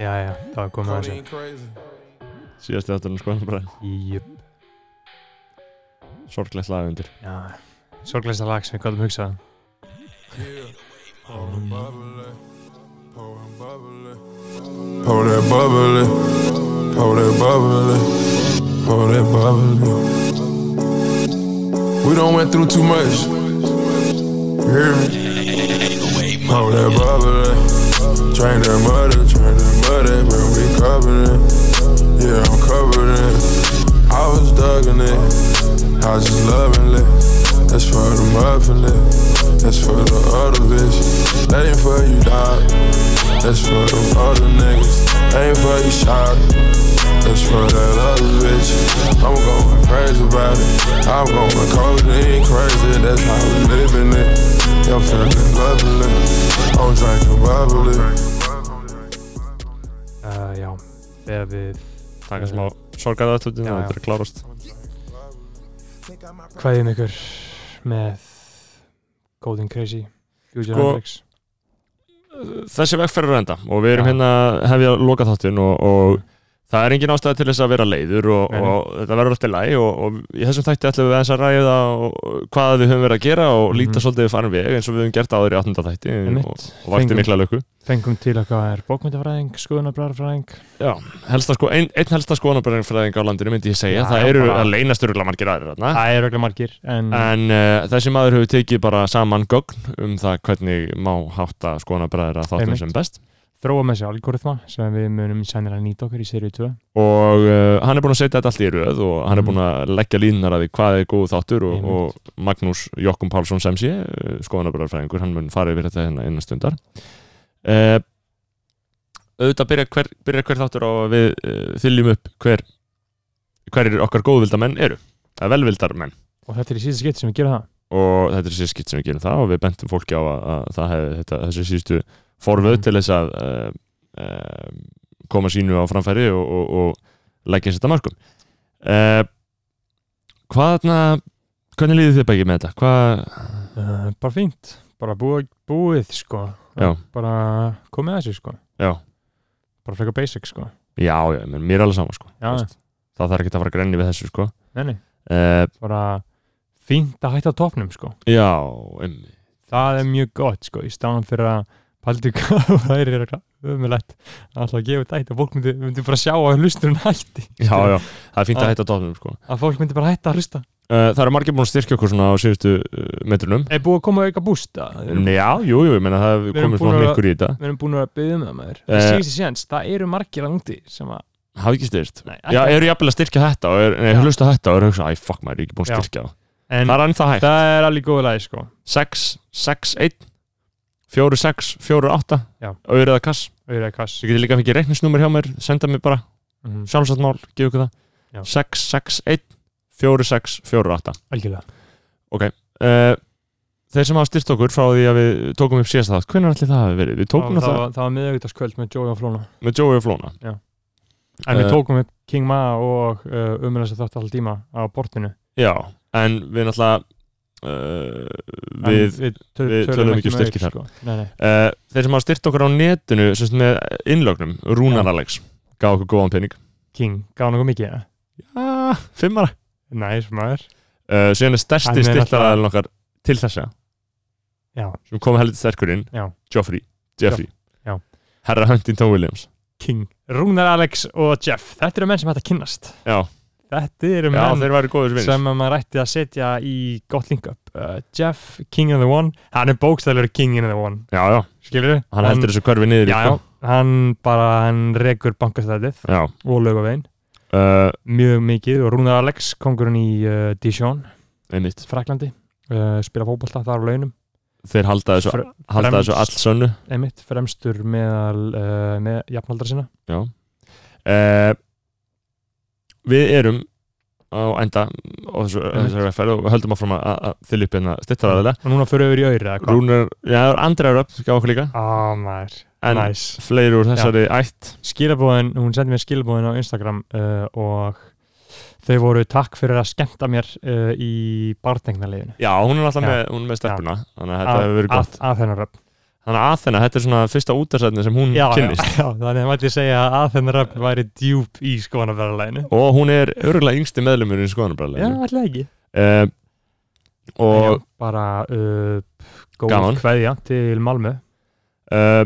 Jæja, það var komið að þessu Codeine crazy Síðast þátturinn sko bara Jöp, sorglegt lag undir já Sorglæsta lag sem við gáttum hugsað Yeah. Pouring bubbly. Pouring bubbly. Pour that bubbly. Pour that bubbly. Pour that bubbly. We don't went through too much. You hear me? Pour that bubbly. Train that muddy, train that muddy, when we covered it. Yeah, I'm covered in it. I was dug in it. I was just loving it. That's for the muffin it. That's for the other bitch. That ain't for you, dog. That's for them other niggas. That ain't for you, shot. That's for that other bitch. I'm going crazy about it. I'm going codeine crazy. That's how we living it. I'm feeling lovely. I'm drinking bubbly. uh, Já, þegar við Taka smá sorgað aðtöndin Já, og já. þetta er að klárast hvaðum ykkur með Golden Crazy Future Sko- Hendrix Þessi vegferð er að enda og við erum Já. hérna hefja loka þáttin og, og það er engin ástæða til þess að vera leiður og, Nei, nei. og þetta verður alltaf læg og, og í þessum þætti ætlum við aðeins að ræða og, og hvað við höfum verið að gera og líta Mhm. svolítið farin veg eins og við höfum gert áður í 18. þætti Einmitt. og, og vakti Fengum- mikla löku Fengum til okkar bókmyndafræðing, skoðunabræðarfræðing Já, helsta sko, ein, einn helsta skoðanabræðing á landinu myndi ég segja, Já, það eru bara- að leynast örgulega margir aðrir þarna Það er auðvitað margir en, En uh, þessi maður hefur tekið bara saman gögn um það hvernig má hátta skoðanabræðir að þáttum Einmitt. sem best þróa með þessi algoritma sem við munum sænir að nýta okkur í serið 2 og uh, hann er búin að setja þetta allt í röð og hann er Mm. búin að leggja línunar að því hvað er góð þáttur og, Einmitt. og Magnús Jokkum Pálsson sem sé, uh, skoðanabræðarfræðingur, hann mun fara yfir þetta hérna innan stundar uh, auðvitað byrja hver, byrja hver þáttur á að við uh, þyljum upp hver, hverjir okkar góðvildamenn eru, það er velvildarmenn og þetta er í síðan skitt sem við gerum það og þetta er síðan skitt sem við gerum það og við bentum fólki á að, að það hefði þetta, þessi síðustu forvöð Mhm. til þess að uh, uh, koma sínu á framfæri og, og, og leggja sér þetta markum uh, hvaðna hvernig líður þið bækið með þetta? Hvað, uh, bara fínt, bara búið, búið sko, Já. bara komið að þessu sko, já, bara frekar basic sko, já, já menn, mér er alveg sama sko. Já. Þú veist, það þarf ekki að fara að grenni við þessu sko. neini, uh, bara fínt að hætta á topnum sko já, um, það er mjög gott sko í staðan fyrir að paldu hvað það er umilegt alltaf að gefa þetta hætti að fólk myndi, myndi bara sjá að hlusturinn hætti já, já það er fínt að Ah. hætta dóttunum sko. að fólk myndi bara hætta að hlusta uh, það eru margir búin að styrkja okkur svona á síðustu uh, metrunum er búið að koma auka bústa við já, jú, jú, ég meina það Við erum komið búin svona að- hnykkur í þetta erum búin að byggja um það maður Eh. uh, síðan séns, það eru margir að núti sem að hafa ekki styrst Nei, Já, ekki- eru jafnvel að styrkja þetta og er, nei, Já. hlusta þetta og eru að hugsa, æ, fuck maður, ég er ekki búin Já. að styrkja það en Það er ennþá hægt það er alveg góð lagi sko 6, 6, 1 4, 6, 4, 8 Já. Auðriða kass auðvitað kass Svo getur líka að fikið reikningsnúmer hjá mér Senda mér bara mm, sjálfsættmál, gefa ykkur Já. það 6, 6, 1 4, 6, 4, 8 algjörlega uh, Þeir sem hafa styrkt okkur frá því að við tókum upp síðast það Hvernig ætli það hafi verið? Við það, tókum það, það var- það var miðaugtaskvöld með Joey og Flóna með Joey og Flóna en Eh. við tókum upp King Ma og uh, umilegt þátt alltaf tíma á bortinu Já, en við náttúrulega uh, En Við við, töl, við tölum ekki um meir, styrki þar. sko. nei, nei. Uh, þeir sem hafa styrt okkur á netinu sem sagt, með innlögnum, Rúnar Já. Alex gaf okkur góðan pening King, gaf hann okkur mikið eða? ah, fimmara Næs maður uh, síðan er Hann stærsti er styrtaraðalinn okkar til þessa Já, sem kom heldur sterkur inn, Já. Joffrey Jeffrey, Já. herra Huntington Williams King Rúnar Alex og Jeff Þetta eru menn sem hægt að kynnast já, Þetta eru já menn þeir væri góður vinnir sem að maður ætti að setja í gott link-up uh, Jeff, King of the One Hann er bókstælur King in the One já, já, Skilur þið? hann heldur þessu körfi niður í, já, já, sko. hann bara hann rekur bankastætið já. og lögavegin Uh, Mjög mikið og Rúnar Alex kongurinn í uh, Dijon, einmitt, Fraklandi uh, spila fótbolta þar á launum þeir halda þessu, Fre- halda fremst. þessu all sönnu einmitt fremstur meðal uh, með jafnaldra sinna uh, við erum á enda og þessu, Einmitt. þessu vegferð og höldum áfram að- að þylja upp hérna styrtaraðilega og núna fyrir yfir í auðri eða hvað Rúnar, já, það er Andra Röpp gaf okkur líka, Á, maður, en næs fleiri úr þessari ætt Skilabóðin, hún sendi mér skilabóðin á Instagram uh, og þau voru takk fyrir að skemmta mér uh, í barndegnarleginu Já, hún er alltaf Já. með, hún er með stelpuna þannig að þetta Af- hefur verið af- gott af þennan röfn þannig að Athena, þetta er svona fyrsta útarsætni sem hún já, já, kynnist já, þannig að maður segja að Athena Rapp væri djúp í skoðanabæralæginu og hún er örgulega yngsti meðlumur í Já, skoðanabræðinu alltaf ekki uh, og Já, Bara uh, góð Gaman. kveðja til Malmö uh,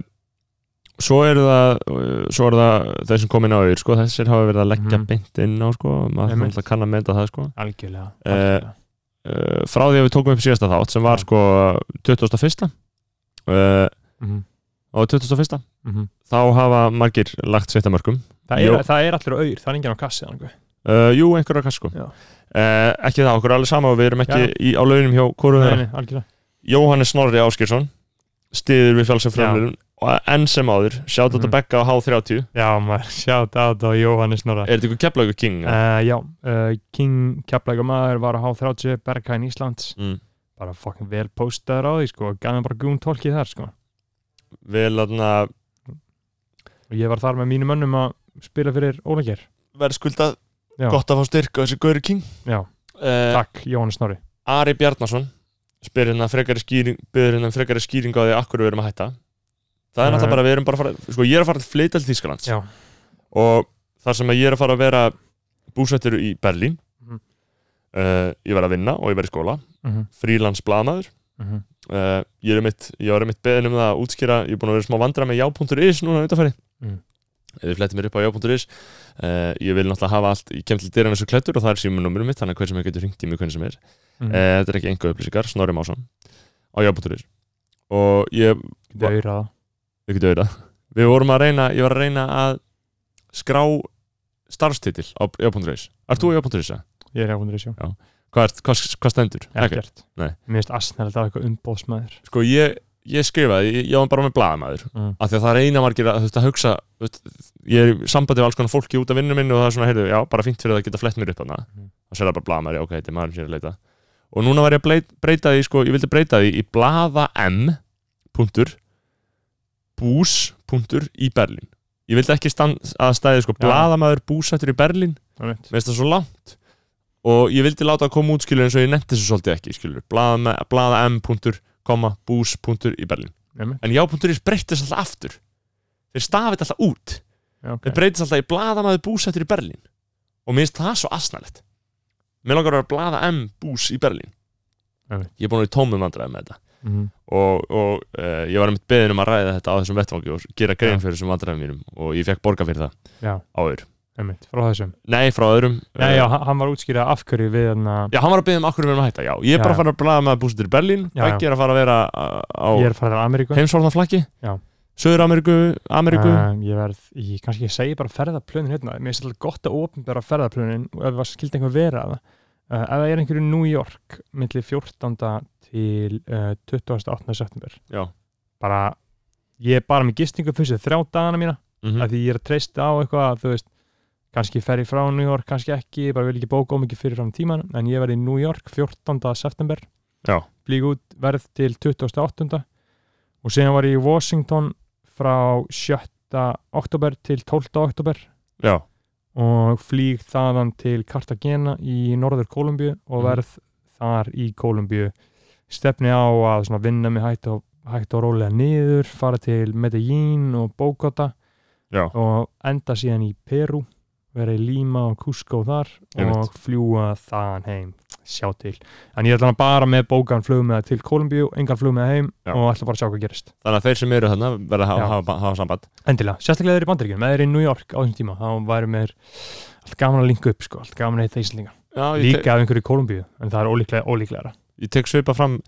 svo eru það uh, svo eru það þeir sem kom inn á auður sko, þessir hafa verið að leggja Mhm. beint inn á sko, Einmitt. maður þarf alltaf að kann að meta það sko. Algjörlega, Eh, algjörlega. uh, frá því að við tókum upp síðasta þátt sem var Já. sko 2001 uh, Mhm, á 2001 mhm. þá hafa margir lagt sitt að mörkum Það er, Jó. það er allir á auður, það er enginn á kassi eða nokkuð. uh, jú, einhverjar kannski sko. Já. uh, ekki það, okkur er alveg sama og við erum ekki í, á launum hjá hvorum Nei, þeirra nei, algjörlega Jóhannes Snorri Áskjörsson stiður við fjálsum Já. framlýðum og enn sem áður, sjátt átt Mhm. að bekka á H30 Já, maður, shout out á Jóhannes Norra er þetta ykkur keflagur king? eða? Uh, já, uh, King Keflægamaður var á H30 Berghain Íslands Mm. bara fucking vel postaður á því sko gaf mér bara gún tólkið þar sko vel aðna og ég var þar með mínum önnum að spila fyrir Óleikir verðskuldað, Já. gott að fá styrk á þessi Gauri King Já, uh, takk Jóhannes Snorri Ari Bjarnason spyr hérna frekari skýring byrður hérna frekari skýring á því akkur við erum að hætta það Nei. er náttúrulega bara, við erum bara að fara sko, ég er að fara að flytja til Þýskalands Já. og þar sem að ég er að fara að vera búsettur í Berlín Mhm. uh, ég verð að vinna og ég verð í skóla mm -hmm. frílands blamaður mhm. uh, ég er mitt, ég var mitt beðin um það að útskýra ég er búin að vera smá vandra með já.is núna undanfæri mm. Mm. ef þið flettir mér upp á já.is uh, ég vil náttúrulega hafa allt, ég kem til dyrana svo klættur og það er símunumurum mitt, þannig að hver sem er getur ringt í mig hvernig sem er, Mm. mm. þetta er ekki enga upplýsingar Snorri Másson á já.is og ég, Dauðraða við getum auðvitað við vorum að reyna, ég var að reyna að skrá starfstitil á já.is, ert þú á já.is? eða? Ég er jáfundur í sjó Hvað, ert- hvað, hvað stendur? Ekkert Nei. Mér finnst asnælt að eitthvað umbóðsmæður sko ég, ég skrifaði, ég, ég var bara með blaðamæður Mm. af því að það reyna margir að, þú veist, að hugsa þú veist, ég er í sambandi við alls konar fólki út af vinnu minni og það er svona, heyrðu, já, bara fínt fyrir það að geta flett mér upp hana Mm. og sér það bara blaðamæður, já, ok, þetta er maður sem ég er að leita og núna var ég að bleit- breyta því, sko, ég vildi breyta því í blaðam punktur bús punktur í Berlín ég vildi ekki stand, að stæði, sko, Já. blaðamæður búsættur í Berlín Það mér finnst það svo langt og ég vildi láta að koma út skilur eins og ég netti þessu svolítið ekki skilur blaða m. koma bús. í Berlín Einmitt. en já.is breytist alltaf aftur þeir stafið alltaf út þeir okay. breytist alltaf í blaðamaður búsættur í Berlín og mér finnst það svo asnalett mér langar að vera blaða m. bús í Berlín Einmitt. ég er búin að vera í tómum vandræði með þetta mm og, og uh, ég var einmitt beðin um að ræða þetta á þessum vettvangi og gera grein Já. fyrir þessum vandræðum mínum og ég fekk borga fyrir það Já. áður -hmm. Frá þessum nei frá öðrum Já, já, hann- hann var útskýrað af hverju við hérna, hann Já, hann var að byggja um akkur við erum að hætta, já. Ég er bara Já, að fara að blaða með að búsa til Berlín, Já, já. ekki er að fara að vera uh, á Ég er farið til Ameríku heimsálnaflakki, Já. Söður-Ameríku, Ameríku, Um, ég verð, ég, kannski ég segi bara ferðaplönin hérna, mér finnst alltaf gott að opnbæra ferðaplönin og ef það skildi einhver vera að það uh, ef það er einhverju New York milli 14. til uh, 28. september já. bara, ég er bara með gistingu fyrstu þrjá dagana mína, Mm af því ég er að treysta á eitthvað að þú veist, kannski fer ég frá New York, kannski ekki, ég bara vil ekki bóka um ekki fyrir fram tíman, en ég verð í New York 14. september, Já. flýg út verð til 28. og síðan var ég í Washington frá 7. oktober til 12. oktober já. og flýg þaðan til Cartagena í norður Kolumbíu og Mhm. verð þar í Kolumbíu stefni á að svona vinna mig hægt og, hægt og rólega niður fara til Medellín og Bogota Já. og enda síðan í Peru vera í Lima og Cusco þar Einmitt. og fljúa þaðan heim sjá til, en ég ætla bara með bókan flug með til Kolumbíu, engan flug með heim Já. og ætla bara að sjá hvað gerist Þannig að þeir sem eru þarna verða að Já. hafa, hafa, hafa samband. Endilega, sérstaklega þeir eru í Bandaríkjum, eða þeir eru í New York á þessum tíma, þá væri mér allt gaman að linka upp, sko, allt gaman að heita Íslinga. Já, ég, Líka af einhverju í Kolumbíu, en það er ólíklega, ólíklega. te ég tek svipa fram,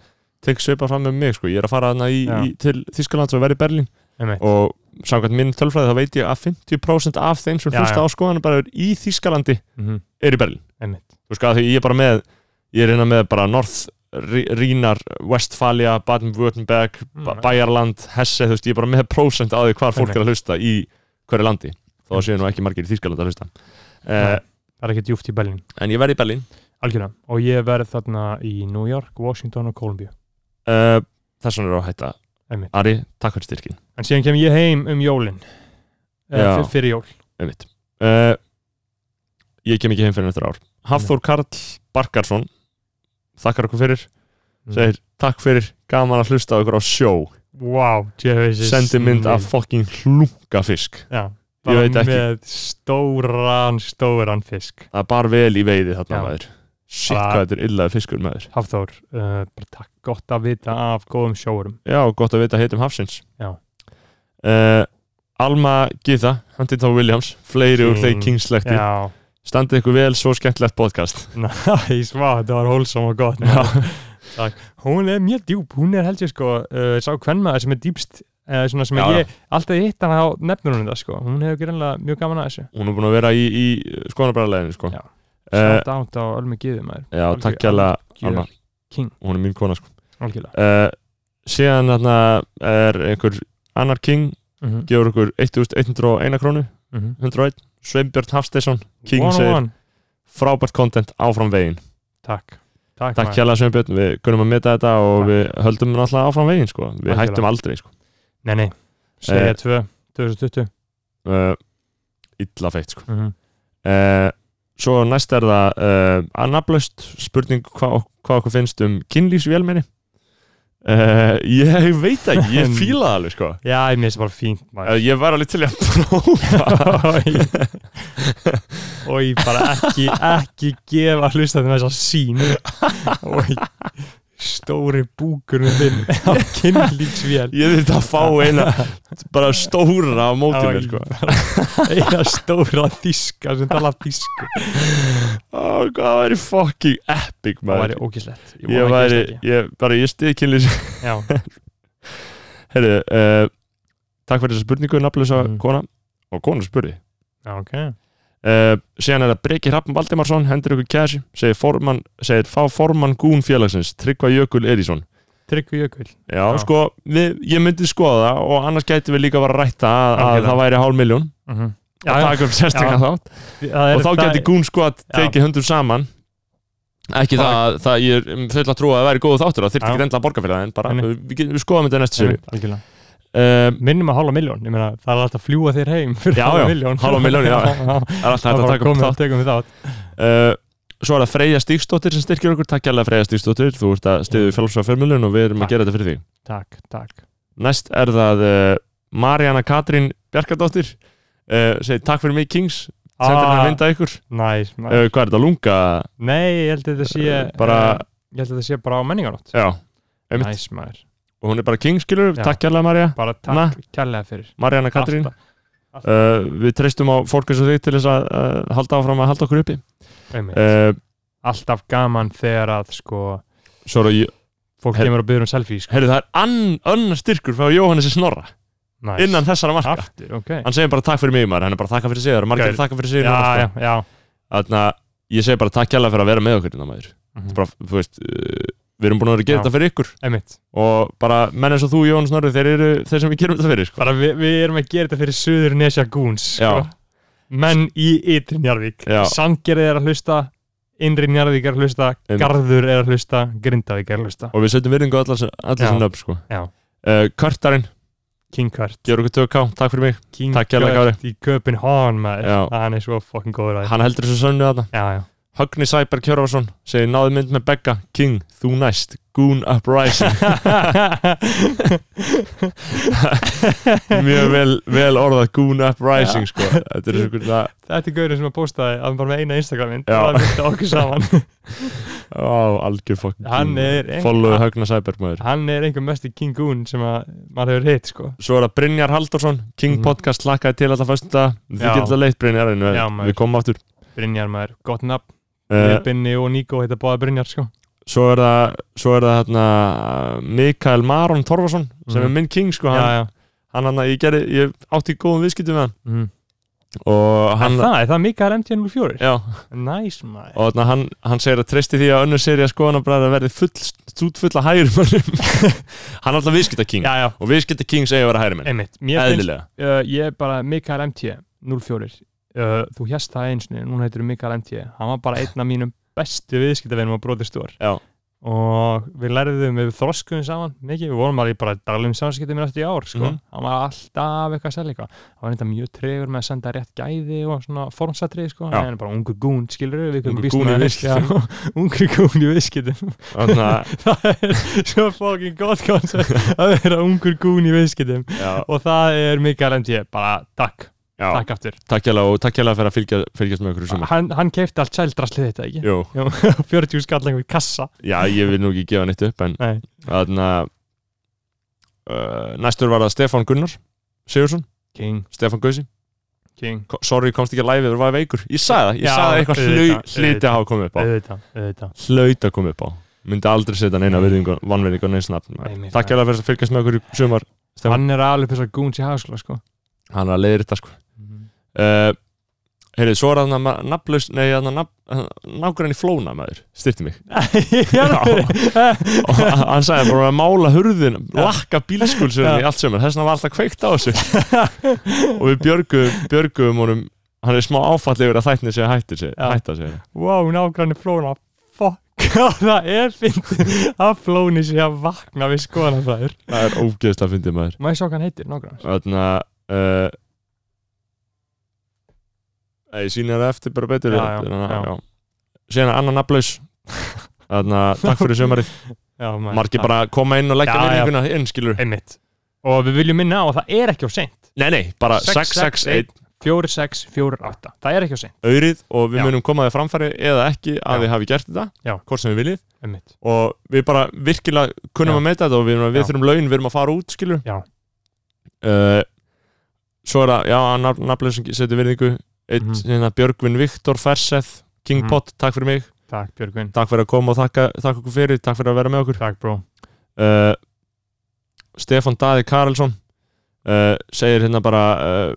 tek svipa fram með mig, sko. Ég er að fara þarna í, Já. í, til Þískaland og verði í Berlín Einmitt, og samkvæmt minn tölfræði þá veit ég að 50% af þeim sem Já, hlusta já. á skoðanum bara í Þískalandi mm er í Berlín. einmitt, þú veist hvað, því ég er bara með ég er hérna með bara North Rínar, Westfalia, Baden-Württemberg ba Mm. Bæjarland, Hesse, þú veist, ég er bara með prósent á því hvar fólk Einmitt. er að hlusta í hverju landi, þá Einmitt. séu nú ekki margir í Þýskaland að hlusta uh, Nei. það er ekki djúft í Berlín, en ég verði í Berlín algjörlega. Og ég verð þarna í New York, Washington og Kolumbíu, uh, þess vegna er á að hætta einmitt. Ari, takk fyrir styrkin, En síðan kem ég heim um jólin, Já. eða fyr, fyrir jól. einmitt uh, ég kem ekki heim fyrir þetta ár Hafþór Karl Barkarsson þakkar okkur fyrir, Mm. segir takk fyrir, gaman að hlusta á ykkur á sjó wow, Jesus sendi mynd af minn. fucking hlungafisk já, bara veit ekki. með stóran, stóran fisk það bar vel í veiði þarna Já. maður shit Bara- hvað þetta er illaði fiskur maður Hafþór, uh, bara takk gott að vita af góðum sjórum já, gott að vita heitum hafsins Já. Eh, Alma Githa, Huntington Williams fleiri úr King. þeir kingslekti já, standið ykkur vel, svo skemmtilegt podcast næs, vá, þetta var hólsom og gott Já. Takk. hún er mjög djúb, hún er held ég sko uh, sá kvennmaður sem er dýbst uh, svona sem Já, já. ég, alltaf ég hitt hana á nefnur hún þetta sko, hún hefur greinlega mjög gaman að þessu hún er búin að vera í, í skonabræðarleginu sko. Já. Eh, shout out á Ölmu Gíði maður já Algjör- takk hjá Alma, Gjöf, king, hún er mín kona sko. algjörlega uh, síðan þarna er einhver annar king mm -hmm. gefur okkur 1101 krónu Mhm, 101, Sveinbjörn Hafsteinsson King segir- frábært content áfram veginn takk, takk, takk maður. hjæla Sveinbjörn, við kunum að meta þetta og Takk. við höldum náttúrulega áfram veginn sko. við Algjörlega. hættum aldrei sko. nei, nei, Eh. segja 2 2020 uh, illa feitt sko. mm -hmm. uh, svo næst er það uh, annaflaust spurning hvað hva okkur finnst um kynlýsvélmenni uh, ég veit það ekki, ég fíla það alveg sko. já, ég minnst bara fínt uh, maður ég var alveg til í að prófa og ég bara ekki ekki gefa hlustandi með þessa sín og stóri búkurinn þinn á kynlíksvél ég þurfti að fá eina bara stóra á móti Það var mér sko. eina stóra þíska sem tala þísku Ó, hvað það væri fucking epic það maður væri ógislegt ég væri, ég, bara ég stiði kynlýs já, Herru, uh, takk fyrir þessa spurningu nafnlösa Mm. kona og kona spurði já, ok uh, síðan er það Breki Hrafn Valdimarsson hendur ykkur kæsi, segir, formann, segir fá formann gún félagsins, Tryggva Jökul Erísson Tryggvi Jökull Já, Já. sko, við, ég myndi skoða það og annars gæti við líka bara rætta að, að Algjörlega. það væri hálf miljón -hmm. Já, að já. taka upp sérstaklega þátt það Mhm. og þá gæti gún sko að Já. tekið höndum saman ekki Bara- það, að- það ég er full að trúa að það væri góð þáttur það þyrfti Já. ekki endilega að borga fyrir það en bara, Nei, nei. við, við, getum- við skoðum þetta í næstu séri gúl um, minnum að hálfa miljón, ég meina það er alltaf að fljúa þér heim fyrir Já, hálfa já, miljón hálfa milljón, já. já Það er það alltaf er hægt að bara taka upp komið þátt og tegum við þátt Uh, svo er það Freyja Stígsdóttir sem styrkir okkur takk alveg Freyja Stígsdóttir, þú ert að stiðu fjálfsvæðaförmjölun og við erum Takk. að gera þetta fyrir þig takk, takk, næst er það uh, Marjana Katrín Bjarkadóttir uh, segir takk fyrir mig Kings sendir Ah. henni að mynda ykkur uh, næs nice, hvað er þetta, lunga? Nei, ég held að þetta sé Eh, bara- eh, Ég held að þetta sé bara á menninganótt Já, einmitt. Næs maður og hún er bara Kings skilur, Já. takk alveg Marja Bara Na. takk kærlega fyrir Marjana Katrín Alltaf. uh, við treystum á fólk eins og þig til þess að uh, halda áfram að halda okkur uppi Einmitt. uh, Alltaf gaman þegar að sko svo er það, Fólk Her- kemur og byrður um selfie sko. heyrðu það er ann, annar styrkur frá Jóhannes Snorra Næs. innan þessara marka Aftur, ok hann segir bara takk fyrir mig maður, hann er bara þakka fyrir sig það er margir Gæl. að þakka fyrir sig Já, núna, já, sko. já þannig að ég segi bara takk hérlega fyrir að vera með okkur innan maður Mhm. bara, þú veist, uh, við erum búin að vera að Já. gera þetta fyrir ykkur Einmitt og bara menn eins og þú Jón Snorri þeir eru þeir sem við gerum þetta fyrir sko. Bara við, við erum að gera þetta fyrir Suður Nesja Goons sko. Já. Menn í Ytri Njarðvík Já. Sandgerði er að hlusta Innri Njarðvík er að hlusta Einmitt. Garður er að hlusta Grindavík er að hlusta og við setjum virðingu á allar sem- allar Já. sem nöfn sko. Já. uh, Körtarinn, King Kurt gerur okkur 2K, takk fyrir mig King Takk kærlega, Kurt Í Köpenhán maður Já. Hann er svo fokkin góður að hann heldur þessu sönnu þarna Já, já. Högni Sæberg Kjörvarsson segir náði mynd með Begga, King, þú næst Goon Uprising, mjög vel, vel orðað Goon Uprising sko. þetta er svona Þetta er gaurinn sem að postaði að hann bara með eina Instagramin Já. og að mynda okkur saman Ó, algjör fokkin Hann er ein- Follow Högna Sæberg maður Hann er einhver mesti King Goon sem að maður hefur hitt sko Svo er það Brynjar Halldórsson King Mhm. Podcast lakkaði til alltaf fyrstu dag Þið Já. getur alltaf leitt Brynjar en við, Já, maður. við komum aftur Brynjar maður, gott nafn uh, uh. Binni og Nico heita báða Brynjar sko Svo er það, svo er það hérna, Mikael Maron Torfarsson sem Mhm. er minn King sko, Já, hann, já hann, hann, ég, gerði, ég átti góðum viðskiptum með hann mm. og hann, hann, Það, er það Mikael MTN04 já, Næs maður og þarna hann, hann segir að treysti því að önnur seri að skoðanabræða verði full, stútfull að hægri mönnum Hann er alltaf viðskipta King Já, já, og viðskipta King segja að vera hægri menn einmitt Mér finnst, Eðlilega uh, ég er bara Mikael MT04 uh, Þú hérst það eins og núna heitir Mikael MT Hann var bara einn af mínum bestu viðskiptavinum á Bróðistúr Já. og við læriðum við þroskuðum saman mikið, við vorum alveg bara daglegum samskiptum í næstu í ár, sko, Mhm. hann var alltaf eitthvað að selja eitthvað, hann var eitthvað mjög tregur með að senda rétt gæði og svona formsatrið, sko, Já. en bara ungu gún, skilur við Ungur gún í viðskiptum. ungu gún í viðskiptum, Þannig að, það er svo fucking gott koncept að vera ungur gún í viðskiptum já, og það er Mikael MT, bara takk, já, takk aftur, takkjalega og takkjalega fyrir að fylgja, fylgjast með okkur í sumar. hann, hann keipti allt sældraslið þetta, ekki? Jú, 40 skall einhver kassa já, ég vil nú ekki gefa neitt upp, en Nei. þannig að uh, næstur var það Stefán Gunnar Sigursson, King, Stefán Gausi King Ko- sorry, komst ekki að live, þú var veikur ég sagði það, ég Já, sagði að eitthvað hlau- auðvitað, hlyti að hafa komið upp á auðvitað, auðvitað hlaut að koma upp á myndi aldrei setja neina vannverðingu neins nafn Einmitt, takk nei. alveg fyrir að fylgjast með okkur í sumar Stefán. hann er alveg þess að gúns í hagskóla sko hann er að leiðir þetta sko Mhm. uh, heyrðu, svo er þarna nafnlaus, nei, þarna nákvæmni flóna maður, styrti mig já og hann sagði bara að mála hurðin Já. lakka bílskúlsunni Já. í allt sumar þess vegna var alltaf kveikt á þessu og við björgum, björgum honum hann er smá áfall yfir að þætni sig að hætta sig, Já. hætta sig. wow, nágrann er flóna fuck, það er fyndið að flóni sé að vakna við skoðan að það er það er ógeðslega að fyndi maður maður sjá hvað hann heitir, nágrann Þannig að uh, Ég sýni það eftir bara betur Já, já, Þannig að- já. Síðan annan nafnlaus Þannig að takk fyrir sömarið já, maður- Margir bara koma inn og leggja Já, já. verðinguna inn skilur Ah, einmitt og við viljum minna á að það er ekki á seint Nei, nei, bara 661 4648 það er ekki á seint, Aurið og við Já. munum koma þið framfæri Eða ekki að Já. þið hafi gert þetta Já. Hvort sem við viljið einmitt Og við bara virkilega kunnum Já. að meita þetta Og við, við Já. þurfum laun, við erum að fara út skilur Já. Eh, Svo er það, já, nafnlaus Setur verðingu Eitt, Mhm. hérna, Björgvin Viktor Ferseth King Mhm. Pot, takk fyrir mig takk Björgvin, takk fyrir að koma og þakka, þakka okkur fyrir takk fyrir að vera með okkur takk bró uh, Stefan Daði Karelsson uh, segir hérna bara uh,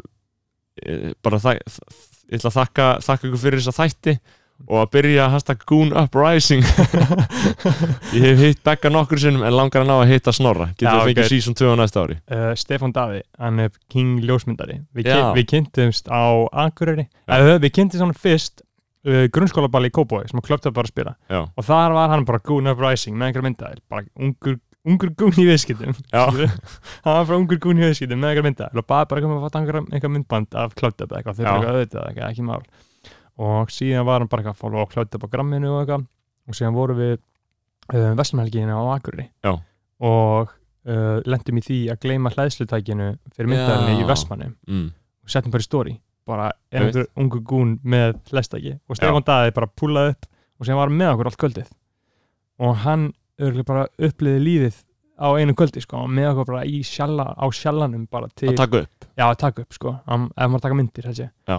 eh, bara þa- þ- ég ætla að þakka, þakka ykkur fyrir þessa þætti og að byrja að hashtag Goon Uprising ég hef hitt Begga nokkur sinnum en langar að ná að hitta Snorra getur Já, við fengið ok. season 2 á næsta ári uh, Stefán Davi, hann er King ljósmyndari við, Já. kyn, við kynntumst á Akureyri uh, við kynntumst hann fyrst uh, grunnskólaballi í Kóboi sem hann klöpt að bara spila já, og þar var hann bara Goon Uprising með einhverja myndaðir bara ungur ungur gún í viðskiptum Já. skilurðu? hann var frá ungur gún í viðskiptum með einhverja myndaðir og bað bara eitthvað að fatta einhverja einhver myndband af klöpt upp eitthvað, þau Já. bara eitthvað auðvitað eitthvað, ekki mál og síðan var hann bara eitthvað að fólu á klöpt upp á gramminu og eitthvað og síðan vorum við uh, Vestlumhelginu á Akureyri Já. og uh, lendum í því að gleyma hlæðslutækinu fyrir Já. myndaðinni í Vestmanni mm. og settum bara í story bara Ég veit. einhver ungu gún með hlæðstæki og Stefán Daði bara púlaði upp og sem var hann með okkur allt kvöldið og hann örgulega bara uppliði lífið á einu kvöldi sko og með okkur bara í sjalla, á sjallanum bara til, að taka upp já að taka upp sko hann, ef maður taka myndir þessi Já.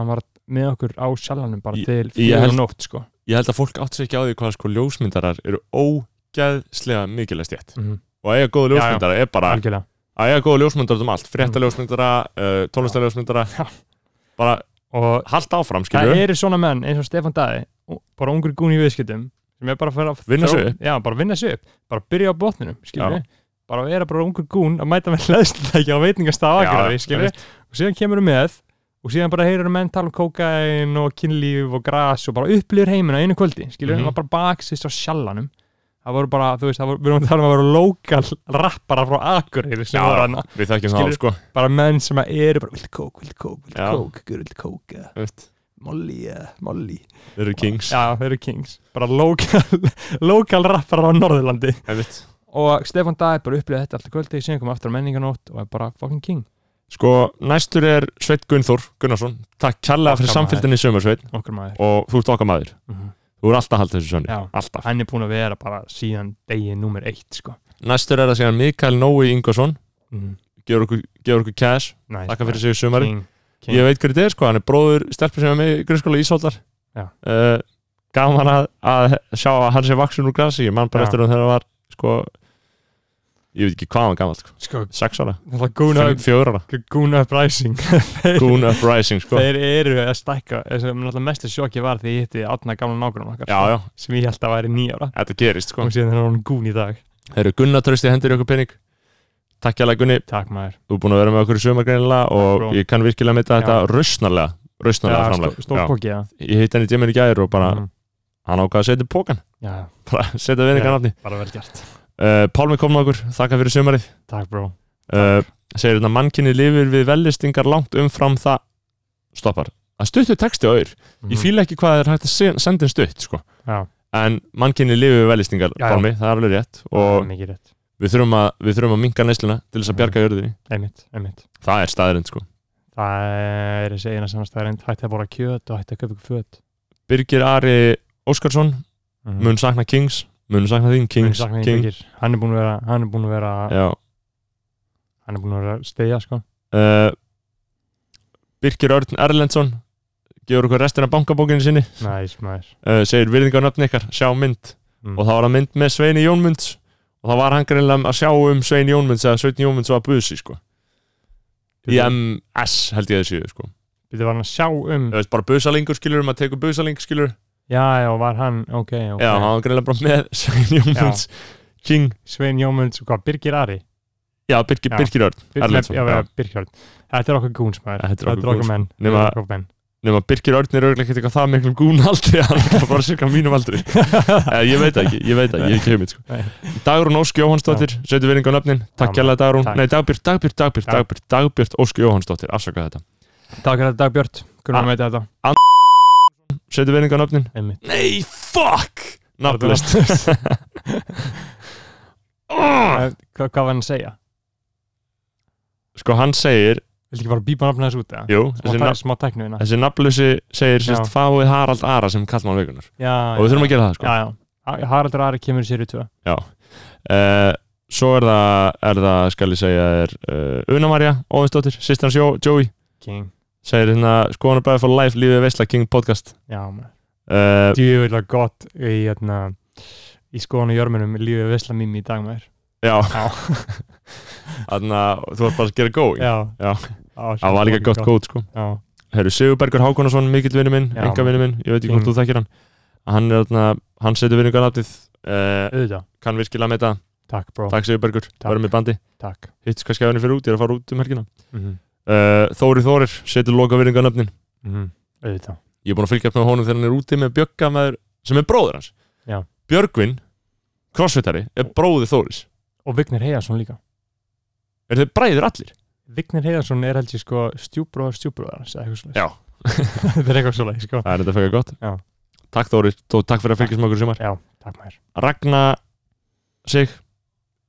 hann var með okkur á sjallanum bara Ég- til ég fjögur held- nótt sko ég held að fólk átt sér ekki á því hvað sko ljósmyndarar eru ógeðslega mikilvægt jætt mm -hmm. og að eiga góða Já, já. ljósmyndara er bara algjörlega að eiga góða ljósmyndara um allt frétta ljósmyndara, uh, tónlistar ljósmyndara Já. bara og halda áfram skilur það eru svona menn eins og Stefán Daði og bara ungur gún í viðskiptum sem er bara að fara að Vinna þró- sig upp. já, bara vinna sig upp, bara byrja á botninum skilur Já. við, bara vera bara ungur gún að mæta með hlæðslega á veitingastafa Já, aðgrari, skilur við, og síðan kemur með og síðan bara heyrur menn tala um kókain og kynlíf og gras og bara upplýður heiminn á einu kvöldi, skilur við, mm Mhm. -hmm. bara baksist á sjallanum það voru bara, þú veist, það voru, við erum að tala um að voru lokal rappara frá Akureyri sem Já. voru hana, við þekkjum það Skilur. sko bara menn sem að eru bara, vilt kók, vilt kók, vilt Já. kók, gurur, vilt kók eða þeir Molly eða Molly eru kings Já, þeir eru kings Bara lokal, lokal rapparar á Norðurlandi Einmitt. Og Stefán Dæði bara upplýði þetta alltaf kvöldi Síðan kom aftur á menninganót og er bara fucking king sko næstur er Sveit Gunnþór Gunnarsson takk kærlega fyrir Okkar samfélginni í sömur Sveit Okkur maður og þú ert okkar maður Mhm. þú er alltaf að halda þessu sönni Já. alltaf Hann er búin að vera bara síðan degi nummer eitt sko. næstur er að segja Mikael Nói Ingarsson mm. gefur okkur, gefur okkur cash nice, takk fyrir sig í sömur King, king. ég veit hverju þetta er sko hann er bróður stelpur sem er með í grunnskóla Ísóldar Já. uh, gaman að, að sjá að hann sé vaksin úr grasi ég man bara Já. eftir hann þegar hann var sko ég veit ekki hvað hann var gammal sko. Sko, sex ára, það er sko, gún fimm- upp fjögur ára Gún upp rising Goon Uprising sko Þeir eru að stækka þess að Náttúrulega mestu sjokki var því ég hitti Átna gamla nágrunum okkar já já, Sem ég held að væri nýjára þetta gerist sko Og síðan er hann gún í dag þeir eru Gunnar trösti hendur í okkur pening takk jæglega Gunni, Takk maður þú er búin að vera með okkur í sömargreinilega Takk, og bró. ég kann virkilega meita Já. þetta rausnarlega rausnarlega Já, sko, framlega Stór Já. póki, já ég hitt henni í djeminu í gæðir og bara Mhm. hann ákvað að setja í pókan já, bara setja við einhvern nafni bara vel gert uh, Pálmi kom nokkur, þakka fyrir sömarið takk bró uh, segir hérna mannkinni lifir við vellistingar langt umfram það stoppar, að stuttu texti á auður Mm. ég fíla ekki hvað er hægt að se- senda en stutt sko. Já. en mannkinni lifir við vellistingar Já, já. Pálmi, það er alveg rétt og og mikið rétt við þurfum að, við þurfum að minka næsluna til Mm. þess að bjarga jörðinni einmitt, einmitt það er staðarind sko það er þessi eina samastæðarind hætti að bóra kjöt og hætti að köpa ykkur föt Birgir Ari Óskarsson Mhm. mun sakna Kings, mun sakna þín Mun Kings, sakna þín, King, Birgir. hann er búin að vera hann er búin að vera já hann er búin að vera að stegja sko uh, Birgir Örn Erlendsson gefur okkur restina af bankabókinu sinni næs maður uh, segir virðingar nöfni ykkar, sjá mynd Mm. og það var að mynd með Sveini Jónmunds og það var hann greinlega að sjá um Sveini Jónmunds eða Sveini Jónmunds var að buðsi sko. í MS held ég að þessu sko. Býttu, var hann að sjá um Ég veist, bara busalingur skilur, maður tekur busalingur skilur já, já, var hann, ok, ok já, hann var greinlega bara með Sveini Jónmunds King, Svein Jómunds, hvað, Birgir Ari já, Birgir, Já. Birgir Örn Erlendsson, Erlendsson, já, já. já. Birkjörn Þetta er okkur gúns maður, Þetta er okkur gúns. menn Nema- Þetta er okkur menn nema Birgir Örn er auðvitað ekkert eitthvað það miklum gún aldrei hann er bara cirka mínum aldrei Eða, ég veit það ekki, ég veit það ekki, ég hef ekki heimitt Nei. sko. Dagrún Ósk Jóhansdóttir, setju veringa á nöfnin takk Já, kjærlega Dagrún, takk. nei Dagbjörn, Dagbjörn, Dagbjörn, Já. Dagbjörn, Dagbjörn Ósk Jóhansdóttir, afsaka þetta Takk fyrir þetta Dagbjörn, Ah. hvernig maður meita þetta setju veringa á nöfnin, Einmitt nei, fuck nafnlist Ah! Eh, Hva, Hvað var hann að segja? sko hann segir, Viltu ekki bara bípa nafnum þess út eða? jú, Smá, þessi, tæ, nafn, smá tæknu hérna þessi nafnlusi segir sérst Já. fáið Harald Ara sem kallmann vikunar Já, og við þurfum að gera það sko Já, já Ha- Haraldur Ari kemur sér í tvö uh, svo er það, er það skal ég segja er uh, Una Marja Óðinsdóttir, sýstir hans Jó- Joey King segir hérna skoðanabæði for life lífið veistla King podcast Já, maður uh, Djúvilega gott í, hérna, í skoðan og jörmunum lífið vesla mými í dag maður já þannig að þú varst bara að gera gói Já, Já. Á, það var líka gott góð sko Já, Herru Sigurbergur Hákonarsson, mikill vinnu minn, Já. Mhm. enga vinnu minn ég veit ekki hvort King. þú þekkir hann hann, er, þarna, hann setur vinningarnaptið uh, auðvitað kann virkilega með það, Takk bro, takk Sigurbergur Takk. verðum í bandi, takk hitt kannski að henni fyrir út ég er að fara út um helgina Mhm, uh, Þóri Þórir setur loka vinningarnapnin mhm, Auðvitað ég er búin að fylgja upp með honum þegar hann er úti með Bjögga maður, sem er bróður hans Já. Björgvin, crossfittari, er bróður Þóris Og Vignir Heiðarsson líka er þeir bræður allir Vignir Heiðarsson er held ég sko stjúbróðar stjúbróðar Já. þetta er eitthvað svoleið sko það er þetta fyrir gott Já. takk Þóri, Þó, takk fyrir að fylgjast með okkur í sumar já, takk maður Ragna sig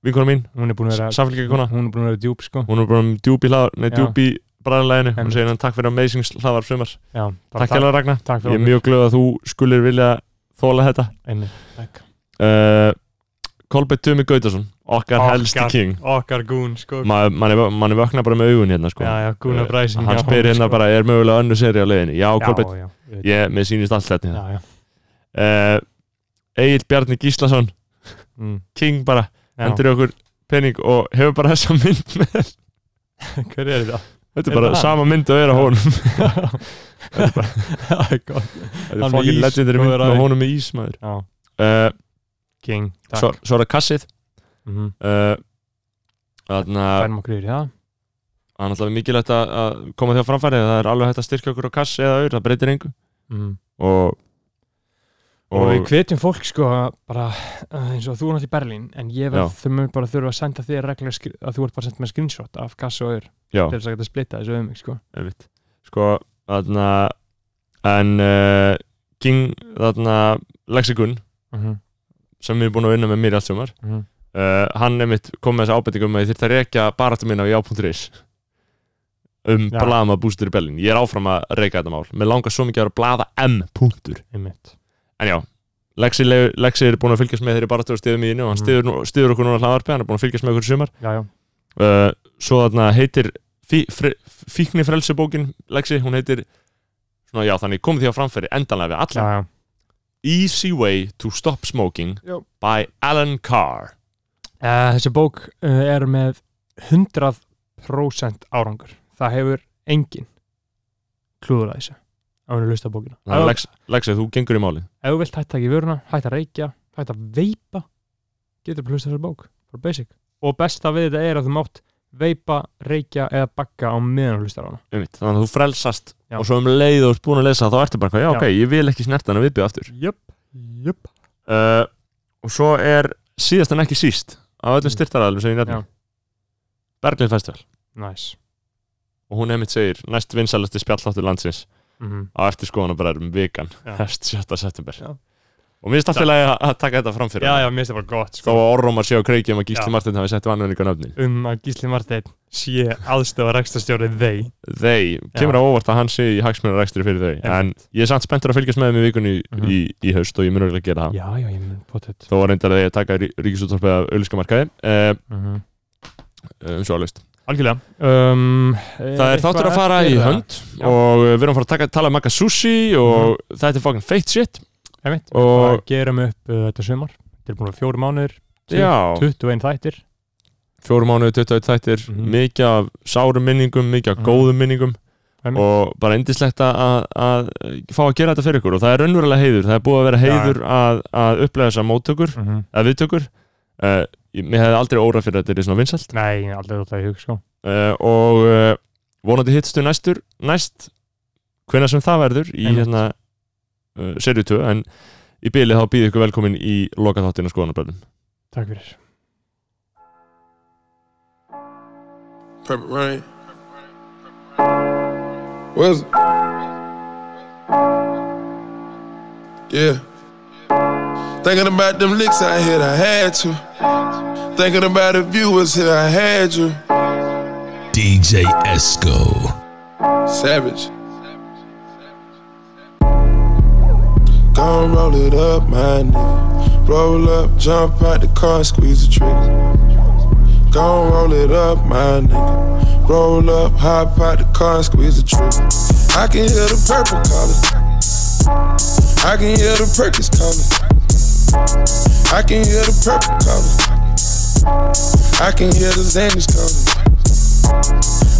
vinkona mín, hún er búin að vera samfélgjagkona hún er búin að vera djúb sko hún er bara um djúb í hlaðar, nei Já. djúb í bræðarlæginu, hún Einmitt. segir hann takk fyrir amazing hlaðar sumar, já, bara takk hérlega Ragna takk ég fyrir er mjög glöð að þú skulir vilja þóla þetta einmitt takk uh, Kolbett Tumi Gautason okkar helsti king okkar gún sko Ma- mann er- mann er vakna bara með augun hérna sko. já, já, gúna Eh, bræsing hann spyr hérna bara, er mögulega önnu seri á leiðinu já, Kolbett, sko. já, já, ég, mér sýnist allt þetta já, já. uh, Egil Bjarni Gíslason Mm, King bara já. hendur í okkur pening og hefur bara þessa mynd með þér. hver er þetta? þetta Er er bara það hann? sama mynd að vera Já. honum það er bara Hann þetta er með fokkin ís, legendary mynd góður afi. með honum með ísmaður já, uh, king, takk svo, svo er það kassið Mhm. uh, þannig að færum okkur yfir í það það er náttúrulega mikilvægt að, að koma því á framfæri það er alveg hægt að styrkja okkur á kass eða auður það breytir engu Mhm. og, og við hvetjum fólk sko að bara uh, eins og þú er náttúrulega í Berlín en ég verð, þau mjög bara þurfa að senda þér reglulega skr- að þú ert bara að senda með screenshot af kassa og öður já, til þess að geta splitta þessu öðum sko. einmitt sko, þarna en uh, King, þarna Lexikun, uh -huh. sem er búin að vinna með mér í allt sumar uh -huh. uh, hann einmitt kom með þessa ábendingum að ég þyrfti að rekja baráttu mín á já.is um Já. blama bústur í Berlín ég er áfram að reyka þetta mál, mér langar svo mikið að vera að blaða M. Punktur. einmitt en já, Lexi, le- Lexi er búin að fylgjast með þeirri baráttu og stiðum í innu og hann Mhm. stiður, nú- stiður okkur núna hlaðarpi, hann er búin að fylgjast með okkur í sumar já, já. uh, svo þarna heitir fí, fre, fíkni frelsebókin Lexi, hún heitir svona, já, þannig kom því á framfæri endanlega við Já, alla já. Easy Way to Stop Smoking Jú. by Alan Carr Uh, þessi bók uh, er með 100% árangur það hefur engin klúður að þessu á henni lusta bókina Þannig að ef Lex, Lexi, þú gengur í máli ef þú vilt hætta ekki vöruna, hætta að reykja hætta að veipa getur bara hlusta þessi bók, bara basic og besta við þetta er að þú mátt veipa, reykja eða bakka á meðan þú hlustar á hana Einmitt. þannig að þú frelsast Já. og svo um leið og þú ert búin að lesa þá ertu bara, eitthvað, já, Já. ok, ég vil ekki snerta hann að viðbjöð aftur Jöp, jöp uh, og svo er síðast en ekki síst af öllum styrtaræðalum sem ég nefnir Mm. Já. Berglind Festival Nice. og hún einmitt segir næst vinsalasti spjalláttur landsins Mm á eftir skoðanabræðurum vikan Já. hefst 7. september Já. og mér er alltaf leið að taka þetta fram fyrir Já, hana. já, mér finnst það bara gott þó sko. að orrumar séu á kreiki um að Gísli Já. Martin hafi sett vannvöninga nöfnin um að Gísli Marteinn sé aðstofa rekstastjóri þeir þeir, kemur á óvart að hann sé í hagsmunarækstri fyrir þau, en Einmitt. ég er samt spenntur að fylgjast með þeim í vikunni Mhm. í, í haust og ég mun örgulega gera það Já, já, ég mun potið þó var reyndar að ég taka rí ríkisúttorpið af auðlískamarkaði uh, mm -hmm. um svo alveg Algjörlega um, Það er þáttur að fara í hönd Já. og við erum að fara að taka, tala um makka sushi og þetta er fucking feitt shit Einmitt, Og- og gerum upp uh, þetta sumar Þetta er búin að fjóru mánuðir, Tvö- Já, 21 þættir fjórum mánuði, 21 þættir Mhm. mikið af sárum minningum, mikið af Mhm. góðum minningum Einmitt. og bara endislegt að, að, að fá að gera þetta fyrir ykkur og það er raunverulega heiður, það er búið að vera heiður að, að upplega þessar móttökur, mm -hmm. að viðtökur uh, ég- mér hefði aldrei óra fyrir að þetta er svona vinsælt Nei, ég er aldrei alltaf í hug sko uh, og uh, vonandi hittstu næstur næst hvenær sem það verður í Einmitt. hérna uh, serið 2 en í bylið þá býðu ykkur velkomin í lokaþáttina skoðanabröðum Takk fyrir Purple rain. What's Yeah. Thinking about them licks I hit, I had to. Thinking about the viewers here, I had you. DJ Esco. Savage. Gon' roll it up, my nigga. Roll up, jump out the car, squeeze the trigger. Gon' roll it up, my nigga. Roll up, hop out the car, squeeze the trigger. I can hear the purple calling. I can hear the Perkins calling. I can hear the purple calling. I can hear the Xanax calling.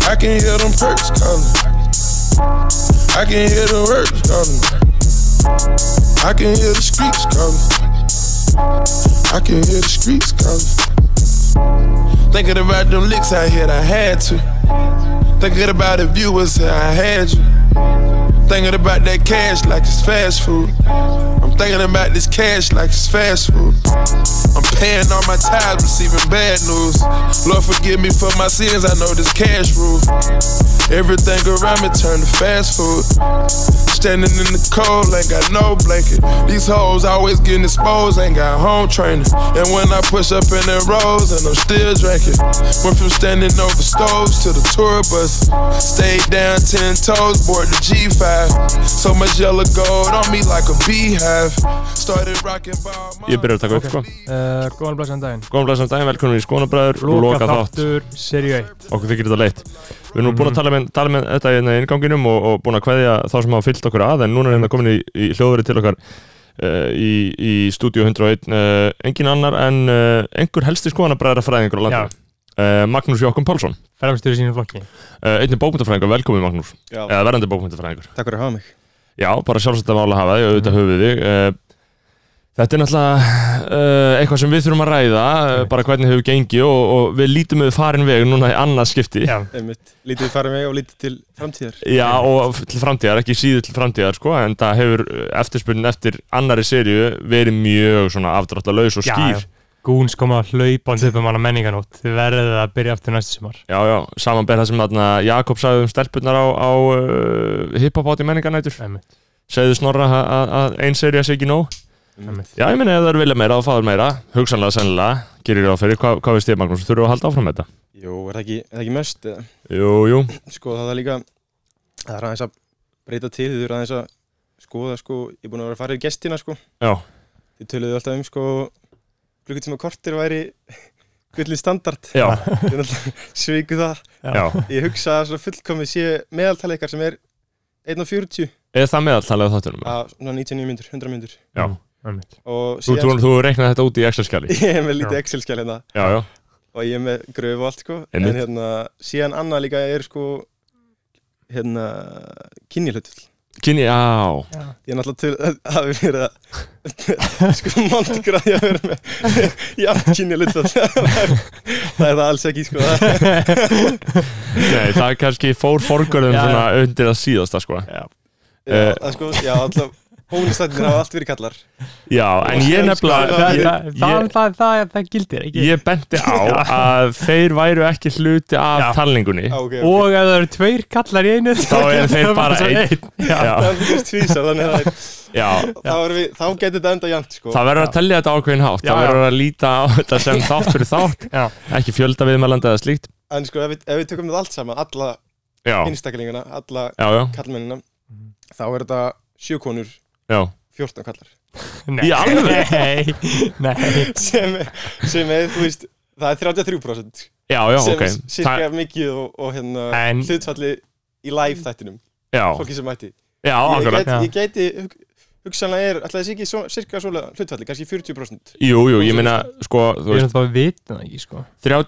I can hear them perks calling. I can hear the words coming. I can hear the streets coming. I can hear the streets coming. Thinking about them licks I hit, I had to. Thinking about the viewers that I had you. Thinking about that cash like it's fast food. I'm thinking about this cash like it's fast food. I'm paying all my tithes, receiving bad news. Lord forgive me for my sins, I know this cash rule. Everything around me turned to fast food. Standing in the cold, ain't got no blanket. These hoes always getting exposed, ain't got home training. And when I push up in the rows, and I'm still drinking. Went from standing over stoves to the tour bus. Stayed down ten toes, board the G5. So much yellow gold on me like a beehive. Started rocking ball. Ég byrjar að taka upp, sko. uh, Góðan blæsan daginn Góðan blæsum daginn, velkomin í skoðanabröður og Loka loka þátt, þáttur, serið 1 okkur þykir þetta leitt Við erum nú Mhm. búin að tala með, tala með þetta hérna í innganginum og, og búin að kveðja þá sem hafa fyllt okkur að en núna er hérna komin í, í hljóðverið til okkar uh, í, í Studio 101 uh, engin annar en uh, einhver helsti skoðanabræðara fræðingur á Já, landinu uh, Magnús Jókum Pálsson ferðarstjóri sínum flokki uh, einnig bókmyndafræðingur, velkomin Magnús Já, eða verðandi bókmyndafræðingur takk fyrir að hafa mig Já, bara sjálfsagt að mála hafa því, auðvitað höfum við þig Eh, Þetta er náttúrulega uh, eitthvað sem við þurfum að ræða uh, bara hvernig hefur gengið og, og við lítum við farin veg núna í annað skipti Já, Einmitt, Lítið farið mig og lítið til framtíðar Já, og f- til framtíðar, ekki síður til framtíðar sko, en það hefur eh, eftirspurnin eftir annari seríu verið mjög svona afdráttalös og Já, skýr Já, Gúns kom að hlaupa hans upp um hana menninganót Þið verðið að byrja aftur næstu sumar já, samanber það sem þarna Jakob sagði um stelpurnar á, á uh, hiphop átt í menningarnætur Einmitt, segðu snorra að- að að ein seríu sé ekki nóg einmitt Já, ég meina ef það eru vilja meira þá fáður meira, hugsanlega sennilega, gerir það fyrir, hvað, hvað veist ég Magnús, þurfum við að halda áfram með þetta? Jú, er það ekki, er það ekki mest eða? Jú, jú, Sko það er líka Það er aðeins að breyta til Þið eru aðeins að skoða sko Ég er búin að vera að fara yfir gestina sko já, Þið töluðu alltaf um sko Klukkutíma kortir væri gullið standard já, Þið náttúrulega sviku það já, Ég hugsa að svona fullkomið sé meðaltalið ykkar sem er 1.40 eða það meðaltalega þáttunum, að svona 99 myndur, 100 myndur já, Einmitt og þú, þú, síðan þú reiknaði þetta út í extra-skjali, ég er með lítið Já. Excel-skjál hérna já, já, og ég er með gröfu og allt sko Einmitt. en hérna, síðan annað líka er sko hérna kynjahlutull kynni, já, ég er náttúrulega til að hafa verið að sko montgraði að vera með jafn kynjahlutull það er það er það alls ekki sko Eh. það nei, það kannski fór forgörðum Já, svona undir að síðasta, sko, Já, það er sko, já alltaf Hónistættinir hafa allt verið kallar Já, en ég það, nefnilega ég, það, það, ég, það, það, það gildir ekki ég benti á að þeir væru ekki hluti af Já. talningunni ah, okay, okay. og ef það eru tveir kallar í einu Þá eru þeir það bara svo einn. Já. Það Já, er líka tvísa, þannig að það já, er- þá erum við- þá getur þetta enda jæmt sko. Það verður að tellja þetta ákveðin hátt, Já, það já. verður að líta á þetta sem þátt fyrir þátt, Já. ekki fjölda viðmælandi eða slíkt. En sko, ef við, ef við tökum þetta allt saman Alla Já, Mhm. einstaklingina, alla já, já, kallmennina Þá er þetta sjö konur, já. 14 kallar Nei. Í alveg? Nei, nei. sem, sem er, þú veist, það er 33% Já, já, sem ok. er Það- cirka mikið og, og hérna En- hlutfalli í live þættinum Já, fólki sem mætti já, ég, akkurat. gæti, já. ég gæti hug, hugsanlega er, alltaf þessi ekki svo, cirka svolega hlutfalli, kannski 40% Jú, jú, ég meina, sko, þú Við veist, erum það að vita það ekki sko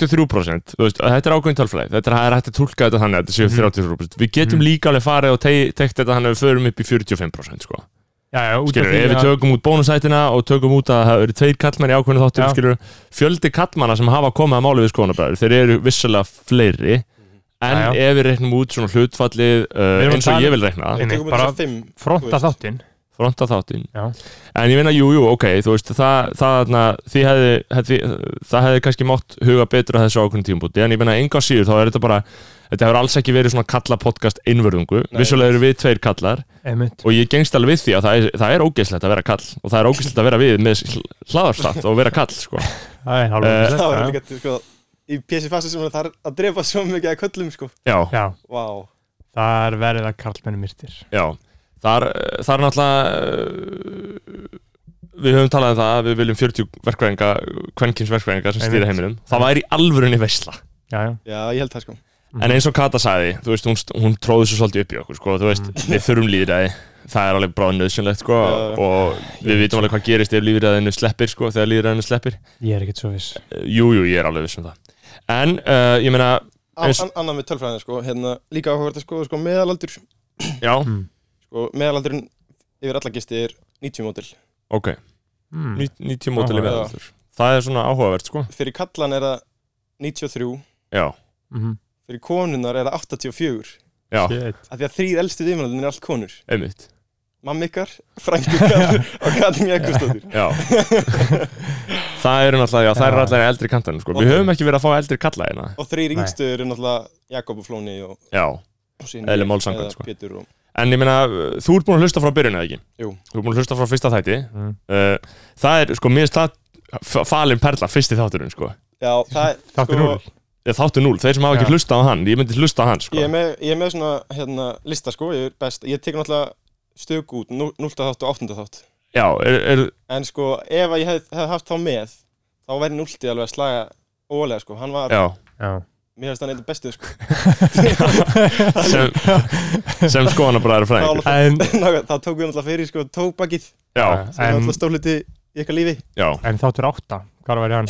33%, þú veist, þetta er ákveðin tölfræði, þetta er- það er hægt að tólka þetta þannig að þetta séu 33%. Við getum Mhm. líka alveg farið og te- tekt þetta þannig að við förum upp í 45%, sko. Já, já, út af Skilur, því ef við að- tökum út bónusætina og tökum út að það eru tveir kallmenn í ákveðinu þáttum, Já. skilur, fjöldi kallmanna sem hafa komið að máli við skoðanabræður, þeir eru vissulega fleiri, en Já, já. ef við reiknum út svona hlutfallið uh, erum að eins og tala- um- ég vil reikna Nei, Við nei, tökum bara þetta fimm, fronta þú veist. þáttinn fronta þáttinn, Já. en ég meina, jú, jú, ok þú veist, það, það, þarna, því hefði, hefði það hefði kannski mátt huga betur að þessu ákveðinu tímabúti, en ég meina, enga síður þá er þetta bara, þetta hefur alls ekki verið svona kalla podcast innvörðungu, Nei. vissulega eru við tveir kallar Einmitt. og ég gengst alveg við því að það er, það er ógeðslegt að vera kall og það er ógeðslegt að vera við með hlaðarstatt og vera kall sko. Það er Eh, hálfur það var líka sko, í pjessi fasta sem það er að drepa svo mikið að köllum sko. já, Já, Vá, það er verið að karlmennu myrtir já þar, þar er náttúrulega uh, við höfum talað um það að við viljum 40 verkvæðinga, kvenkins verkvæðinga sem stýra Einmitt. heiminum, það væri í alvörunni veisla Já, já, já, ég held það sko en eins og Kata sagði, þú veist, hún, st- hún tróði svo svolítið upp í okkur, sko, þú veist, við þurfum líðræði það er alveg bráð nöðsynlegt, sko Já. og við vitum alveg hvað gerist ef líðræðinu sleppir, sko, þegar líðræðinu sleppir ég er ekkert svo viss Jú, jú, ég er alveg viss um það en, uh, ég meina, An, Eins- an, Annað með tölfræðina sko, hérna, líka áhugavert að sko, sko meðalaldur já, Mm. sko, meðalaldurinn yfir alla gisti er 90 mótil ok mm. Ní- 90 mótil í Áhugavert. meðaldur Það er svona áhugavert sko fyrir kallan er það 93 Já, Mhm. fyrir konunar er það 84 já, Shit. af því að þrýr elstu viðmjöldin er allt konur einmitt mamma ykkar, frængu ykkar og Katrín Jakobsdóttir Já Það eru náttúrulega, já, það eru Já. allir eldri kantan sko. Við Ok. höfum ekki verið að fá eldri kalla hérna og þrýr Nei. yngstu eru náttúrulega Jakob og Flóni og, Já, og sín Eðli málsamkvæmt, sko. Pétur og en ég meina Þú ert búin að hlusta frá byrjun eða ekki Jú. Þú ert búin að hlusta frá fyrsta þætti Mm. uh, Það er, sko, mér er það Falin Perla, fyrsti þátturinn, sko já, það, Þáttur sko, núl Eða Þáttur 0, þeir sem hafa Já. ekki hlusta á hann Ég myndi hlusta á hann, sko ég, er með, ég er með svona hérna, lista sko, ég er best ég tek náttúrulega stök út 0. þátt og 8. þátt Já, er, er, en sko, ef að ég hef, hef haft þá með þá væri núlti alveg að slaga ólega sko, hann var, já Já, mér finnst hann eitthvað bestið sko Sem, sem skoðanabræður þá, fræðingur en, nákvæmlega, þá tók við náttúrulega fyrir sko tóbakið sem Já, en, er náttúrulega stóliti í ykkar lífi já, en þáttur átta Hvað var hann?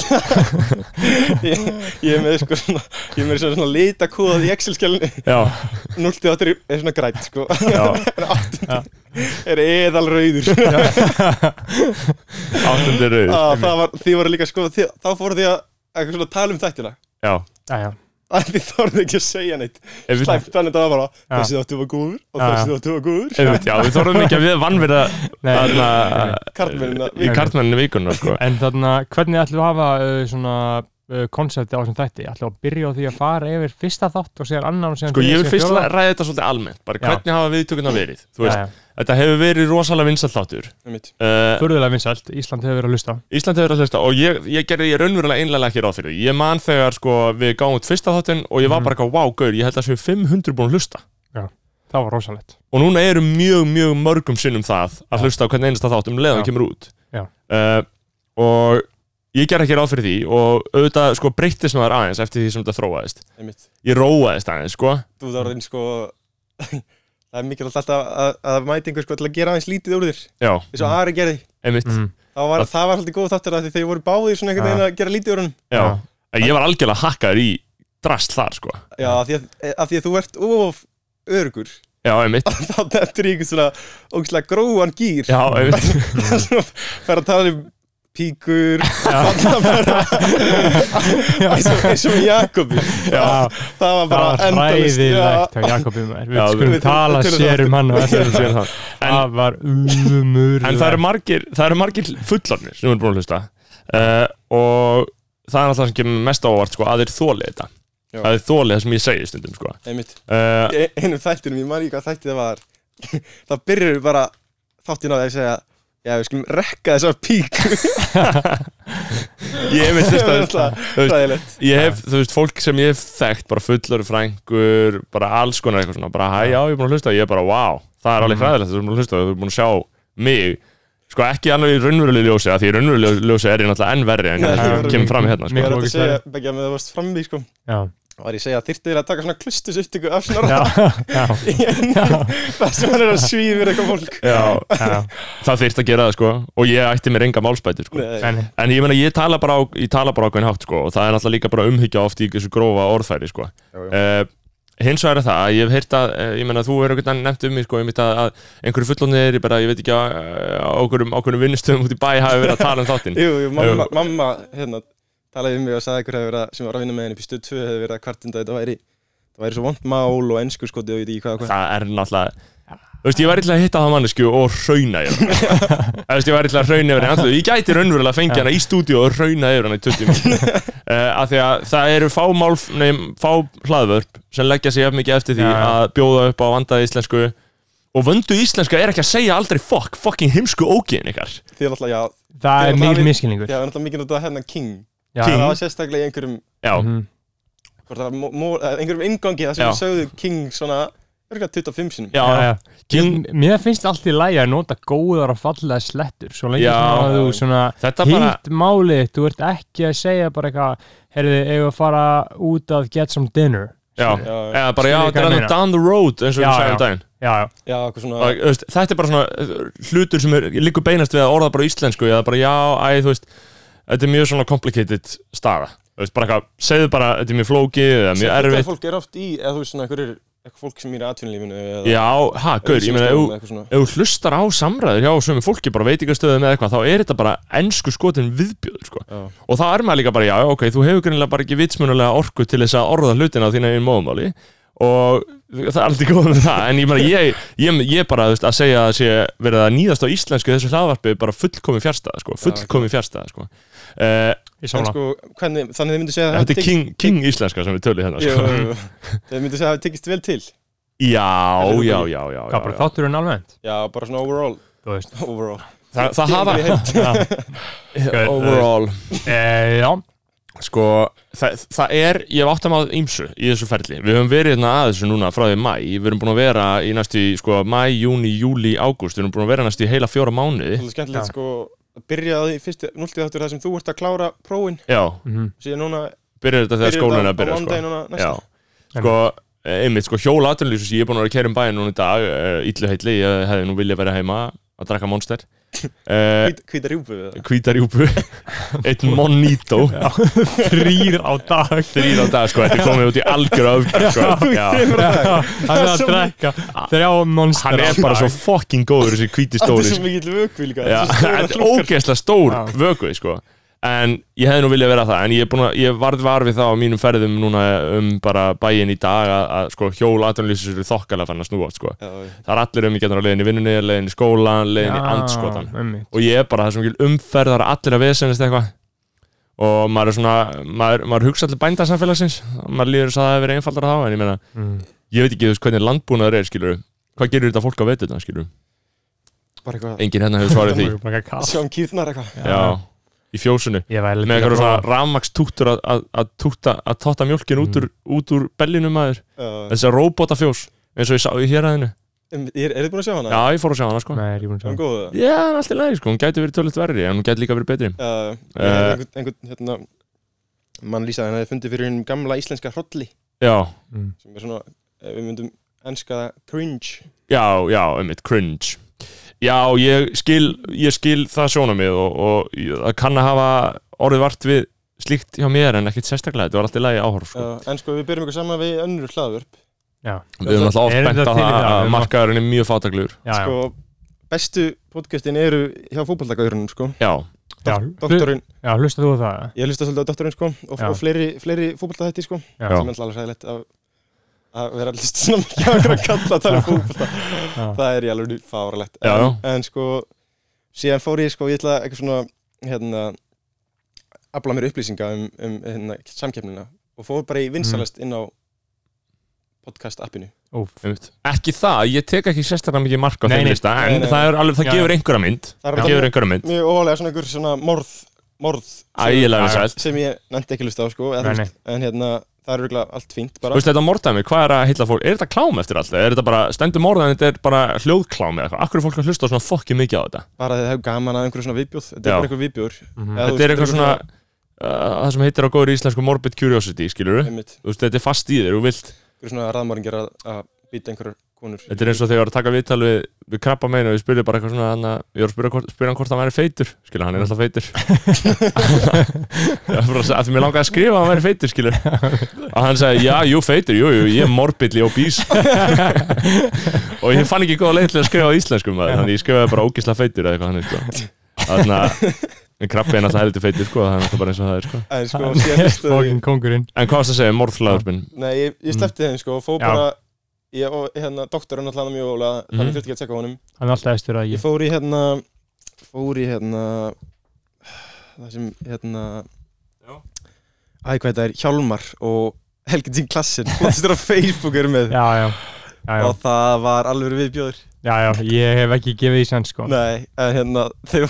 ég, ég er með sko svona, ég er með svona, svona litakóðað í Excel-skjálni já, 0-8 er svona grænt sko já. er eðal rauður ah, Áttundir rauð það var, því voru líka sko því, þá fóru því að eitthvað svona tala um þættina Já, Já, já, að því þorðu ekki að segja neitt Ef við- slæmt þannig að það var bara Já. þessi þáttu var góður og Já, já. þessi þáttu var góður Einmitt, já, við þorðum ekki að við vannverða Nei. þarna Karlmennina, í við- kartmenninni vikuna sko. en þarna Hvernig ætlum við að hafa uh, svona uh, konsepti á þessum þætti? Ætlum við að byrja á því að fara yfir fyrsta þátt og segja annan og segja sko ég vil fyrst að ræða þetta svolítið almennt bara Já. hvernig hafa viðtökurna verið þú veist, Já, já, þetta hefur verið rosalega vinsalt þáttur Einmitt. uh, furðulega vinsælt, Ísland hefur verið að lusta Ísland hefur verið að hlusta og ég, ég gerði ég raunverulega einlega ekki ráð fyrir því. ég man þegar sko við gáum út fyrsta þáttinn og ég Mhm. var bara eitthvað, wow, gaur, ég held að séu 500 búin að hlusta Það var rosalegt og núna eru mjög, mjög mörgum sinnum það að hlusta á hvern einasta þátt um leiðan Já. kemur út Já. uh, og ég ger ekki ráð fyrir því og auðvitað sko breyttist maður aðeins eftir því sem þetta þróaðist einmitt ég róaðist aðeins sko þú það var einn sko það er mikilvægt alltaf að, að mætingu sko til að gera aðeins lítið úr þér já, eins og Ari gerði einmitt mm. það var, það var alltaf góð þáttur af því þeir voru báðir svona einhvern Já. veginn að gera lítið úr hann já. En ég var algjörlega hakkaður í drast þar sko já, af því að, af því að þú ert of örugur já, einmitt, þá dettur ég einhvern svona ógæslega gróan gýr já, einmitt. það er svona, fer að tala um píkur fallabera eins og- eins og með Jakobi Já, það var það bara var endalaust hræðilegt hjá Jakobi maður. Já, Við skulum við- tala við- sér um hann og Þetta þetta. er síðan það. En, Það var umur. en það eru margir, það eru margir fullarnir sem eru búin að hlusta uh, og það er alltaf sem kemur mest á óvart sko, að þeir þóli þetta Já. að þeir þóli það sem ég segi stundum sko. einmitt uh, Í einum þættinum, ég man ekki hvað þætti það var þá byrjum við bara þáttin á því að segja já við skulum rekka þess að pík ég hef veist það er þetta alltaf þú veist, ræðilegt ég hef, þú veist, fólk sem ég hef þekkt bara fullar frængur, bara alls konar eitthvað svona, bara hæ, já, ég er búin að hlusta ég er bara, wow, það er alveg hræðilegt þú er búin að hlusta, þú er búin að sjá mig sko ekki alveg í raunverulegu ljósi af því í raunverulegu ljósi er ég náttúrulega enn verri en Nei, það sem kemur fram hérna ég sko. var Mikið þetta að segja begja með það varst frammi sko Já, og var ég að segja að þyrftu þér að taka svona klustus upptöku af snorra já, já. í einum það sem hann er að svífir eitthvað fólk Já, já. það þyrft að gera það sko og ég ætti mér enga málspætur sko. Nei, En, en ég meina, ég tala bara á, ég tala bara á hvern hátt sko og það er náttúrulega líka bara umhyggja oft í þessu grófa orðfæri sko uh, hins vegar er það, að ég hef heyrt að uh, ég meina, þú er einhvern veginn nefnt um mig sko einmitt að, að einhverju fullonir, ég bara, ég veit ekki að uh, á einhverjum, á einhverjum vinnustöðum út í bæ hafi verið að tala um þáttinn jú, jú, mamma, Jú. mamma hérna, talaði um mig og sagði ykkur hefur verið að- sem var að vinna með henni upp í stöð 2 hefur verið að kvartinda þetta væri það væri svo vond mál og ennsku skoti og ég veit ekki hvað og hvað það er náttúrulega Þú veist, ég væri illa að hitta það mannesku og rauna yfir hana. Þú veist, ég væri illa að rauna yfir hana. Ég gæti raunverulega að fengja hana í stúdíu og rauna yfir hana í 20 minn. Uh, af því að það eru fá, málf, nei, fá hlaðvörp sem leggja sig jafn mikið eftir því Já, já. að bjóða upp á vandaði íslensku og vöndu íslenska er ekki að segja aldrei fuck, fucking heimsku ógeðin ykkar. því er alltaf, já, það er Ég mikil náttúrulega- miskilningur. já, er alltaf mikið notað hérna King Já. það var sérstaklega í einhverjum Já, Mhm. hvort það var mó- mó- eða einhverjum inngangi það sem Já. við sögðu King svona örgulega 25 sinum já, Já, já. já. King, Mér finnst allt í lægi að nota góðar og fallega slettur svo lengi Já. sem að þú svona þetta bara, hitt málið, þú ert ekki að segja bara eitthvað, heyrðu, eigum við að fara út að get some dinner já, Skilur. eða bara, já, Skilur hvað þetta er ég alveg meina. down the road eins og Já, við já. segjum daginn. Já, já, já, eitthvað svona Bara, þú veist, þetta er bara svona uh, hlutur sem er líku beinast við að orða bara á íslensku eða bara já, æ, þú veist þetta er mjög svona complicated staða þú veist, bara eitthvað, segðu bara, þetta er mjög flókið eða mjög Þetta erfitt, fólk er oft í, eða þú veist svona einhverjur eitthvað fólk sem er í atvinnulífinu eða- já, ha, gaur ég meina, eða ef- eitthvað svona. ef þú hlustar á samræður hjá sömu fólki, bara veitingastöðum eða eitthvað þá er þetta bara ensku skotin viðbjöður sko. Já. og þá er maður líka bara, já, já, ok, þú hefur greinilega bara ekki vitsmunulega orku til þess að orða hlutina á þína einn móðumáli og það er aldrei góð með það en ég, bara, ég, ég, ég bara þú veist, að segja að sé verið að nýðast á íslensku í þessu hlaðvarpi er bara fullkomi fjárstæða sko, fullkomi fjárstæða sko. uh, ég En samla sko, hvernig, þannig þið myndu segja að þetta er hafi king, king íslenska sem við tölum hérna Jú, sko. jú, jú. Þið myndu segja að það tekist vel til já, Þetta er já, bara- já, já, Hvað bara já, já. þátturinn almennt, Já, bara svona overall þú veist Overall Þa, það hafa Tímabilið í heild. Gaur, overall e, Já, Sko, það, það er, ég hef átt að maður ímsu í þessu ferli. Við höfum verið hérna að þessu núna frá því mæ, við erum búin að vera í næstu, í, sko, mæ, júni, júli, ágúst, við erum búin að vera næstu í heila fjóra mánuði. Svolítið skemmtilegt sko að byrja á því fyrst núltið þáttur það sem þú ert að klára prófin Já, mhm, síðan núna byrjar þetta þegar skólan er að byrja, sko. Mándaginn núna Já, næsta sko, einmitt, sko, hjól aðtunlýsus, ég er búin að vera að kæra um bæinn núna í dag, uh, illu heilli, ég hefði nú viljað vera heima að drakka monster. Uh, Hvít- Hvíta rjúpu við það Hvítarjúpu, eitt monito, þrýr á dag þrýr á dag, sko, þetta er komið út í algjör öfgjör, sko. Já. Já, Hann er er að svo drekka þrjá monster Hann er á bara dag. svo fucking góður þessi hvíti Þetta stóri er sko. svo mikill vökvi líka Já, þetta er svo stórar þetta er klukkar. ógeðslega stór Já. vökuð sko. en ég hefði nú viljað vera það en ég, er búinn að, ég varð var við það á mínum ferðum núna um bara bæin í dag að, að sko, hjól aðdunlýsins eru þokkalega fann að snúa sko. Já, já. það er allir um í getur á leiðin í vinnunni leiðin í skólan, leiðin í Já, andskotan einmitt. og ég er bara það sem ekki umferðar allir að vesennist eitthvað og maður er svona, maður, maður hugsa allir bændasamfélagsins, maður líður þess að það hefur verið einfaldara þá, en ég meina, Mm. ég veit ekki þú veist hvernig landbúnaður er, skilur hvað gerir þetta fólk á veturna, skilur Bara eitthvað enginn hérna hefur svarið því, Bara eitthvað kalt. Sjón kýrnar eitthvað já, í fjósinu Ég væri með eitthvað svona svona rafmakstúttur að- að að túta- að totta mjölkin út úr, út úr bellinum maður, Já. þessi róbótafjós eins og ég sá í héræðinu Em, Er er þið búin að sjá hana? já, ég fór að sjá hana sko Nei, ég er búin að Er hún sjá góð? eða? já, hún er allt í lagi sko, hún gæti verið tölvöld verri en hún gæti líka verið betri Uh, Eh. einhvern, einhvern hérna, mann lýsaði hann hefði fundið fyrir hennum gamla íslenska hrolli já, Mm. sem er svona, eh, við myndum enska það cringe já, já, einmitt, cringe já, ég skil, ég skil það sjóna mig og, og ég- það kann að hafa orðið vart við slíkt hjá mér en ekkit sérstaklega, þetta var allt í lagi áhorf sko. uh, en sko við byrjum eitthvað saman við önnur hlaðvörp Já, við erum alltaf oft Er bent þetta á til í það það? að markaðurinn er mjög fátaklegur já, já sko, bestu podcastin eru hjá fótballtakaurunum sko. já, Já, hlu- Doktorinn, já hlusta þú á það? ég hlusta svolítið á doktorinn sko, og, Já. og fleiri, fleiri fótballtahætti sko, Já. sem er alltaf alveg sæðilegt að, að vera alltaf svona mikið að gera kalla að tala um fótballta Já. það er í alveg fáralegt Já, já. en, en sko, síðan fór ég sko ég ætla eitthvað svona hérna, afla mér upplýsinga um, um hérna, samkeppnina og fór bara í Mm. vinsalest inn á podcast appinu Úf, einmitt. ekki það, ég tek ekki sérstaklega mikið mark á Nei, þeim nei. lista, en Nei, nei. það, er alveg, það Já. gefur einhverja mynd það er það alveg gefur einhverja mynd, mjög ólega svona einhver svona morð morð sem, Já, ægilega já. sælt sem ég nefndi ekki hlusta á sko, eða, Nei, þú veist, en hérna það er örugglega allt fínt Þú bara veist þetta mordæmi, hvað er að heilla fólk, er þetta klám eftir alltaf, er þetta bara, stendur morðan, þetta er bara hljóðklám eða eitthvað, akkur er fólk að hlusta svona fokki mikið á þetta bara þegar það er gaman að einhverju svona viðbjóð þetta Já. er bara einhver viðbjóður Mhm. Eða þú þetta er veist, eitthvað svona uh, það sem heitir á góður íslensku morbid curiosity skilur við, einmitt, þú veist þetta er fast í þér og vilt, einhverju svona raðmóringir að, að býta einhverjar konur þetta er eins og þegar ég var að taka viðtal við, við krabba meina og ég spurði bara eitthvað svona hann að, ég var að spyrja, hvort, spyrja hann hvort hann væri feitur skilur, hann er alltaf feitur Ég var bara að segja, af því mér langaði að skrifa að hann væri feitur skilur, og hann sagði já, jú, feitur, jú, jú, ég er morbidli obese og ég fann ekki góða leið til að skrifa á íslenskum maður, þannig ég skrifaði bara ógisla feitur eða eitthvað hann sko. þannig að krabbi er alltaf heldur feitur sko, þannig að það er bara eins og það er sko. en sko síðan hlustaði ég- Fókin kongurinn En hvað varst að segja, morðflæðarpinn? nei, ég, Mm. ég sleppti þeim sko og fór Já. bara ég, og hérna, doktorinn alltaf mjög ólega mm. Mhm. þannig þurfti ekki að tjekka á honum Hann er alltaf eftir að ég ég fór í hérna fór í hérna það sem hérna Já. æ, hvað þetta er, Hjálmar og Helgi Dín Klassin, þetta er á Facebook eru með Já, já, já, já, og það var alveg viðbjóður já, já, ég hef ekki gefið því sens sko Nei, en hérna þeir,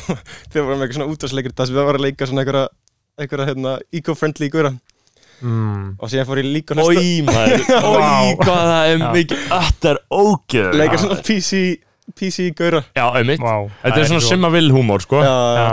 þeir voru með eitthvað svona útvarsleikur þar sem við varum að leika svona einhverja einhverja hérna eco-friendly góra mm. og síðan fór ég líka á næsta Ói maður, ói hvað það er Já. mikið Þetta er ógeð leika svona PC, PC góra Já, einmitt Vá, Þetta er svona simma vill húmór, sko já. Já,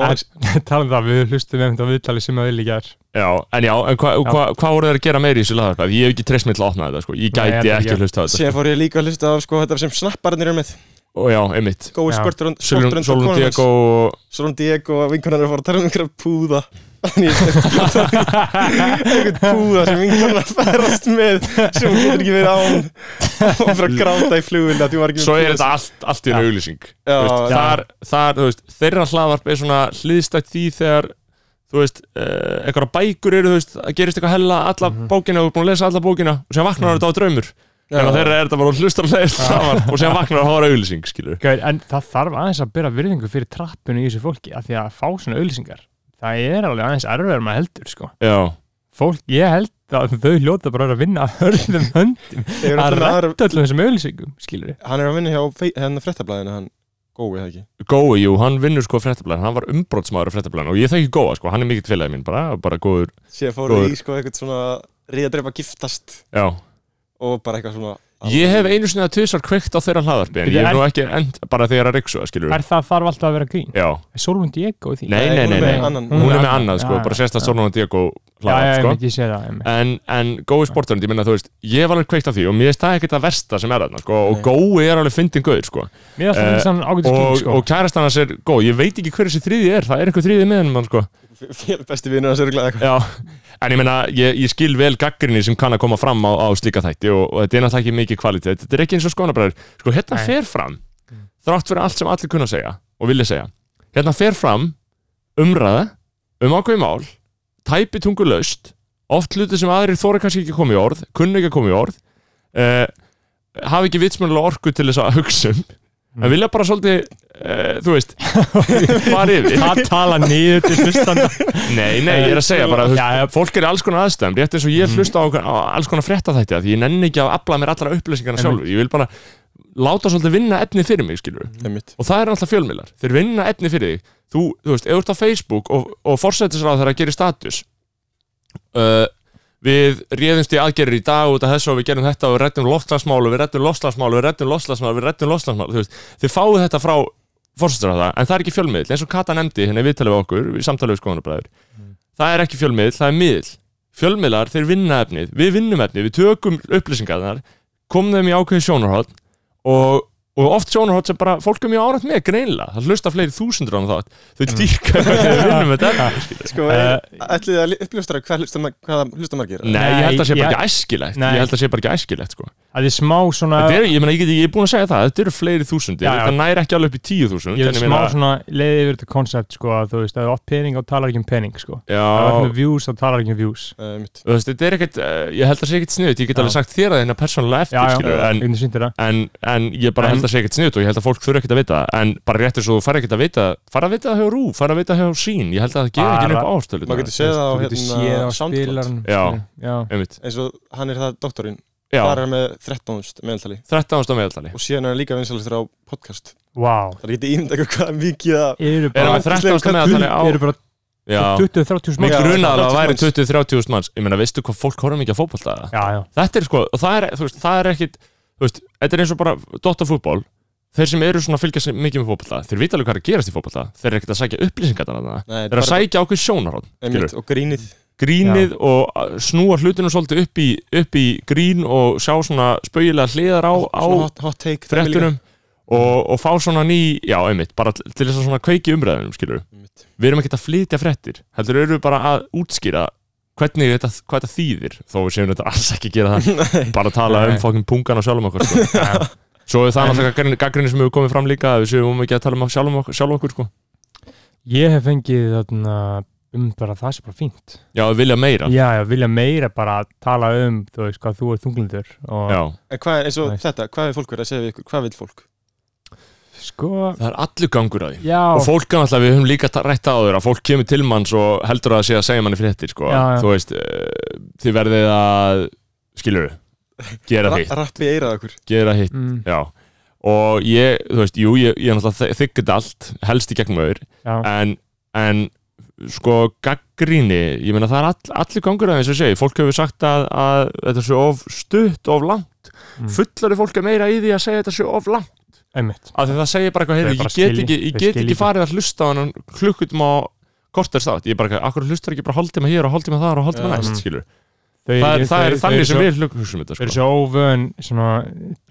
og hans, Talum um það, við hlustum einmitt á viðtali sem að vilja gær en já, en hvað hva, hva voru þeir að gera meira í þessu lagarpæð? Ég hef ekki treyst mig til að opna þetta, sko Ég Nei, gæti ég ekki heldur að hlusta á þetta síðan fór ég líka að hlusta á sko þetta sem snapparnir eru með Og já, einmitt gói Já. skortur Sölun Sölun Diego og- Solon Diego og vinkonar er að fara að tala um einhverja púða Þannig ég einhvern púða sem vinkonar færast með sem hún getur ekki verið án og bara gráta í flugvilna því hún var ekki með Svo er púða. þetta allt, allt í einu auglýsing Já, Þú veist, já. þar, þar, þú veist, Þeirra hlaðvarp er svona hliðstætt því þegar Þú veist, uh, eitthvað bækur eru, þú veist Það gerist eitthvað hella alla bókina og þú er búin að lesa alla bókina og sem vaknar þetta á draumur en á þeirra er þetta bara hlustar leðist saman og sem vaknar að hóra auðlýsing, skilur Gauð, en það þarf aðeins að byrja virðingu fyrir trappinu í þessu fólki af því að fá svona auðlýsingar það er alveg aðeins erfiðar maður heldur sko. Já, fólk, ég held að þau hljóta bara að vinna að hörðum höndum Þeir eru að allir með aðra- rætta öllum þessum auðlýsingum skilur við Hann er að vinna hjá fe- hérna fréttablaðinu hann gói það ekki Gói, jú, hann vinnur sko fréttablaðin, hann var umbrotsmaður á fréttablaðin og ég þekki Góa, sko, hann er mikill félagi minn bara, bara góður, Sér fóru Góður. í sko eitthvað svona ríðadreipa giftast já og bara eitthvað svona Ég hef einu sinni að tvisar kveikt á þeirra hlaðarpi en Bíddu, ég er nú er- ekki end, bara þegar að riksu, skilur er það þarf alltaf að vera grín Já, er Solund Diego í því? nei, nei, hún nei, er nei með annan. Hún er með annað, Já, sko, já, bara sérst að já. Solon og Diego já, já, hlaðarp, ég sko veit, ég sé það einmitt. en, en gói sportarinn, ég minna þú veist ég var alveg kveikt á því og mér finnst það ekkert að versta sem er þarna, sko, og gói er alveg fyndin gauð, sko mér er alltaf eh, finnst hann ágætis og, grín sko. og kærastan hans er góð, ég veit ekki hver þessi þriði er það er einhver þriði með henni, sko Fél besti vinur hans örgulega eitthvað Já, en ég meina, ég, ég skil vel gaggrinni sem kann að koma fram á, á slíka þætti og, og þetta er náttúrulega ekki mikið kvalitet, þetta er ekki eins og skonabræður Sko, hérna Nei. fer fram, þrátt fyrir allt sem allir kunna að segja og vilja segja Hérna fer fram umræða, um ákveði mál, tæpi tungu laust, oft hluti sem aðrir þóra kannski ekki að koma í orð, kunna ekki að koma í orð uh, hafa ekki vitsmjölulega orku til þess að hugsa um En vilja bara svolítið, uh, þú veist, fara yfir það tala niður til hlustanda Nei, nei, ég er að segja bara þú, Já, já. Mhm. veist, Fólk er í alls konar aðstæðum Rétt eins og ég hlusta á, á alls konar frétta þætti Því ég nenni ekki að afla mér allra upplýsingarna Einmitt. sjálfur Ég vil bara láta svolítið vinna efni fyrir mig skilur. Mhm. Einmitt. Og það er alltaf fjölmiðlar Þeir vinna efni fyrir þig Þú, þú veist, ef þú ert á Facebook og, og forsætisráð þegar að gera status uh, Við réðumst í aðgerðir í dag út af þessu og við gerum þetta og við reddum loftslagsmálu, við reddum loftslagsmálu, við reddum loftslagsmálu, við reddum loftslagsmálu, þú veist, þið fáið þetta frá fórsættur en það er ekki fjölmiðl, eins og Kata nefndi hérna viðtalið við okkur, við samtalið við skoðanabræður það er ekki fjölmiðl, það er miðl fjölmiðlar, þeir vinna efnið, við vinnum efnið við tökum upplýsingarnar komum þeim í ákveði sjónarhótt og, og oft sjónarhótt sem bara fólk er mjög ánægt með greinlega, það hlusta fleiri þúsundur án þátt þau dýrka hvernig við vinnum þetta efni, skilur. Sko, Eh, ætlið þið að uppljóstra hvað hlustum að gera? Nei, ég held að sé bara Nei, ekki æskilegt Nei. ég held að sé bara ekki æskilegt sko. að því smá svona Þetta er, ég, meina, ég, get, ég er búin að segja það, þetta eru fleiri þúsundir Já, já. Þetta næri ekki alveg upp í tíu þúsund ég er smá svona leiði yfir þetta koncept sko að þú veist, að þú átt pening og talar ekki um pening sko að þú átt Já, með views og talar ekki um views uh, mitt. þú veist, þetta er ekkert eh, Ég held að það sé ekkert sniðut, ég get Já. alveg sagt þér að þeirna persónulega eftir já, já, skilur, ég en, getur sýndir það en, en ég bara En- held að sé ekkert sniðut og ég held að fólk þurfa ekkert að vita það. En bara réttir svo þú fara ekkert að vita Fara að vita það hjá Rú, fara að vita það hjá Sín Ég held að það gefa ekki Bara- upp áherstölu maður getur séð það á þú getur séð á hérna SoundCloud spilarn Já. já, eins og hann er það doktorinn Já, þar er hann með 13 meðaltali 13. meðaltali og síðan er hann líka vinsalistur á podcast wow það er ekki ímynda eitthvað hvað mikið að eru Er bara, hann með 13. meðaltali á eru bara Já. 20-30 Mér manns Já, grunaði að það væri 30.000 manns. 20-30.000 manns Ég meina, veistu hvað fólk horfum ekki að fótbolta það? já, já, Þetta er sko, og það er, þú veist, það er ekkit Þú veist, þetta er eins og bara Dottarfútból Þeir sem eru svona að fylgja sig mikið með fótbolta Þeir vita alveg hvað er að gerast í fótbolta Þeir eru ekkit að sækja upplýsingar þarna Nei, Þeir eru að sækja ákveð sjónarhótt einmitt, og grínið Grínið og að snúa hlutunum svolítið upp í, upp í grín Og sjá svona spauðilega hliðar á, á svona hot, hot take dæmi líka. frettunum og, og fá svona ný, já, einmitt Bara til til þess að svona kveiki umræðunum, skilur Einmitt. Við erum ekkit að flytja frettir Heldur eru við bara að útskýra hvernig þetta, hvað þetta þýðir þó við séum þetta alls ekki að gera það Nei, bara að tala um Nei. fokkin pungan og sjálfum okkur sko. svo er það náttúrulega gaggrinni sem hefur komið fram líka að við séum um ekki að tala um sjálfum okkur, sjálfum okkur sko. ég hef fengið þarna um bara það sem bara fínt já, við vilja meira já, já, vilja meira bara tala um þú veist hvað þú er þunglindur og Já. en hvað er eins og Nei. þetta, hvað er fólk verið að segja við ykkur hvað vil fólk? sko, það er allur gangur að því já og fólk er alltaf, við höfum líka ta- rætt áður að fólk kemur til manns og heldur að það sé að segja manni fréttir sko. Já, já. þú veist, uh, þið verðið að skilur gera hitt Ra- rappi eirað okkur gera hitt mm, já og ég, þú veist, jú, ég, ég er náttúrulega þykkið allt, helst í gegnum auður já, en, en sko gaggríni, ég meina það er all, allir gangur að eins og ég segi, fólk hefur sagt að, að þetta sé of stutt, of langt Mm. fullari fólk er meira í því að segja þetta sé of langt, einmitt af því það segir bara Þau eitthvað, heyrðu, bara ég get skilji- ekki, ég þau get skilji ekki ekki. farið að hlusta á hann klukkutum á kortar státt, ég er bara eitthvað, akkur hlustar ekki bara hálftíma hér og hálftíma þar og hálftíma Já. næst, Mm. skilur Þau það er, eru- það er þau- þau þannig eru sem svo- við hlukum þetta, þau eru sko, svo óvön svona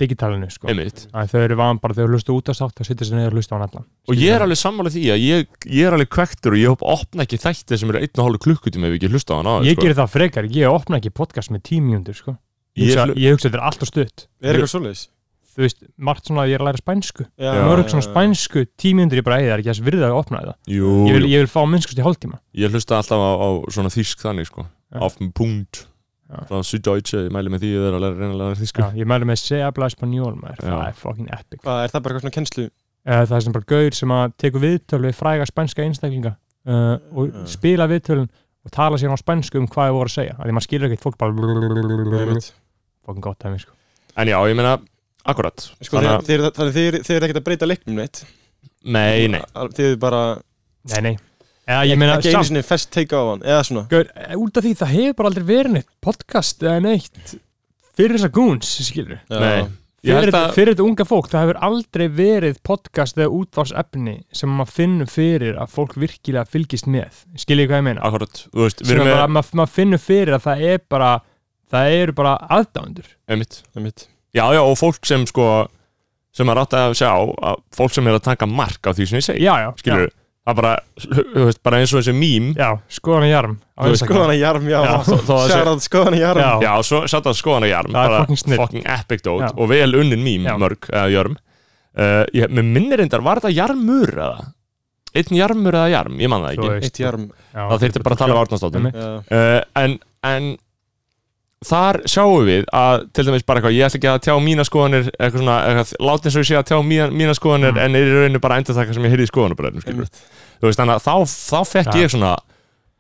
digitalinu sko einmitt að þau eru van bara þau hlusta út á sátt að sitja sér niður og hlusta á hann allan og ég er alveg sammála því að ég, ég er alveg kvektur og ég hopp opna ekki þætti sem eru einn og hálfu klukkutíma ef ég ekki hlusta á sko. hann á ég gerir það frekar, ég opna ekki podcast með tímjúndur sko ég, hugsa- ég hugsa þetta er alltaf stutt er eitthvað svoleiðis? þú veist, margt svona að ég er að læra spænsku Já, mörg svona spænsku tímjúndur ég bara eða er ekki þess virði að opna það Jú, ég vil, ég vil fá minnskust í hálftíma Ég hlusta alltaf á, á svona þýsk þannig sko Já. Auf dem Punkt Já. Frá Süddeutsche, ég mæli með því að það er að læra- reyna að læra þýsku Já, ég mælu með Se Habla Espanol maður, það Já. er fucking epic hvað er það bara eitthvað svona kennslu uh, Það er sem bara gaur sem að tekur viðtöl við fræga spænska einstaklinga uh, og Já. spila viðtölun og tala sér á spænsku um hvað ég voru að segja af því maður skilur ekkert fólk bara Einmitt. fucking gott dæmi sko. En já, ég meina, akkurat sko, Þannig þeir- að- þeir- þannig að þeir þeir eru ekkert að breyta leiknum neitt Nei, nei, Al- þeir eru bara Nei, nei Eða, ég meina, ekki einu samt, sinni fest take á hann eða svona gaur, eh, út af því það hefur bara aldrei verið neitt podcast eða neitt fyrir þessa goons, skilur Já. Nei. Ég fyrir, held þetta- að- fyrir þetta unga fólk, það hefur aldrei verið podcast eða útvarsefni sem maður finnur fyrir að fólk virkilega fylgist með, skilur ég hvað ég meina akkurat Þú veist, við sem erum er bara, með, maður mað finnur fyrir að það er bara það eru bara aðdándur einmitt einmitt. Já, já, og fólk sem sko sem að ráta að sjá, að fólk sem er að taka mark á því sem ég segi, já, já, skilur já, Það bara, þú veist, bara eins og þessi mím já skoðan í jarm á Þú veist, Instagram. skoðan að jarm, já, Já, þó- þó að sé- Sjarað skoðan að jarm Já. Já, og svo satt að skoðan að jarm Það er bara fucking snill. fucking epic dót Já. og vel unnin mím Já. mörg uh, jarm uh, ég, Mér minnir reyndar, var þetta jarmur eða? Einn jarmur eða jarm, ég man það Þú ekki veist, eitt jarm já, Það þyrfti bara að tala um Árnastóttum uh, Einmitt. já, en, en þar sjáum við að til dæmis bara eitthvað, ég ætla ekki að tjá mína skoðanir eitthvað svona, eitthvað, láti eins og ég sé að tjá mína, mína skoðanir Mm. en er í rauninu bara endur þakka sem ég heyrði í skoðanabræðum skilur einmitt. þú veist, þannig að þá, þá fekk Já. ég svona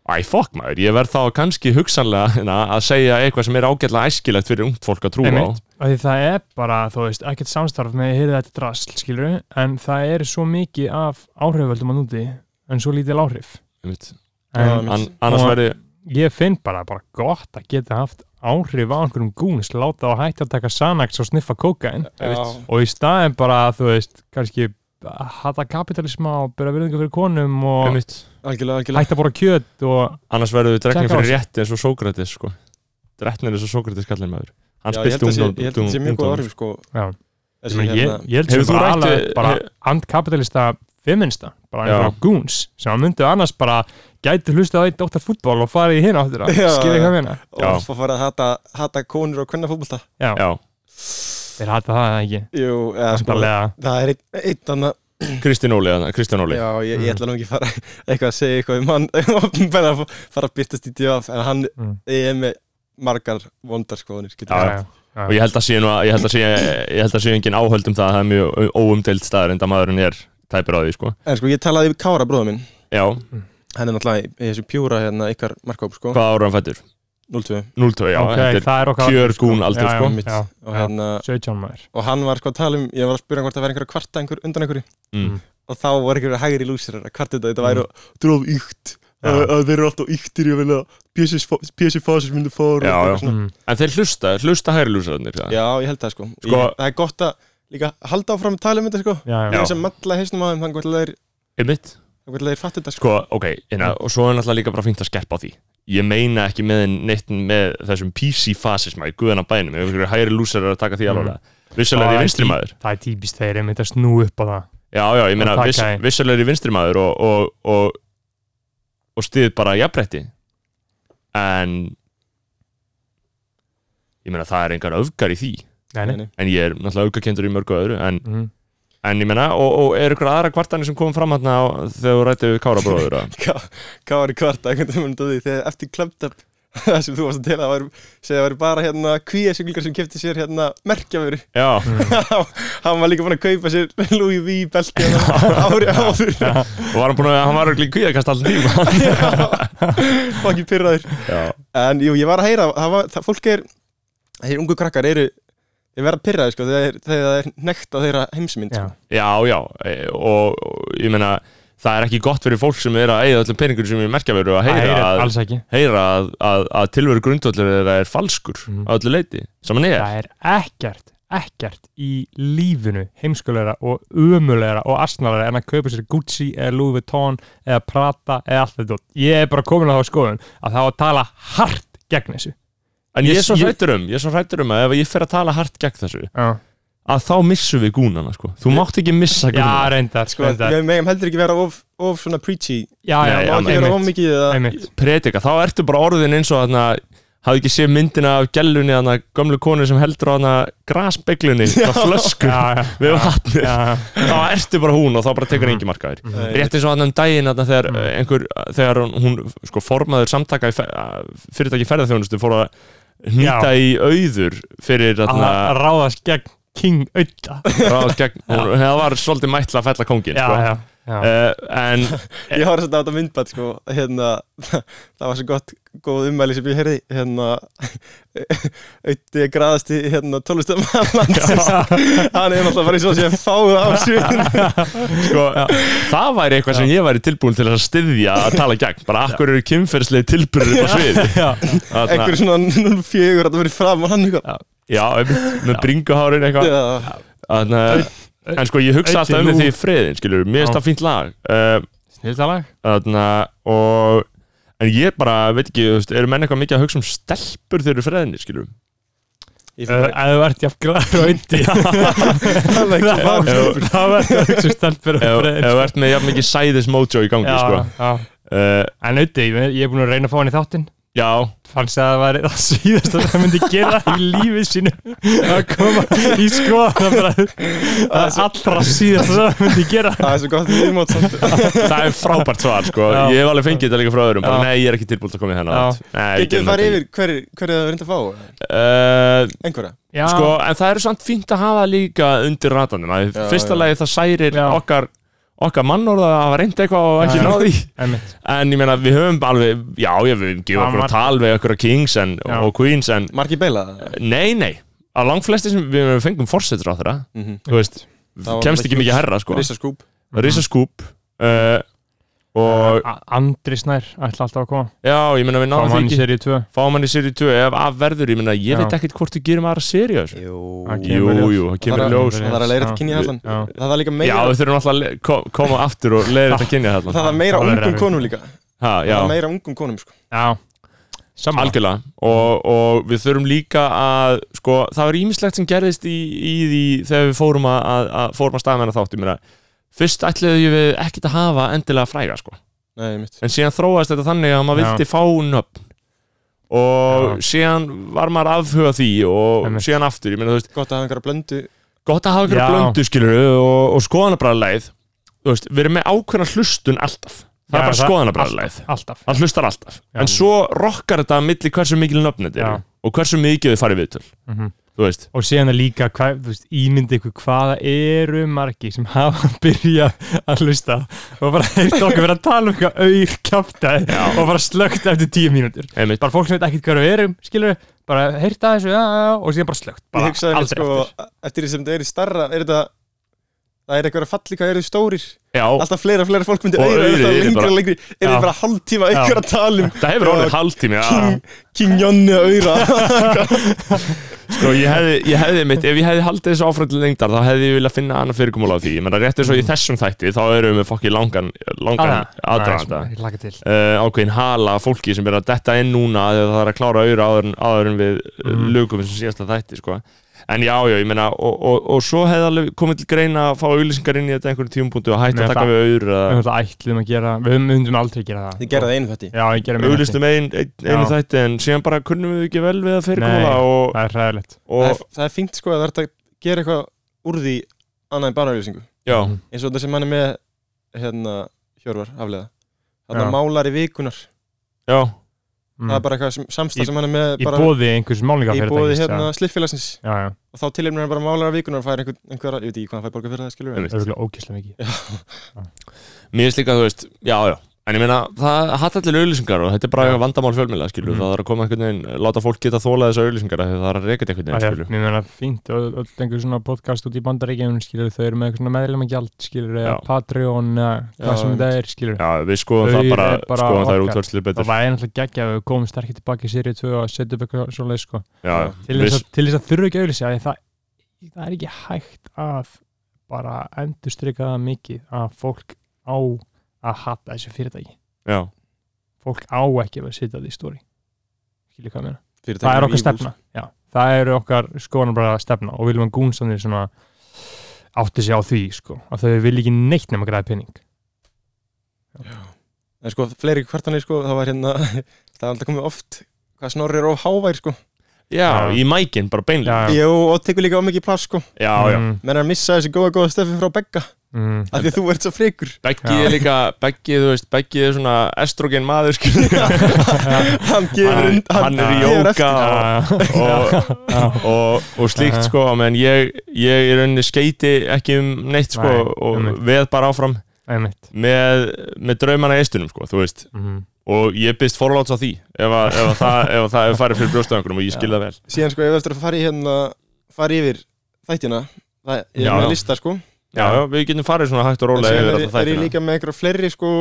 Æ, fokk maður, ég verð þá kannski hugsanlega hérna, að segja eitthvað sem er ágætlega æskilegt fyrir ungt fólk að trúa á Einmitt. Af því það er bara, þú veist, ekkert samstarf með heyrið þetta drasl, skilur en það er svo mikið af áhriföldum að núti en svo lítið áhrif Einmitt. en Já, An, annars Og- verði, ég finn bara, bara gott að geta haft áhrif á einhverjum gúns láta á hætti að taka Xanax og sniffa kókain Já. og í staðin bara, þú veist, kannski hata kapitalisma og byrja virðingar fyrir konum og einmitt, algjörlega, algjörlega hætta að borða kjöt og annars verðu við dreknir Tjekka á fyrir þessu. rétti eins og Sókrates sko. dreknir eins og Sókrates kallir maður hann Já, ég held spilti að sé- ég held að það sé mjög góð ungdómum orð sko, já, ég, þessi meina, ég, hérna ég held Hefur sem þú bara rætt alveg við- bara he- antkapitalista feminista, bara Já. einhverja goons sem að myndu annars bara gæti hlusta á eitt óttar fútbol og farið í hinn áttur Já, skilja já. hvað ég meina og fara að hata, hata konur og kvenna fótbolta já, já, Þeir hata það eða ekki Jú, eða sko Væntanlega. Það er einn eitt annað Kristján Óli, þarna, Kristján Óli Já, ég, ég Mm. ætla nú ekki að fara eitthvað að segja eitthvað um hann opinberlega að fá- fara að byrtast í divaf en hann Mm. er með margar vondar skoðanir getur Já, sagt. já. og ég held að sé nú að ég held að sé, ég held að sé engin áhöld um það að það er mjög óumdeild staðar en það maðurinn er tæpir á því sko En sko, ég talaði við Kára bróða minn já, hann er náttúrulega í- í þessu pjúra hérna ykkar markhóp sko, hvað ára hann fættur? 02 0-2, já, Ok, þetta það er er okkar kjör gún aldur Já, sko mitt. já, og, já. hérna, 17 maður og hann var sko að tala um ég var að spura hann hvort það væri einhver að kvarta einhver undan einhverju Mm. og þá var einhver hægri lúsir að kvarta þetta þetta væri mm. dróð ykt Já. að að þeir eru alltaf yktir ég vil að PSI fasir myndu fór Já, já. já. mm. en þeir hlusta, hlusta hægri lúsararnir það. já, ég held það sko, Sko- Ég, það er gott að líka halda áfram að tala um þetta sko já, já. ég sem matla heisnum á þeim þannig að þeir einmitt þannig að þeir fatta þetta sko sko, ok, inna, og svo er náttúrulega líka bara fínt að skerpa á því ég meina ekki með neitt með þessum PC-fasisma í guðana bænum ef ykkur hægri lúsar er að taka því alveg Mm. vissulega er ég vinstri maður Það er típist þeir, ég myndi að snú upp á það já, já, ég meina Og taka viss, í. vissulega er ég vinstri maður og, og, og, og stið bara jafnrætti en ég meina það er engar öfgar í því Nei, Nei, nei nei. en ég er náttúrulega öfgakendur í mörgu öðru en, Mm. en ég meina, og, og er ykkur aðra kvartanir sem kom fram hérna á- þegar þú rætti við Kára bróður að Ká- Kári kvarta einhvern veginn undan því þegar eftir Clubbed Up það sem þú varst að dela var, segja það var bara hérna kvíasuglingar sem kefti sér hérna merkjaföru já, hann var líka búin að kaupa sér Louis V belti hérna ári áður og var hann búin að, hann var örugglega í kvíðakast allan tíma fangir pyrraður já, en jú ég var að heyra það var, það, fólk er þeir ungu krakkar eru þeir verða pyrraður sko þegar þegar það er nekt á þeirra heimsmynd Já, sko. já, já e, og, og ég meina það er ekki gott fyrir fólk sem er að eigða öllum peningur sem er merkjaföru að það heyra er að, alls ekki heyra að, að, að tilveru grundvöldur þeirra er falskur Mhm. á öllu leiti sem hann er Það er ekkert, ekkert í lífinu heimskulegra og umulegra og astnalara en að kaupa sér Gucci eða Louis Vuitton eða Prata eða allt þetta. Ég er bara komin á þá skoðun að það á að tala hart gegn þessu. en ég Ég- er svo ég- hrættur um, ég er svo hrættur um að ef ég fer að tala hart gegn þessu Já, að þá missum við gúnana sko þú mátt ekki missa já gúnana reyndar, sko reyndar. við megum heldur ekki vera of, of svona preachy Já, já, Nei, má já, ekki vera of einmitt, mikið eða einmitt. predika, þá ertu bara orðin eins og þarna hafði ekki séð myndina af gellunni þarna gömlu konu sem heldur á þarna grasbeglunni, það flöskur Já, já, við vatnið já, Mhm. já. þá ertu bara hún og þá bara tekur engin markaðir Nei. rétt eins og hann um daginn þarna þegar Mm. einhver, þegar hún- hún sko formaður samtaka í fer- að fyrirtæki ferðarþjónustu fór að hnýta í auður fyrir Að að þarna ráðast gegn King Ötta. ráð gegn, hún, það var svolítið mætla að fella kóngin Já, sko. já, já. Uh, en Ég horfði svolítið á þetta myndbætt sko hérna, það var svo gott góð ummæli sem ég heyrði hérna auðvitað graðasti hérna tólestamann landsins hann er náttúrulega bara eins og sé fáið á sviðinu sko, það væri eitthvað sem ég væri tilbúin til að styðja að tala gegn, bara akkur eru kynferðslega tilbúin upp á svið Já, einhver svona 04 að það verið fram og hann eitthvað já, einmitt, með bringuhárin eitthvað Já, Þannig að En sko ég hugsa alltaf um Auddi því Lou. í friðin, skilur, mér finnst Já. það fínt lag uh, snildalag. Þannig að og En ég bara, veit ekki, þú veist, eru menn eitthvað mikið að hugsa um stelpur þegar eru freðinni, skilur Eh, ég Ef finn þú ert jafn glæður og Ötti. það ekki Það var bara stelpur. Það var stelpur og Ef freyðir. ef þú ert með jafn mikið sæðis mojo í gangi, Já, sko já. uh, En auðvitað, ég ég er búin að reyna að fá hann í þáttinn Já, fannst að það var það síðast að það myndi gera í lífið sínu að koma í skoðan bara að allra síðast að það myndi gera Það er svo gott viðmót samt það er frábært svar, sko Já. Ég hef alveg fengið þetta líka frá öðrum, bara Já. nei, ég er ekki tilbúin að koma í Já. þennan átt. Nei, ég Getur geri við farið þetta yfir hverju hver það verið að fá? ekki. Uh, Einhverja? Já, sko, en það er samt fínt að hafa líka undir ratanum að Já, fyrsta já. lagi það særir Já. okkar okkar mannorða að hafa reynd eitthvað og ekki Já, já. náði einmitt, en ég meina við höfum alveg já, ég við Já, höfum gefið okkur margt. að tal við okkur að Kings en, Já. og Queens en Marki Beila? það? nei, nei, að langflesti sem við höfum fengum forsetur á þeirra Mhm. þú veist, Það var kemst bara ekki mikið herra sko, Risa skúp risa skúp uh, og A- Andri Snær ætla alltaf að koma já, ég meina við Fá náðum hann í því ekki serið 2 fáum hann í seri 2 ef af verður, ég meina ég Já. veit ekkert hvort þú gerum aðra seri á þessu Jú Það jú, Kemur í ljós. jú, það kemur í þarf að- ljós Það var að leira Já. þetta kynni allan Já. Það var líka Já, meira við þurfum alltaf að le- ko- koma aftur og leiða þetta kynni Það þarna var meira Það var erfitt. ungum konum líka ha, Það Já, var meira ungum konum sko Já, saman algjörlega og, og við þurfum líka að sko, það var ímislegt sem gerðist í, í því þegar við fórum að, að, að fórum að staðmenna þátt, ég meina fyrst ætliðu við ekkert að hafa endilega fræga sko. Nei, mitt en síðan þróaðist þetta þannig að maður Já. vildi fá nöfn og Já. síðan var maður afhuga því og Einmitt. síðan aftur, ég meina þú veist Gott að hafa einhverja blöndu gott að hafa einhverja Já. blöndu skilur og, og skoðanabræðleið þú veist, við erum með ákveðna hlustun alltaf það Já, er bara það- skoðanabræðleið alltaf hann hlustar alltaf, Já. en svo rokkar þetta að milli hversu mikil nöfn þetta Já. er og hversu mikið þið farið viðtöl Mhm. þú veist, og síðan er líka, hvað, þú veist, ímyndi ykkur hvaða eru margi sem hafa byrjað að hlusta og bara heyrta okkur verið að tala um eitthvað auð kjáftæði og bara slögt eftir tíu mínútur einmitt bara fólk sem veit ekkert hvað við erum, skilur bara heyrta þessu, já, já, já, og síðan bara slögt Ég bara hugsaði mér aldrei sko aftur Eftir því sem þetta er í starra Er þetta Það er eitthvað falli hvað eru stórir Já, Alltaf fleira fleira fólk myndi Og auðra auðrið Alltaf yrði lengra bara- og lengri Er þetta Já. bara hálftíma einhverja talum það hefur orðið hálftími já. King, King Jonni að auðra Sko, ég hefði, ég hefði mitt, ef ég hefði haldið þessu áfram til lengdar þá hefði ég viljað finna annað fyrirkomulega á því ég menna rétt eins og Mm. í þessum þætti þá erum við fokki langan, Ah, langan aðdraganda Ég laka til uh, ákveðin hala af fólki sem er að detta inn núna þegar það er að klára auðra áður, en- áður en við mm. lögum sem síðast að þætti sko. en já, já, ég meina og, og, og svo hefði alveg komið til greina að fá auðlýsingar inn í þetta einhverjum tímupunktu og hætta Nei, að taka það- við auðra Við höfum alltaf ætlum að gera, við myndum aldrei gera það Þið gerði það einu þetta Já, ég gera mér auðlýstum ein, ein, einu Já. þætti en síðan bara kunnum við ekki vel við að Nei. fyrirkomulega og, Það er hræðilegt það, er, og, það er fínt sko að það er að gera eitthvað úr því annað en bara auðlýsingu já, Mm. eins og þetta sem hann er með hérna Hjörvar aflega þannig Já. að málari vikunar já, mm. það er bara eitthvað Í- samstað sem hann er með Í bara bóði einhvers málninga í bóði hérna sliffélagsins Já, já, og þá tilhefnir hann bara málara vikunar og fær einhver, einhver ég veit ekki hvað hann fær borga fyrir það skilur einmitt. auðvitað ókesslega mikið mér finnst líka, þú veist, já, já En ég meina, það hatt allir auðlýsingar og þetta er bara Já. eitthvað vandamál fjölmjöla, skilur, Mhm. það er að koma einhvern veginn, láta fólk geta þóla þessa auðlýsingar þegar það er að reyka þetta einhvern Það veginn, er, skilur. mér meina, fínt og öll einhver svona podcast út í bandaríkjum skilur, þau eru með eitthvað svona meðlemagjald skilur, eða Já. Patreon, eða Já, hvað sem þetta er skilur, Já, við skoðum Þau það bara, eru bara skoðum það okkar. útvörslu betur það væri náttúrulega geggja ef við komum sterkir tilbaki í serið 2 og setja upp eitthvað svoleið sko, Já, til þess viss- að, til þess að þurfa ekki auðlýsa, því það, það er ekki hægt að bara endurstryka það mikið að fólk á að hata þessu fyrirtæki já, fólk á ekki að setja það í stóri skilur hvað mér við það er okkar stefna já, það eru okkar skoðan bara stefna og Vilman Gúnsson er svona átti sig á því sko að þau vilja ekki neitt nema græða pening en sko fleiri kvartanir sko það var hérna það er alltaf komið oft hvað snorri er of hávær sko já, Já. í mækinn, bara beinlega já, Jó, og tekur líka of mikið pláss sko Mm. Já, já, Mm, menn er að missa þessi góða góða stefi frá begga mm, af því að þú ert svo frekur Beggi Já. er líka, Beggi, þú veist, Beggi er svona estrogen maður, skilur hann gefur Hann, undan hann er í gefur eftir. jóka og, og, og, og slíkt, Já. sko, menn ég, ég er unni skeiti ekki um neitt, sko, Nei, og einmitt. veð bara áfram einmitt með, með draumana í eistunum, sko, þú veist mm, og ég byrst forláts á því ef, að, ef, að það, ef að það er farið fyrir brjóstaðangunum og ég skil það vel síðan sko ef eftir að fara í hérna fara yfir þættina það Já, ég er með já. lista sko Já, já, við getum farið svona hægt og en rólega síðan yfir er, alla er ég þættina. líka með einhverja fleiri sko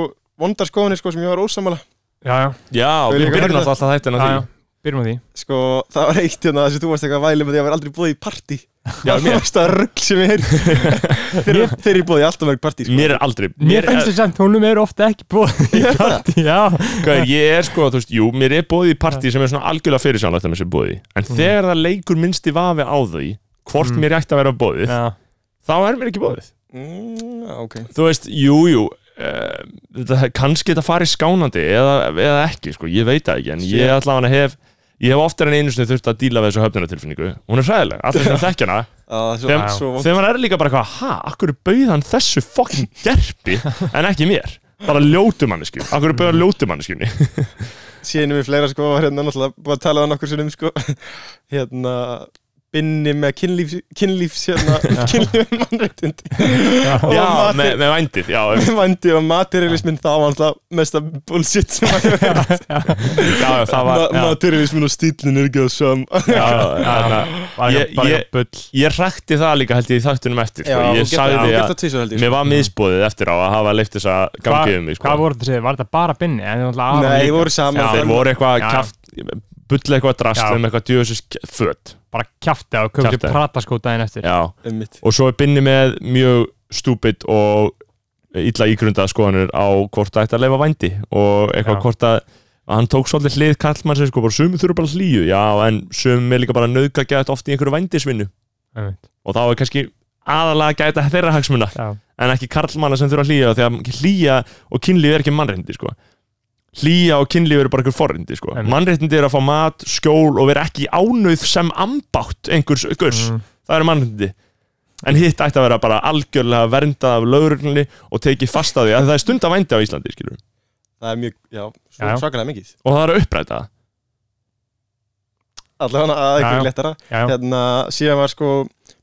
vondarskoðinni sko sem ég var ósamála já, já, Já, Þau við líka byrjum verða- alltaf þættina já, því já byrjum á því sko það var eitt hérna þess að þú varst eitthvað að væli með því að ég var aldrei búið í partí Já, það mér- var það rugg sem ég heyrði þegar, þegar ég búið í alltaf mörg partí sko. Mér er aldrei mér finnst þess að tónum eru ofta ekki búið í partí já, Hvað er, ég er sko, þú veist, jú, mér er bóðið í partí sem er svona algjörlega fyrirsjánlegt að mér sé bóðið í En þegar það leikur minnsti vafi á því Hvort mér ætti að vera bóðið já, Þá er mér ekki bóðið mm, já, ok Þú veist, jú, jú uh, þetta, Kannski þetta farið skánandi eða, eða ekki, sko, ég veit það ekki En ég ætla að hef Ég hef oftar en einu sinni þurft að díla við þessu höfnunartilfinningu Hún er fræðileg, allir sem þekkja hana að, svo, Þeim- svo, Þegar maður er líka bara eitthvað, ha, akkur bauð hann þessu fokkin gerpi En ekki mér Bara ljótumannisku, akkur bauð hann ljótumanniskunni síðan er við fleira sko var hérna náttúrulega búið að tala á nokkur sinnum sko hérna binni með kynlífs, kynlífs hérna, kynlífs mannréttindi og Já, mati, með, með vændið, já, um, einmitt. vandi og materialismin það var alltaf mesta bullshit sem að hefur já, já, það var Ma já, materialismin og stílin er ekki að sam já, já, já, bara Ég- bara ég- bull Ég rækti það líka held ég í þættunum eftir sko. Ég sagði gert að það tísu held ég mér var miðsbóðið eftir á að hafa leift þess að gangi um mig sko. hvað voru þetta að segja, var þetta bara binni En þetta var náttúrulega Nei, aðallega ég líka. voru saman Já, Þeir voru eitthvað Já. kjaft Bull eitthvað drast Já. um eitthvað djöfisins föt bara kjafta og köpti Kjaftaði. prata sko daginn eftir Já, Einmitt. og svo er binni með mjög stúpid og illa ígrundað skoðanir á hvort það ætti að leifa vændi og eitthvað Já. hvort að að hann tók svolítið hlið kallmann sem sko bara sumi þurfa bara hlýju, já, en sumi er líka bara nöðga oft í einhverju vændisvinnu Einmitt. og þá er kannski aðalega að gæta þeirra hagsmuna Já. en ekki karlmanna sem þurfa að hlýja því að hlýja og kynlíf er ekki mannreindi sko. hlýja og kynlíf eru bara einhver forrindi sko. Einmitt. mannréttindi er að fá mat, skjól og vera ekki í ánauð sem ambátt einhvers gurs, Mm. það eru mannréttindi en hitt ætti að vera bara algjörlega verndað af lögurlunni og tekið fast að því að það er stund að vændi á Íslandi skilur. Það er mjög, já, Já, já. svo svakalega mikið og það er að uppræta það. Allavega hana að Já, já. ykkur léttara já, já, Hérna, síðan var sko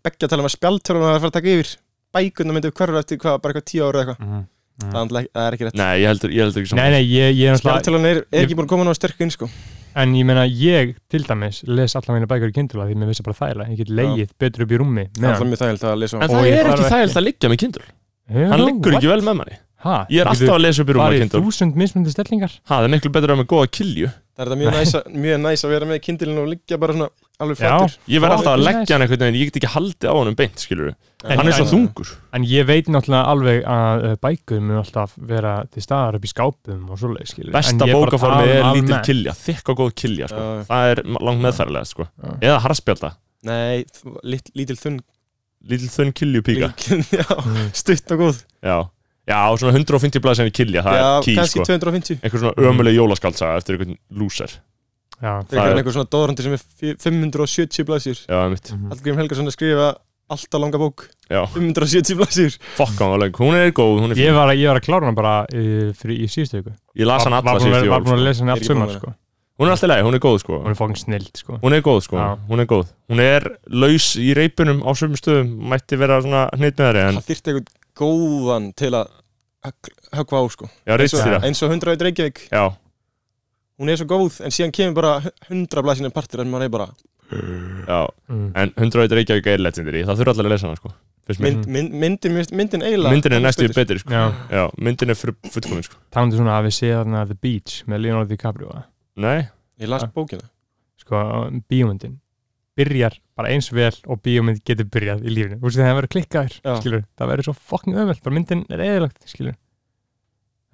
Beggi að tala um að spjaldtölun var að fara að taka yfir Bækunna myndu hverfur eftir hvað, bara eitthvað tíu ára eða eitthvað Mhm. Mm. Það er náttúrulega- það er ekki rétt nei, ég heldur, ég heldur ekki Nei, saman nei, ég, ég er náttúrulega Spjaldtölun er, er Ég- ekki búin að koma náttúrulega sterk inn sko En ég meina, ég til dæmis les alla mína bækur í kindula því mér vissi bara þægilega Ég get leið betur upp í rúmi Það er meðan. alltaf mjög þægild að lesa en um Og það ég er þarf ekki ekki- þægilegt að liggja með kindul Já, hann liggur ekki what? vel með manni Ha, ég er alltaf að lesa upp í rúma Bara í kindul þúsund mismunandi stellingar það er miklu betur að með góða kilju Það er þetta mjög næs, að- mjög næs að vera með kindilin og liggja bara svona Já. alveg fættur ég verð Ó, alltaf að nice. leggja hann einhvern veginn ég get ekki haldið á hann beint skilur hann er svo þungur En ég veit náttúrulega alveg að uh, bækur mun alltaf vera til staðar upp í skápum og svoleið skilur besta bókaformið er lítil kill kilja þykk og góð kilja sko. Já. það er langt meðferðilega sko. Já. eða harspjálta, Nei, þú- lit- lítil þunn lítil þunn kiljupíka líkin, Já, Mm. stutt og góð já. já, svona 150 blaði sem er kilja það Já, er ký kannski sko. 250 einhver svona ömuleg jólaskaldsaga eftir einhvern lúser Já, Það er- er einhver svona dóðrandi sem er fjö- 570 blæsir já, mitt, Hallgrím Helgason að skrifa alltaf langa bók Mhm. já, 570 blæsir fokk hann var löng hún er góð, hún er ég fín var, ég var að klára hana bara uh, fyrir, í síðustu viku ég las hann Var- alla var búin að síðust vera- Var búin að jól lesa hann Ég allt er ekki búin sumar að sko hún er alltaf leið, hún er góð sko Hún er fókin snild sko hún er góð sko, Já. hún er góð hún er laus í reipunum á sömum stöðum mætti vera svona hneitt með þeirri en Það þyrfti eitthvað góðan til að högg- höggva á sko já, eins og, reitstýra eins og 100 í Reykjavík já, Hún er svo góð en síðan kemur bara um 100 blæsir partir en maður er bara já, Mm. en 100 veitur Reykjavík er legendary það þurfa allir að lesa hana sko finnst mér. mynd, mynd, myndin, mér finnst myndin eiginlega myndin er næstu betur. betri sko. Já, já, myndin er fullkomin sko. talandi um svona að við séð þarna The Beach með Leonardo DiCaprio eða? nei, Ég las bókina sko, bíómyndin byrjar bara eins vel og bíómynd getur byrjað í lífinu, þú veist það verður klikkaður Já. skilur, það verður svo fucking öðvöld bara myndin er eðilagt, skilur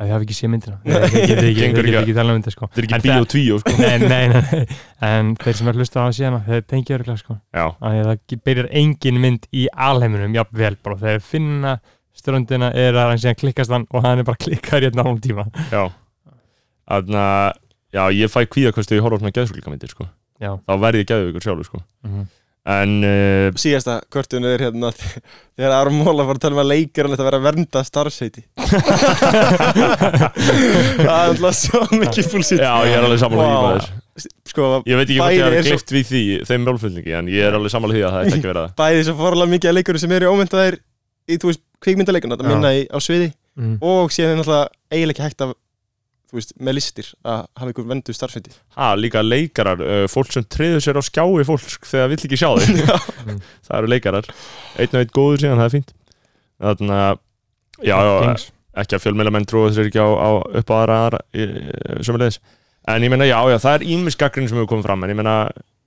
það hafi ekki séð myndina Nei, ég get ekki, ég Gengur get ekki. ekki talað um þetta sko þetta er En ekki bíó það- og tvíó sko. nei, nei, nei, nei, en þeir sem er hlustað á það síðan þeir tengja öruglega sko já, að það ge- byrjar engin mynd í alheiminum jafnvel bara, þeir finna ströndina er að hann síðan klikkast hann og hann er bara klikkaður í einn álum tíma já Þarna, já, ég fæ kvíðakosti í horf á svona geðsúlíkamyndir sko. Já. þá verð ég geðvíkur sjálfur sko. Mhm. en uh, Síðasta kvörtun er hérna Þegar Aron Móla var að tala um að leikir Þetta verið að vernda starfseiti Það er alltaf svo mikið fúlsitt já, ég er alveg samanlega Vá. wow. því Sko, ég veit ekki hvort Bæði ég er hef svo- glift við því þeim mjólfylningi, en ég er alveg samanlega því að það ætti ekki að vera það bæði svo forlega mikið að leikurum sem eru ómyndaðir Í, þú veist, kvikmyndaleikuna Það Já. minna í, á sviði mm. Og síðan er náttúrulega eiginlega ekki hægt að Þú veist, með listir Að hafa ykkur verndu starfseiti ha, líka leikarar, uh, fólk sem treður sér á skjái fólk þegar vill ekki sjá þig það eru leikarar, einn og einn góður síðan það er fínt þannig að já, já, Gangs. ekki að fjölmjöla menn trúa þessir ekki á, á upp á aðra, aðra sömulegis, en ég meina já, já það er ímisgaggrinn sem hefur komið fram, en ég meina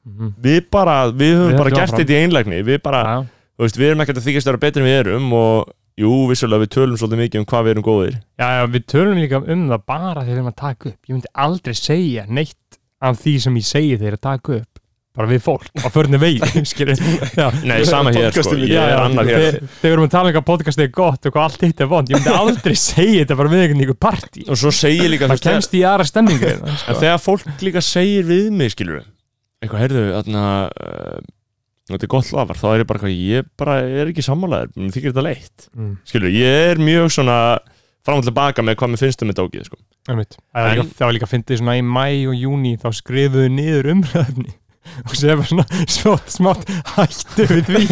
Mhm. við bara, við höfum Við bara höldum gert áfram. þetta í einlægni, við bara Já, þú veist, við erum ekkert að þykjast að vera betri en við erum og jú, vissulega við tölum svolítið mikið um hvað við erum góðir Já, já, við tölum líka um það bara þegar við erum að taka upp. Ég myndi aldrei segja neitt af því sem ég segi þegar ég er að taka upp. Bara við fólk, á förnum vegi, skilur. Já, nei, sama hér sko, Podcastum í ég er annar hér Þegar þegar við erum að tala um eitthvað podcastið er gott og hvað allt hitt er vond, ég myndi aldrei segja þetta bara við einhvern ykkur partí. og svo segir líka, Það þú veist, þegar- kemst í aðra stemningu. hérna, En sko. þegar fólk líka segir við mig, skilur við eitthvað, heyrðu, þarna uh, þetta er gott lafar, þá er ég bara eitthvað, ég bara er ekki sammálaður, mér þykir þetta leitt Mm, skilur við, ég er mjög svona fram og tilbaka með hvað mér finnst um þetta ógið, sko einmitt. Það var En- líka- það var líka að fyndið svona í mæ og júni þá skrifuðu niður umræðni og séu bara svona smátt, smátt hættu við því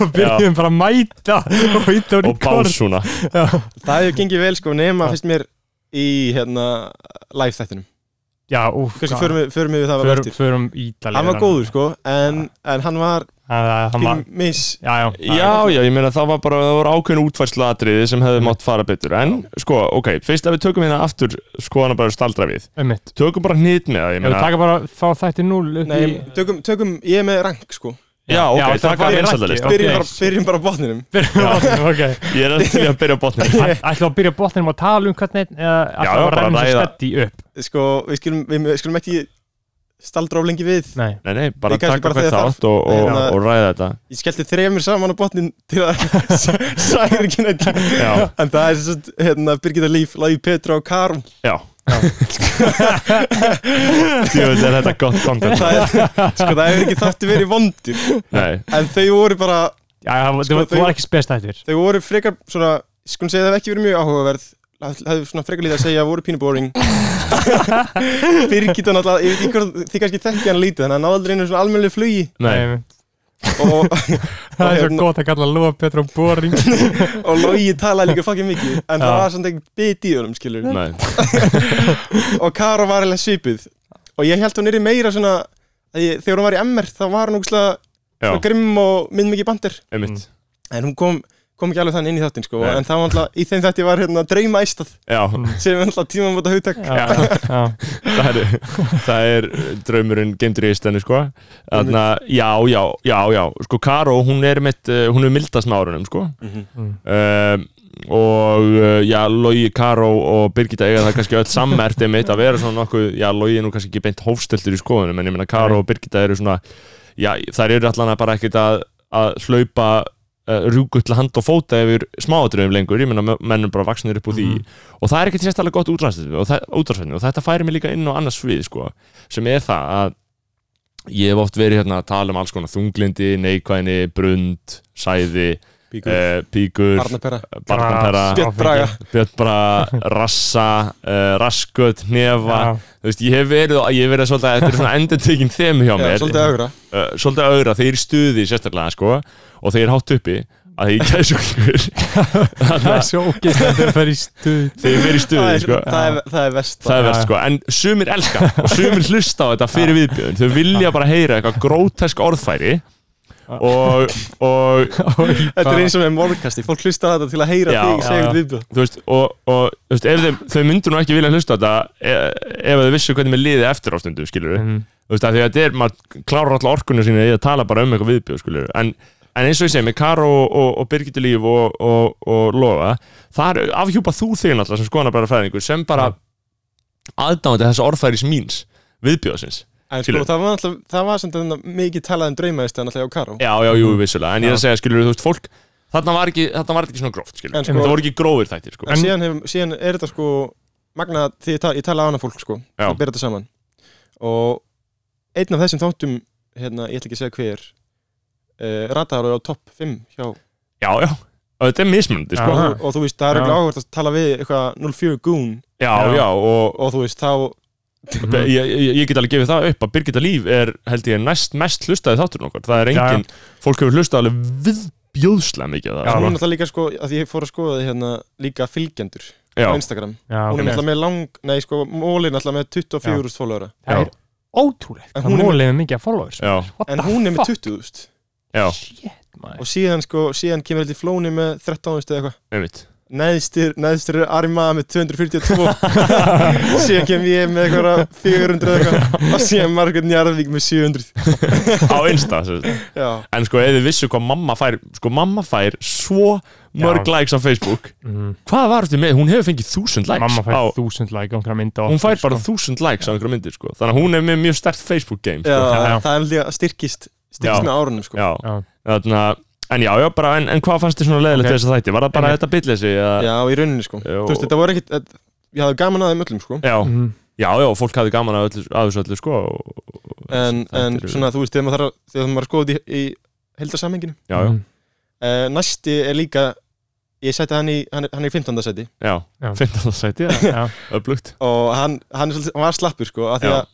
og byrjuðum bara að mæta og íta úr í og básuna, Það hefur gengið vel, sko, nema finnst mér Í, hérna, live þættinum Já, úf, Kanski förum við, förum við það að vera förum, eftir förum ítalega Hann var góður, sko, en, en hann var hann var, Pínu miss já, já, já, já, ég meina það var bara, það voru ákveðin útfærslatriði sem hefði mátt fara betur, en sko, ok fyrst að við tökum hérna aftur, sko hana bara staldra við, ummitt tökum bara hnýtt með það, ég Ef við meina, taka bara þá þætti 0 upp í Nei, tökum, tökum, ég er með rank, sko já, Já, ok, það taka var í einsaldalist rakki, Byrjum, Ok. bara, byrjum bara á botninum byrjum ok ég er eftir að byrja á botninu Æ- Ætlum við að byrja bóttinum að tala um hvernig eða ætlum við já, að bara renna þessu ræða. stætti upp Sko, við skulum, við, við skulum ekki staldra of lengi við Nei, Nei, nei, bara Nei, taka kannski bara hvert þegar þátt og, og, Nei, hérna- og ræða þetta Ég skellti þremur saman á botnin til að sæður ekki neitt Já. En það er svo, hérna, Birgitta Líf, Lagi Petra og Karl Já, Djöfull er þetta gott content það er, sko, það hefur ekki þátti verið vondir Nei, en þau voru bara, Já, það var- Sko, það þau- var ekki spestættir þau voru frekar svona, sko, segja það hafi ekki verið mjög áhugaverð hefðu svona frekar lítið að segja, voru pínu boring Birgitta náttúrulega ég veit ekki hvort, þið kannski þekki hann lítið þannig að hann náði aldrei einu svona almennilegu flugi nei, og, Það er svo hérna- gott að kalla Lóa Petra og Boring og Logi talaði líka fucking mikið en það Já. var svona ekki bit í honum, skilur nei og Karo var alveg svipuð og ég held hún er meira svona að ég, þegar hún var í MR þá var hún ógustlega Já, grimm og minn mikið bandir einmitt en hún kom, kom ekki alveg þannig inn í þáttinn sko, Nei. en það var alltaf, í þeim þetta var hérna drauma æstað Já, sem er alltaf tímamóta hugtak Já, já. það er, það er draumurinn geimdur í eistenni sko Þarna, já, já, já, já sko Karó, hún er mitt, eh, hún er mildast með árunum sko um, og eh, já, Logi, Karó og Birgitta eiga það kannski öll sammert einmitt að vera svona nokkuð, já, Logi er nú kannski ekki beint hófstiltur í skoðunum, en ég meina Karó og Birgitta eru svona, já, þær eru allan að bara ekkert að, að hlaupa uh, rúgull hand og fóta yfir smáatriðum lengur, ég meina mennum bara vaksnir upp úr því og það er ekkert sérstaklega gott útráðsvefni og, það- útvarpsefni og þetta færi mig líka inn á annars svið sko, sem er það að ég hef oft verið hérna að tala um alls konar þunglindi, neikvæðni, brund sæði, eh, píkur Arnapera barnampera, Gras. Björn Braga bjötbra rassa, eh, rasköt nefa, Já. þú veist, ég hef verið ég hef verið svolítið, þetta er svona endertekinn þemu hjá Já, mér svolítið augra uh, svolítið auðra, þeir eru í stuði sérstaklega sko, og þeir eru hátt uppi að þeir gæsu okkur Það er svo ógist að þau fer í stuð þeir eru í það stuði er, sko. það er, það er vest það er Já, verst já. sko, en sumir elska og sumir hlusta á þetta fyrir viðbjöðun þau vilja bara heyra eitthvað grótesk orðfæri og, og Þetta er eins og með morgkasti, fólk hlusta á þetta til að heyra Já. þig segja Já. eitthvað viðbjöð þú veist, og, og þú veist, ef þeim, þau myndur nú ekki vilja hlusta á þetta e- ef þau vissu hvernig með liði eftir ástundum skilur við, Mm. þú veist, af því að þetta er maður klárar alltaf orkunum sína í að tala bara um eitthvað viðbjöð skilur við, en, en eins og ég segi með Karo og, og, og Birgitta Líf og, og, og Loga, þar afhjúpa þú þig náttúrulega sem skoðanar bara fræðingur sem bara aðdáðandi þess orðfæris míns viðbjöðsins En sko, Skilur. það var alltaf, það var samt þarna mikið talað um draumaðist alltaf á Karó Já, já, jú, vissulega, en ég er að segja, skilur þú veist, fólk þarna var ekki, þarna var þetta ekki svona gróft, skilur En en, sko- það voru ekki grófir þættir, sko En síðan, hef, síðan er þetta sko magna því ég, ta ég tala á hana fólk sko Já. og byrja þetta saman og einn af þessum þáttum hérna, ég ætla ekki að segja hver uh, rataðar á topp 5 hjá Já, já, og þetta er mismunandi, sko Já, Aha. og, og þú veist, það er Já. ekki áhvert að tala við eitthvað 04 Goon já, og, og þú veist, þá Mhm. og mm, ég, ég- ég get alveg gefið það upp að Birgitta Líf er, held ég, næst mest hlustaði þátturinn okkar, það er Já, engin fólk hefur hlustað alveg viðbjóðslega mikið að Já, það, hún er alltaf líka sko, að ég fór að skoða því hérna líka fylgjendur Sko. já, á Instagram Já, hún er ok. alltaf með lang, nei sko, mólin alltaf með 24.000 fólóra Það Já. er ótrúlegt En Hvað hún er- hún lefið mikið að followers já, What en the hún er með fuck? 20.000 já, Shit, maður og síðan sko, síðan kemur þetta í flóni með 13.000 eða eitthvað einmitt neðstur, neðstur er Arma með 242 síðan kem ég með eitthvað 400 eitthvað og síðan Margrét Njarðvík með 700 á Insta, sem sagt. já, en sko, ef þið vissu hvað mamma fær sko, mamma fær svo mörg Já. likes á Facebook, mm. hvað var þetta með hún hefur fengið þúsund likes Mamma á, fær þúsund like á einhverja mynda sko. hún fær sko. bara þúsund likes á einhverja myndir sko. þannig að hún er með mjög stert Facebook game já, sko. já. það er líka styrkist styrkist Já. með árunum sko já. Já. Þannig, að- en já, já, bara en, en hvað fannst þið svona leðilegt Ok. okay. þess að þætti, var það bara Einmitt. þetta bitleysi eða- já, í rauninni sko Já. þú veist, þetta voru ekkit þetta- ég hafði gaman að þeim öllum sko já, mm. já, já, fólk hafði gaman af öllu- af þessu öllu sko og, og- en, þetta en eru- svona, þú veist, þegar maður, þarf að- þegar maður er skoðið í, í heldarsamenginu já, já, uh, næsti er líka ég seti hann í, hann er, hann er í 15. seti já, Já. finnst það sæti Já, já, öflugt, og hann, hann, er, svolítið- hann var slappur sko að því Já. að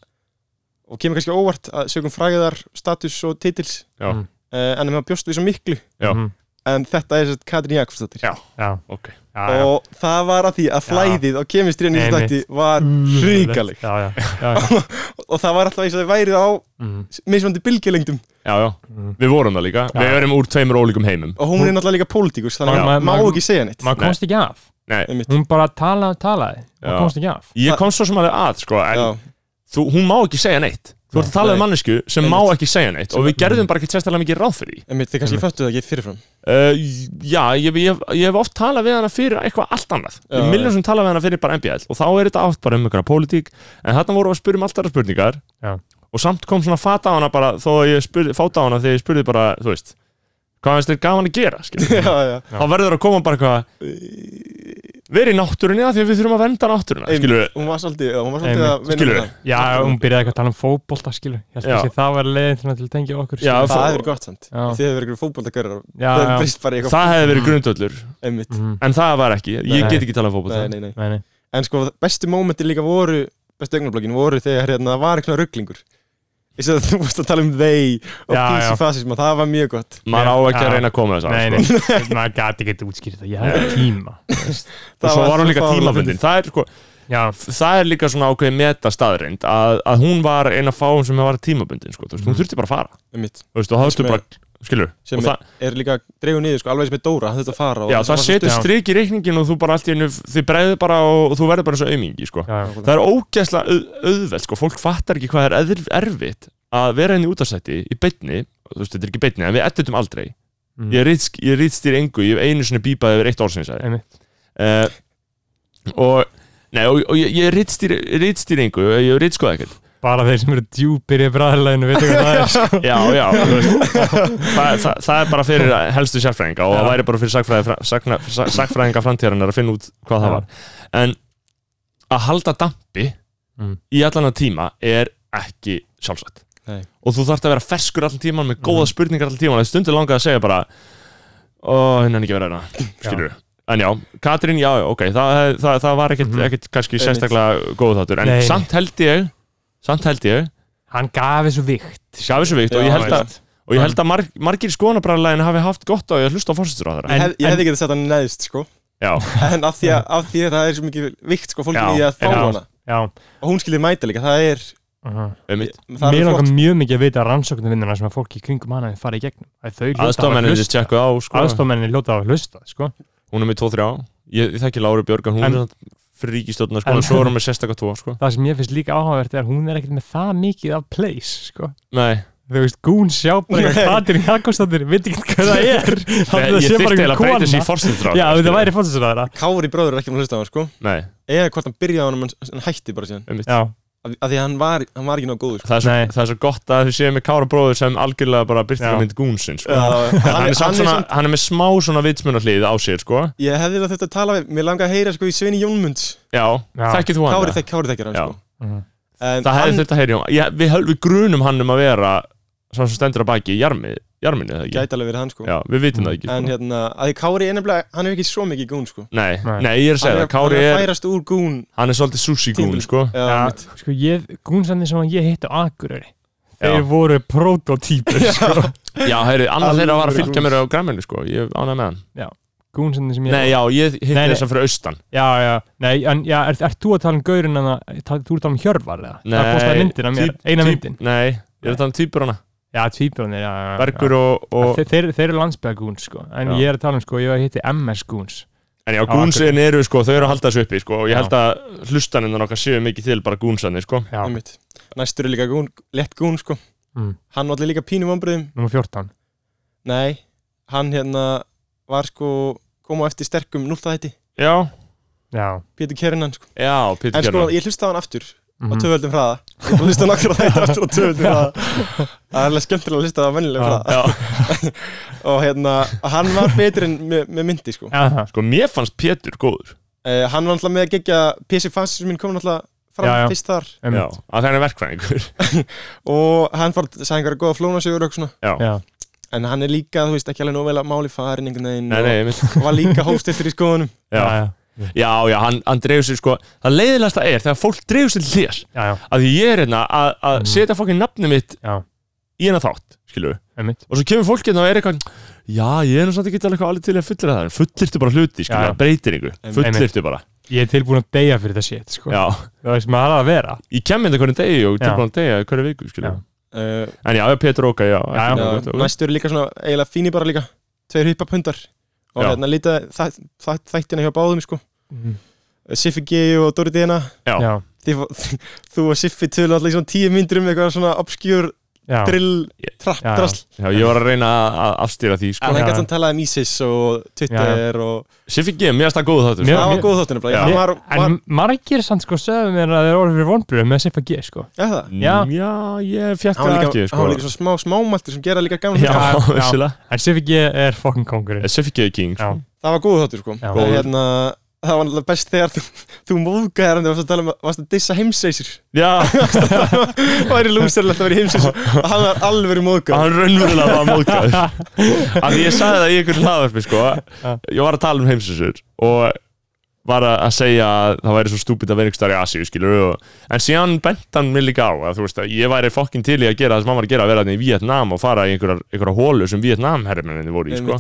og kemur kannski óvart að sögum fræðar, status og titils Já. Mm. uh, en maður bjóst við svo miklu Já. Mm. en þetta er sett Katrín Jakobsdóttir Já. já, ok já, já. og það var að því að flæðið á kemistri í þessu Einmitt. þætti var hrikalegt Já, já, já, já. og það var alltaf eins og þau værið á Mm. mismandi bylgjulengdum já, já, Mm. við vorum það líka Já. við erum úr tveimur ólíkum heimum og hún er náttúrulega líka pólitíkus þannig Já. að Maður- má maður- ekki segja neitt Maður Nei. komst ekki af Nei, einmitt. Hún bara talaði og talaði Já. Maður komst ekki af ég kom svo sem alveg að sko, en Já, þú, hún má ekki segja neitt þú ert að tala um Nei. mannesku sem má Einmitt. Mm. ekki segja neitt og við gerðum bara ekki sérstaklega mikið ráð fyrir því einmitt, þið kannski föttu það ekki fyrirfram Uh, já, ég, ég, ég hef oft talað við hana fyrir eitthvað allt annað Já, Ég miljón sem talað við hana fyrir bara MBL og þá er þetta átt bara um einhverja pólitík en þarna vorum við að spyrja um alltaf spurningar Já. og samt kom svona fata á hana bara þó að ég spurði, fáta á hana þegar ég spurði bara þú veist, hvað finnst þér gaman að gera skilur við? Já, já, þá verður að koma bara eitthvað verið í náttúrunni af því að við þurfum að venda náttúruna Einmitt. skilur við Hún var svolítið, hún var svolítið Einmitt. að vinna Skilurðu? með það. Já, hún byrjaði eitthvað að tala um fótbolta skilu Ég held Já. ekki að það var leiðin til að tengja okkur Já, skilur. fó- Það hefur gott samt Já. Þið hefur verið fótboltagörður já, Það já. er brist bara í eitthvað það hefði verið grundöllur einmitt Mhm. en það var ekki, ég Nei. get ekki talað um fótbolta Nei, nei, nei Nei, nei. En sko, bestu mómenti líka voru Bestu augnablokkin voru þegar hérna það var eitthvað rugglingur Ég sé að þú varst að tala um þeir og Já, písi já. fasism það var mjög gott maður á ekki að Já. reyna að koma þess að Nei, nei, maður gæti ekki útskýrt það Ég hefði tíma og Það svo var hún líka það tímabundin það er, sko, Já, það er líka svona ákveðið metastaðreind að, að hún var eina fáum sem var tímabundin sko, þú veist, hún þurfti bara að fara Einmitt, þú veist, og það Mhm. þurfti Sem er- bara, skilur sem og það, er líka dreigur niður sko, alveg sem er Dóra, þetta fara og já, það sem það var svo setur stutt. strik í reikningin og þú bara allt í einu, þið bregður bara og, og þú verður bara eins og aumingi sko. já, já, það er ógæsla auðveld sko, fólk fattar ekki hvað er eðr- erfitt að vera henni útastætti í beinni þú veist, þetta er ekki beinni, en við eddutum aldrei Mhm. Mm. ég, rit, ég rítstýr engu, ég hef einu sinni bípaði yfir eitt orðsinsæði einmitt uh, og, nei, og, og ég, ég rítstýr, rítstýr engu ég rítskoða ekkert Bara þeir sem eru djúpir í bræðleginu Veitu hvað það er sko. já, já, þú veist, það, það, það er bara fyrir helstu sérfræðinga og það væri bara fyrir sakfræði, sakna, sakfræðinga framtíðarinnar að finna út hvað það Já. var en að halda dampi Mm. í allan að tíma er ekki sjálfsagt Nei. og þú þarft að vera ferskur allan tíman með góða Mm. spurningar allan tíman að stundu langa að segja bara ó, henni er ekki verið hérna, skilur En já, Katrín, já, já, ok, það, það, það var ekkert, Mhm. ekkert kannski Einmitt. sérstaklega góð þáttur, en Nei, nei. samt held ég, samt held ég, Hann gaf þessu vikt gaf þessu vikt og Já, ég held að, veist. og ég held að marg, margir skoðanabræðlegin hafi haft gott á því að hlusta á fórsættur á þeirra Ég hef- ég hefði getið sett hann neðst sko já, en af því að, af því að það er svo mikið vikt sko Já, fólkinu í að fá já. hana Já, og hún skildi mæta líka, það er uh um það Mér er langar flott mjög mikið að vita rannsóknarvinnuna sem að fólk í kringum hana fara í gegnum Að þau hljóta að hafa aðstofmenninni hlustað. tjekku á, sko, Aðstoðmenninni hljóta að hafa hlusta sko. hún er með 2-3 ég, ég þekki Láru Björg, en hún En- er fyrir ríkistjórna, sko, En- en svo er hún með sérstakka 2, sko Það sem ég finnst líka áhugavert er að hún er ekkert með það mikið af place sko. nei, Þú veist, gún sjá bara Nei. eitthvað Katrín Jakobsdóttir, veit ekki hvað það er Það er nei ég sé bara þyrfti eiginlega að einhver breyta þessi í kona. fórsættur á Já, þetta væri fórsæðsraðara Kári bróður er ekki með að hlusta á hann sko nei, eða hvort hann byrjaði á honum en en hætti bara síðan um Já, af af því að hann var, hann var ekki nóg góður sko. Það er, svo, Nei. það er svo gott að við séum með Kára bróður sem algjörlega bara byrtir Já. að mynd gúnsinn sko. hann, hann, er samt svona, hann er með smá svona vitsmunahlið á sér sko. ég hefði þetta að tala við, mér langar að heyra sko í Sveini Jónmunds Já, Já. þekkið þú hann? Kári eða? þekk, Kári þekkir hann Já. sko Mhm. en Það hefði hann þurft að heyri um ég, við, höl- við grunum hann um að vera Svo sem stendur að baki í jarmi, jarminni eða ekki gæti alveg verið hann sko Já, við vitum það ekki en sko. hérna, að því Kári er nefnilega, hann er ekki svo mikið gún sko nei, Nei. nei, ég er að segja það hann er, hann Kári er að er, færast úr gún hann er svolítið sushi gún Tímbil. sko. já, já mitt. sko, ég, gúnsandi sem ég hitt á Akureyri Þeir Já. voru prototýpur sko. Já, heyri, annar Alvöru þeirra var að fylgja gúns. mér á græminu sko. Ég ánægði með hann Gúnsandi sem ég Nei, já, ég hitti Nei, nei. þess að fyrir austan Já, já, nei, en já, er, er þú að tala um gaurin en að, þú er að tala um Hjörvar eða? Nei, Það postaði myndina mér, típ- eina típ- myndin Nei, ég er að tala um týpur hana Já, tvíbrunir, já, já, já Bergur og, og... og Þeir, þeir, þeir eru landsbyggagúns sko, en Já. ég er að tala um sko, ég var að hitti MS gúns En já, Á gúnsin eru sko, þau eru að halda þessu uppi sko, og ég Já. held að hlustaninnar okkar séu mikið til bara gúnsanir sko. Já, einmitt. næstur er líka gún, lett gún sko Mm. hann var allir líka pínum ombriðum nummer 14 nei, hann hérna var sko kom á eftir sterkum núltaðætti Já, Já, Pétur Kernan sko já, Pétur en sko, Kjörnar ég hlusta á hann aftur á mhm. töföldum hraða ég búið að hlusta á nokkra þættir aftur á töföldum hraða það er alveg skemmtilega að hlusta á vennilega Já. hraða og hérna, hann var betur en með, með myndi sko Já, það Sko, mér fannst Pétur góður uh, hann var alltaf með að gegja PC Fancy sem minn kom alltaf fram Já, já. fyrst þar einmitt. Já, að það er verkfræðingur og hann fór að segja einhverja góða flónasögur og eitthvað svona Já, Já, en hann er líka, þú veist, ekki alveg nóg vel að máli farin einhvern veginn nei, nei, ég mynd og, og var líka hófstiltur í skoðunum já, Já, já, já, já hann, hann dreifur sér sko Það leiðilegasta er þegar fólk dreifur sér til þér já, já, að því ég er hérna að, að Mm. setja fólkið nafni mitt já, í hennar þátt, skilur einmitt og svo kemur fólk hérna og er eitthvað Já, ég er nú samt ekki alveg alveg til að fullera það en fullirtu bara hluti, skilur, Já, já. það breytir ykkur Einmitt. fullirtu bara, Ég er tilbúin að deyja fyrir þetta shit, sko já Það veist maður að vera Ég kem hérna hvernig degi og Já. tilbúin að degi hverju viku, skilur Já. uh, En já, Pétur Óka, já, Já, ekki já. nógu gott, já, ok. næstu eru líka svona eiginlega fínir bara líka tveir hupapundar og Já. hérna líta þæ- þæ- þættina hjá báðum sko Mhm. Siffi G og Dóri Dina Já. Já, Þið, fó- þú og Siffi tölu alltaf í svona tíu myndir um eitthvað svona obskjúr já, drill trapp Já, já. drasl Já, ég var að reyna að- að afstýra því sko. Já, en hann já. gæti hann talað um ISIS og Twitter og Siffi G, mér finnst það góð þáttur sko. Mér- það var góð þáttunum Já. hann var, var, En margir sann sko sögðu mér að þeir orðið fyrir vonbröðum með Siffa G sko já það Já. Mm, já, ég fjætti hann það var ekki líka, sko. hann var líka svona smá smámæltur sem gera líka gaman Já, Já, já. vissilega En Siffa G er fucking kongurinn Siffi G er king Já, sko. það var góð þáttur sko Já. en, hérna, það var alltaf best þegar þú, þú móðgæðir hann þegar þú varst að tala um að varst að dissa heimseisur Já, og væri lúserlegt að vera í heimseisur og hann var alveg móðgæð hann raunverulega var móðgæður Af því ég sagði það í einhverju hlaðverfi sko. Ég var að tala um heimsinsur og var að að segja að það væri svo stúpid að vera einhverstaðar í Asíu skilur og, en síðan bent hann mér líka á að þú veist að ég væri fokkin til í að gera það sem hann var að gera að vera þarna í Vietnam og fara í einhverjar, einhverjar hólu sem Vietnam herrmenninni voru í sko.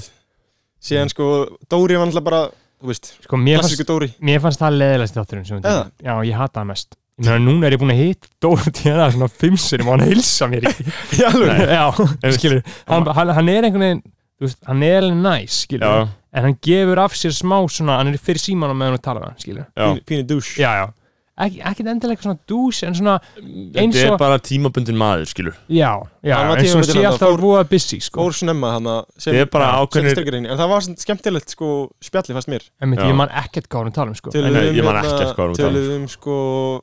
síðan sko Dóri var alltaf bara þú veist sko, mér, fannst, klassíku Dóri mér fannst það leðilegst þátturinn sem við Eða? tökum. Já, ég hata það mest Ég meina, núna er ég búin að hitt Dóra Tíana svona fimm sinni og hann heilsa mér ekki í alveg Já, skilur hann, hann, hann er einhvern veginn, þú veist, hann er alveg næs skilur, Já, en hann gefur af sér smá svona, hann er fyrir símanum meðan við tala við hann, skilur já pínu dús Já, já, Ekki- ekkert endilega eitthvað svona dús en svona, Eins Þetta og- er bara tímabundin maður skilur já, já Hann var eins og tímabundið hann sé þarna, alltaf fór- rúa busy, sko fór snemma hann að Þetta er bara ákveðnir- ákveðin en það var svona skemmtilegt sko spjalli fast mér En mitt, Já. ég man ekkert hvað hún er að tala um, sko Nei, eh, ég man hérna- ekkert hvað við vorum að tala um. töluðum sko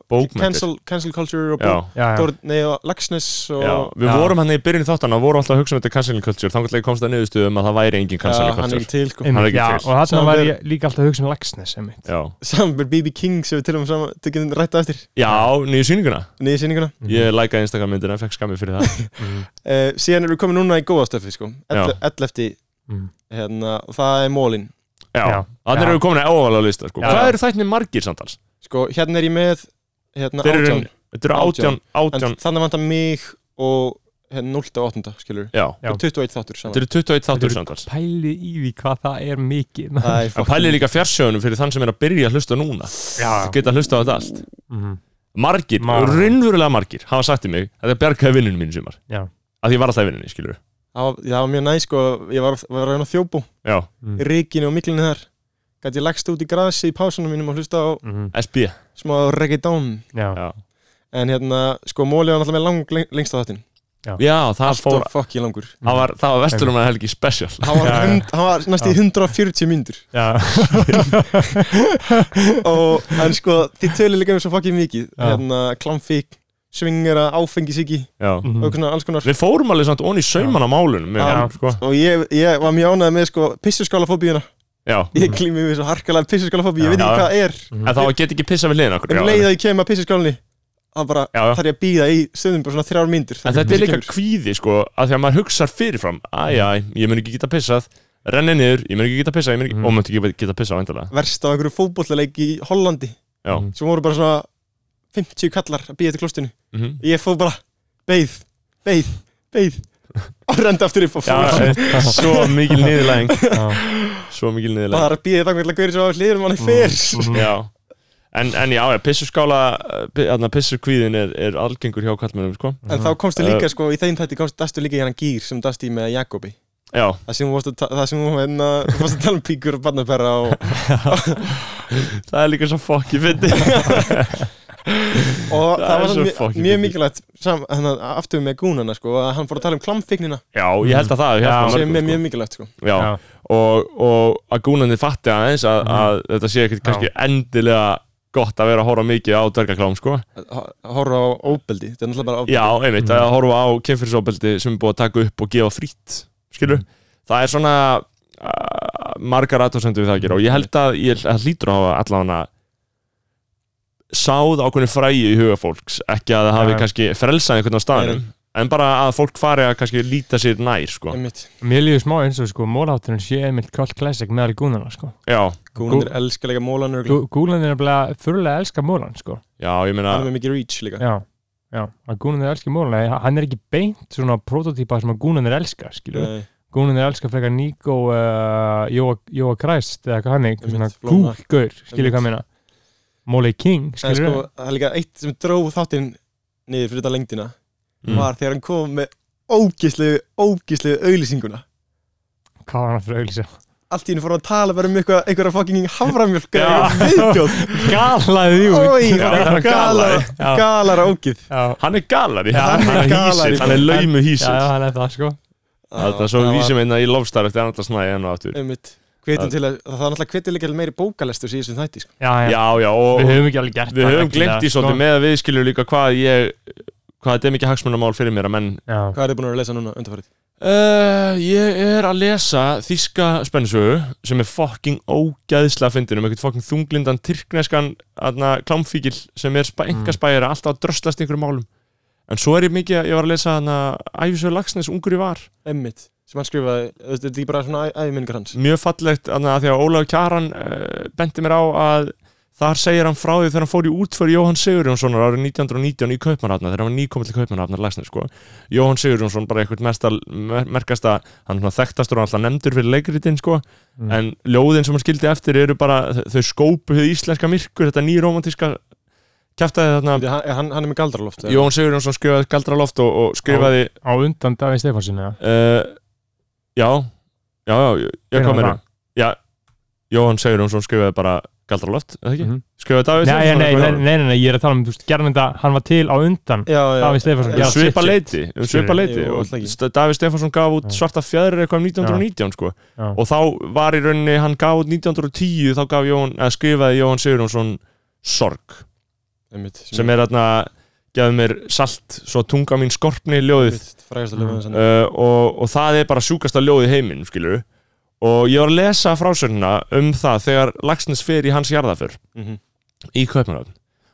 Bókmenntir. cancel, cancel culture og Já, bók Já, já, Dóri, nei og Laxness og já Við Já. vorum hann í byrjun þáttana og vorum alltaf að hugsa um þetta canceling culture þá kannski komst það niðurstuðum að það væri engin Já, canceling hann culture er ekki til sko Einmitt, er ekki já, til. og þarna Saman var við- ég líka alltaf að hugsa um Laxnes, einmitt Já, saman BB King sem við til og með saman tökum rætta eftir já nýju sýninguna niður sýninguna Mhm. Ég lækaði Instagram myndina en fekk skammi fyrir það uh, síðan erum við komin núna í góða stöfi sko Já. 11. Mm. hérna og það er mólin Já. Já, þannig Já. erum við komin að óvalega lista sko. Já. Hvað eru þættinni margir samtals? sko hérna er ég með hérna Þeir eru- 18 Þetta eru Átján. átján, átján en þannig vantar mig og hérna 0. og 8. skilur Já, Já. og 21 þáttur þetta saman eru 28 Þetta þáttur eru- samtals Pæli í því hvað það er mikið það er En pælið líka fjarsjóðunum fyrir þann sem er að byrja að hlusta núna Já, Það geta að hlusta á þetta allt Mhm. Margir, Mar- raunverulega margir hafa sagt í mig að það bjargaði vinnunum mín sumar Já. Að ég var alltaf í vinnunni, skilur það var, það var mjög næ sko ég var, var að um þjópu Já, Mm. í ríkinu og miklinu þar gæti ég lagst út í grasi í pásunum mínum og hlusta á Mhm. SB smá reggaetón Já, Já, en hérna sko mólið var náttúrulega með lang, leng, lengst á þáttin Já það fór alltaf fokki langur Það var, það var vesturumæða helgi special hann var, Já, já. hund, hann var næst í 140 myndur já, og en sko þið tölir líka um svo fokkið mikið Já. hérna klamfík, svingera, áfengisíki Já. Mhm. og svona alls konar Við fórum alveg samt onni sauman á málunum með Já. honum, sko. og ég, ég var mjög ánægð með sko pissusskálafóbíuna Já. ég glými við svo harkalega pissusskálafóbí ég veit Já. ekki hvað það er En það var get ekki pissa við liðin okkur en um leið að ég kem að pissusskálunni það bara Já, já. þarf ég að býða í stöðum bara svona þrjár myndur En þetta er líka kvíði sko að því að maður hugsar fyrirfram Æjæ, ég mun ekki geta pissað Renni niður, ég mun ekki geta pissað ég mun ekki, Mhm. Og mun ekki geta pissað væntalega verst á einhverju fótbollaleik í Hollandi Já Mhm. sem voru bara svona 50 kallar að býja til klostinu Mhm. ég fóð bara beið, beið, beið og rendi aftur upp og Já, fór eh, svo mikil niðurlæðing Svo mikil niðurlæðing bara býðið þangar til að hverja svo á hliður Mm. manni fyrr Já En, en já, já, pissuskála, eh, þarna pissukvíðin er, er algengur hjá kallmennum, sko. en þá komstu líka sko í þeim þætti komstu dastu líka í hennan gýr sem dastu í með Jakobi Já, það sem hún varst að, ta- það sem hún hérna, þú varst að tala um píkur og barnaperra og, það er líka svo fokki fyndi. og það, Það er var svo svo mjög, fucking mjög fyndið. mikilvægt sam, hana, aftur með gúnana sko að hann fór að tala um klamfiknina já, ég held að það, ég held að sem er mjög sko. mikilvægt sko Já, Mhm. Já. Og, og að gúnandi fatti aðeins að, að þetta sé ekkert kannski endilega gott að vera að horfa mikið á dvergaklám, sko. að ho- að horfa á óbeldi þetta er náttúrulega bara Já, einmitt, að horfa á kynfyrirsofbeldi sem er búið að taka upp og gefa frýtt skilur, það er svona uh, margar aðtóðsendur við það að gera og ég held að ég að það hlýtur að hafa allavega sáð ákveðni frægi í huga fólks ekki að það hafi Já. kannski frelsað einhvern á staðnum en bara að fólk fari að kannski líta sér nær sko, einmitt Mér líður smá eins og sko mólhátturinn sé einmitt kvöld classic meðal gúnana sko. já, Gúnandir elska líka mólan örugglega. Gú- Gúlan er nefnilega fyrirlega elska mólan sko. já, ég meina hann er með mikið reach líka Já, já, að gúnan er elska mólan Nei, hann er ekki beint svona prototýpa sem að gúnan er elska, skilur við Nei, Gúnan er elska frekar Nico uh, Jóa Jóa Christ eða hvað hann er Einmitt, svona Flóna. gúlgaur, skilur við hvað ég meina Móli King, en skilur sko, við það er líka eitt sem dróð þáttinn niður fyrir þetta lengdina Mm. var þegar hann kom með ógislegu, ógislegu auðlýsinguna Hvað var hann að fröðlýsa? allt í henni fór hann að tala bara um eitthvað einhverja fucking haframjölk eða Já. eitthvað viðbjóð Galaði Ói, Já, það bara er galari. galara, galara ógið Já, hann er galari, Já, hann, hann er er galari. hísill hann er laumu já, hísill hann er það sko það er svo við vísum einna í lofstar eftir annars næði enn og aftur einmitt, hvetjum til að, það er náttúrulega hvetjum líka til meiri bókalestur í þessum þætti sko. Já, já, já, já, og, við höfum ekki alveg gert Við það höfum reglulega, sko. glemt í svolítið með að við skiljum líka hvað ég hvað þetta er mikið hagsmunamál fyrir mér að menn Já, hvað er þið búin að vera að lesa núna undarfærið? Uh, ég er að lesa þíska spennisögu sem er fucking ógæðsla að fyndin um eitthvað fucking þunglindan tyrkneskan aðna, klámfíkil sem er spa, enga spæjara alltaf að dröslast í einhverjum málum en svo er ég mikið, að- ég var að lesa hana æfisögu Lagsnes, ungur í var Emmitt, sem hann skrifaði þú veist, Þetta er bara svona æðminningar hans mjög fallegt aðna, að því að Ólaf Kjaran uh, benti mér á að þar segir hann frá því þegar hann fór í útför Jóhann Sigurjónssonar árið 1919 í Kaupmannhafna þegar hann var nýkomið til Kaupmannhafna Lagsnes sko. Jóhann Sigurjónsson bara eitthvað mesta, mer merkasta, hann svona þekktastur og alltaf nefndur fyrir leikritin sko. Mm. en ljóðin sem hann skildi eftir eru bara þau- þau skópu hið íslenska myrkur þetta nýromantíska kæftæði þarna Þannig að hann, hann- hann er með galdraloft eða? Jóhann Sigurjónsson skrifaði galdraloft og, og skrifaði á undan Davíð Stefánsin eða? Uh, já, já, já, já, já Hvenær hvað var meina? það? Já, Jóhann Sigurjónsson skrifaði bara Galdraloft, eða ekki? Mhm. Skrifaði Davíð Nei, Stefánsson nei, eitthvað nei, annað? nei, nei, nei, ég er að tala um, þú veist, gerðmynda, hann var til á undan Já, já Davíð Stefánsson, Já, Um svipa shit, shit. leiti, um svipa Skilur. leiti Jú, og alltaf ekki. St- Davíð Stefánsson gaf út Já. svarta fjæðri eitthvað um 1919 sko. Já. og þá var í rauninni, hann gaf út 1910 þá gaf Jóhann, eða skrifaði Jóhann Sigurjónsson Sorg, Einmitt, sem er þarna gefði mér salt, svo tunga mín skorpni ljóðið frægast að Mhm. löfum þess uh, og, og það er bara sjúkasta ljóð í heiminn skilur og ég var að lesa frásörnina um það þegar Laxnes fer í hans jarðaför Eh. Mhm. í Kaupmannhafn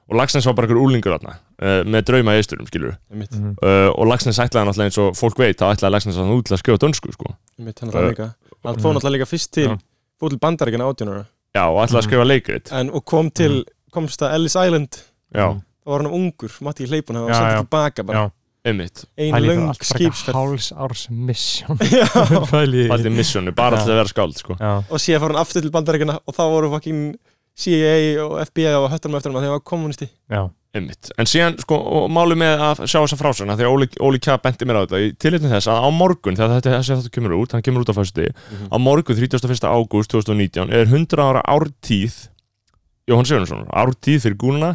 og Laxnes var bara einhver úlingur þarna uh, með drauma í eisturum skilur Einmitt, Mhm. uh, og Laxnes ætlaði náttúrulega eins og fólk veit þá ætlaði Laxnes að hann út til að skjóða dönsku sko. einmitt, hann er það Uh, líka Hann fór náttúrulega líka fyrst til Eh. Mhm. Já. Fór til bandaríkina átjónara já og ætlaði að Mhm. skrifa leikrit En, og kom til, komst að Ellis Island já, Mhm. þá var hann ungur, Matti í hleypun og Já, sendið já. tilbaka bara, Já. einmitt ein Pæli það allt löng bara eitthvað skipsferð háls árs misjón Já. Pæli Það er missjónu, bara Já. alltaf að vera skáld sko. Já, og síðan fór hann aftur til bandaríkina og þá voru fucking CIA og FBI og höttanum eftir hann þegar hann var kommunisti já, Einmitt. En síðan, sko, og máli með að sjá þessa frásögna því að Óli, Óli Kjá benti mér á þetta í tilitni þess að á morgun, þegar þetta þessi þetta kemur út hann kemur út á föstuði, á morgun 31. ágúst 2019 er 100 ára ártíð Jóhann Sigurðarsson ártíð fyrir gúnuna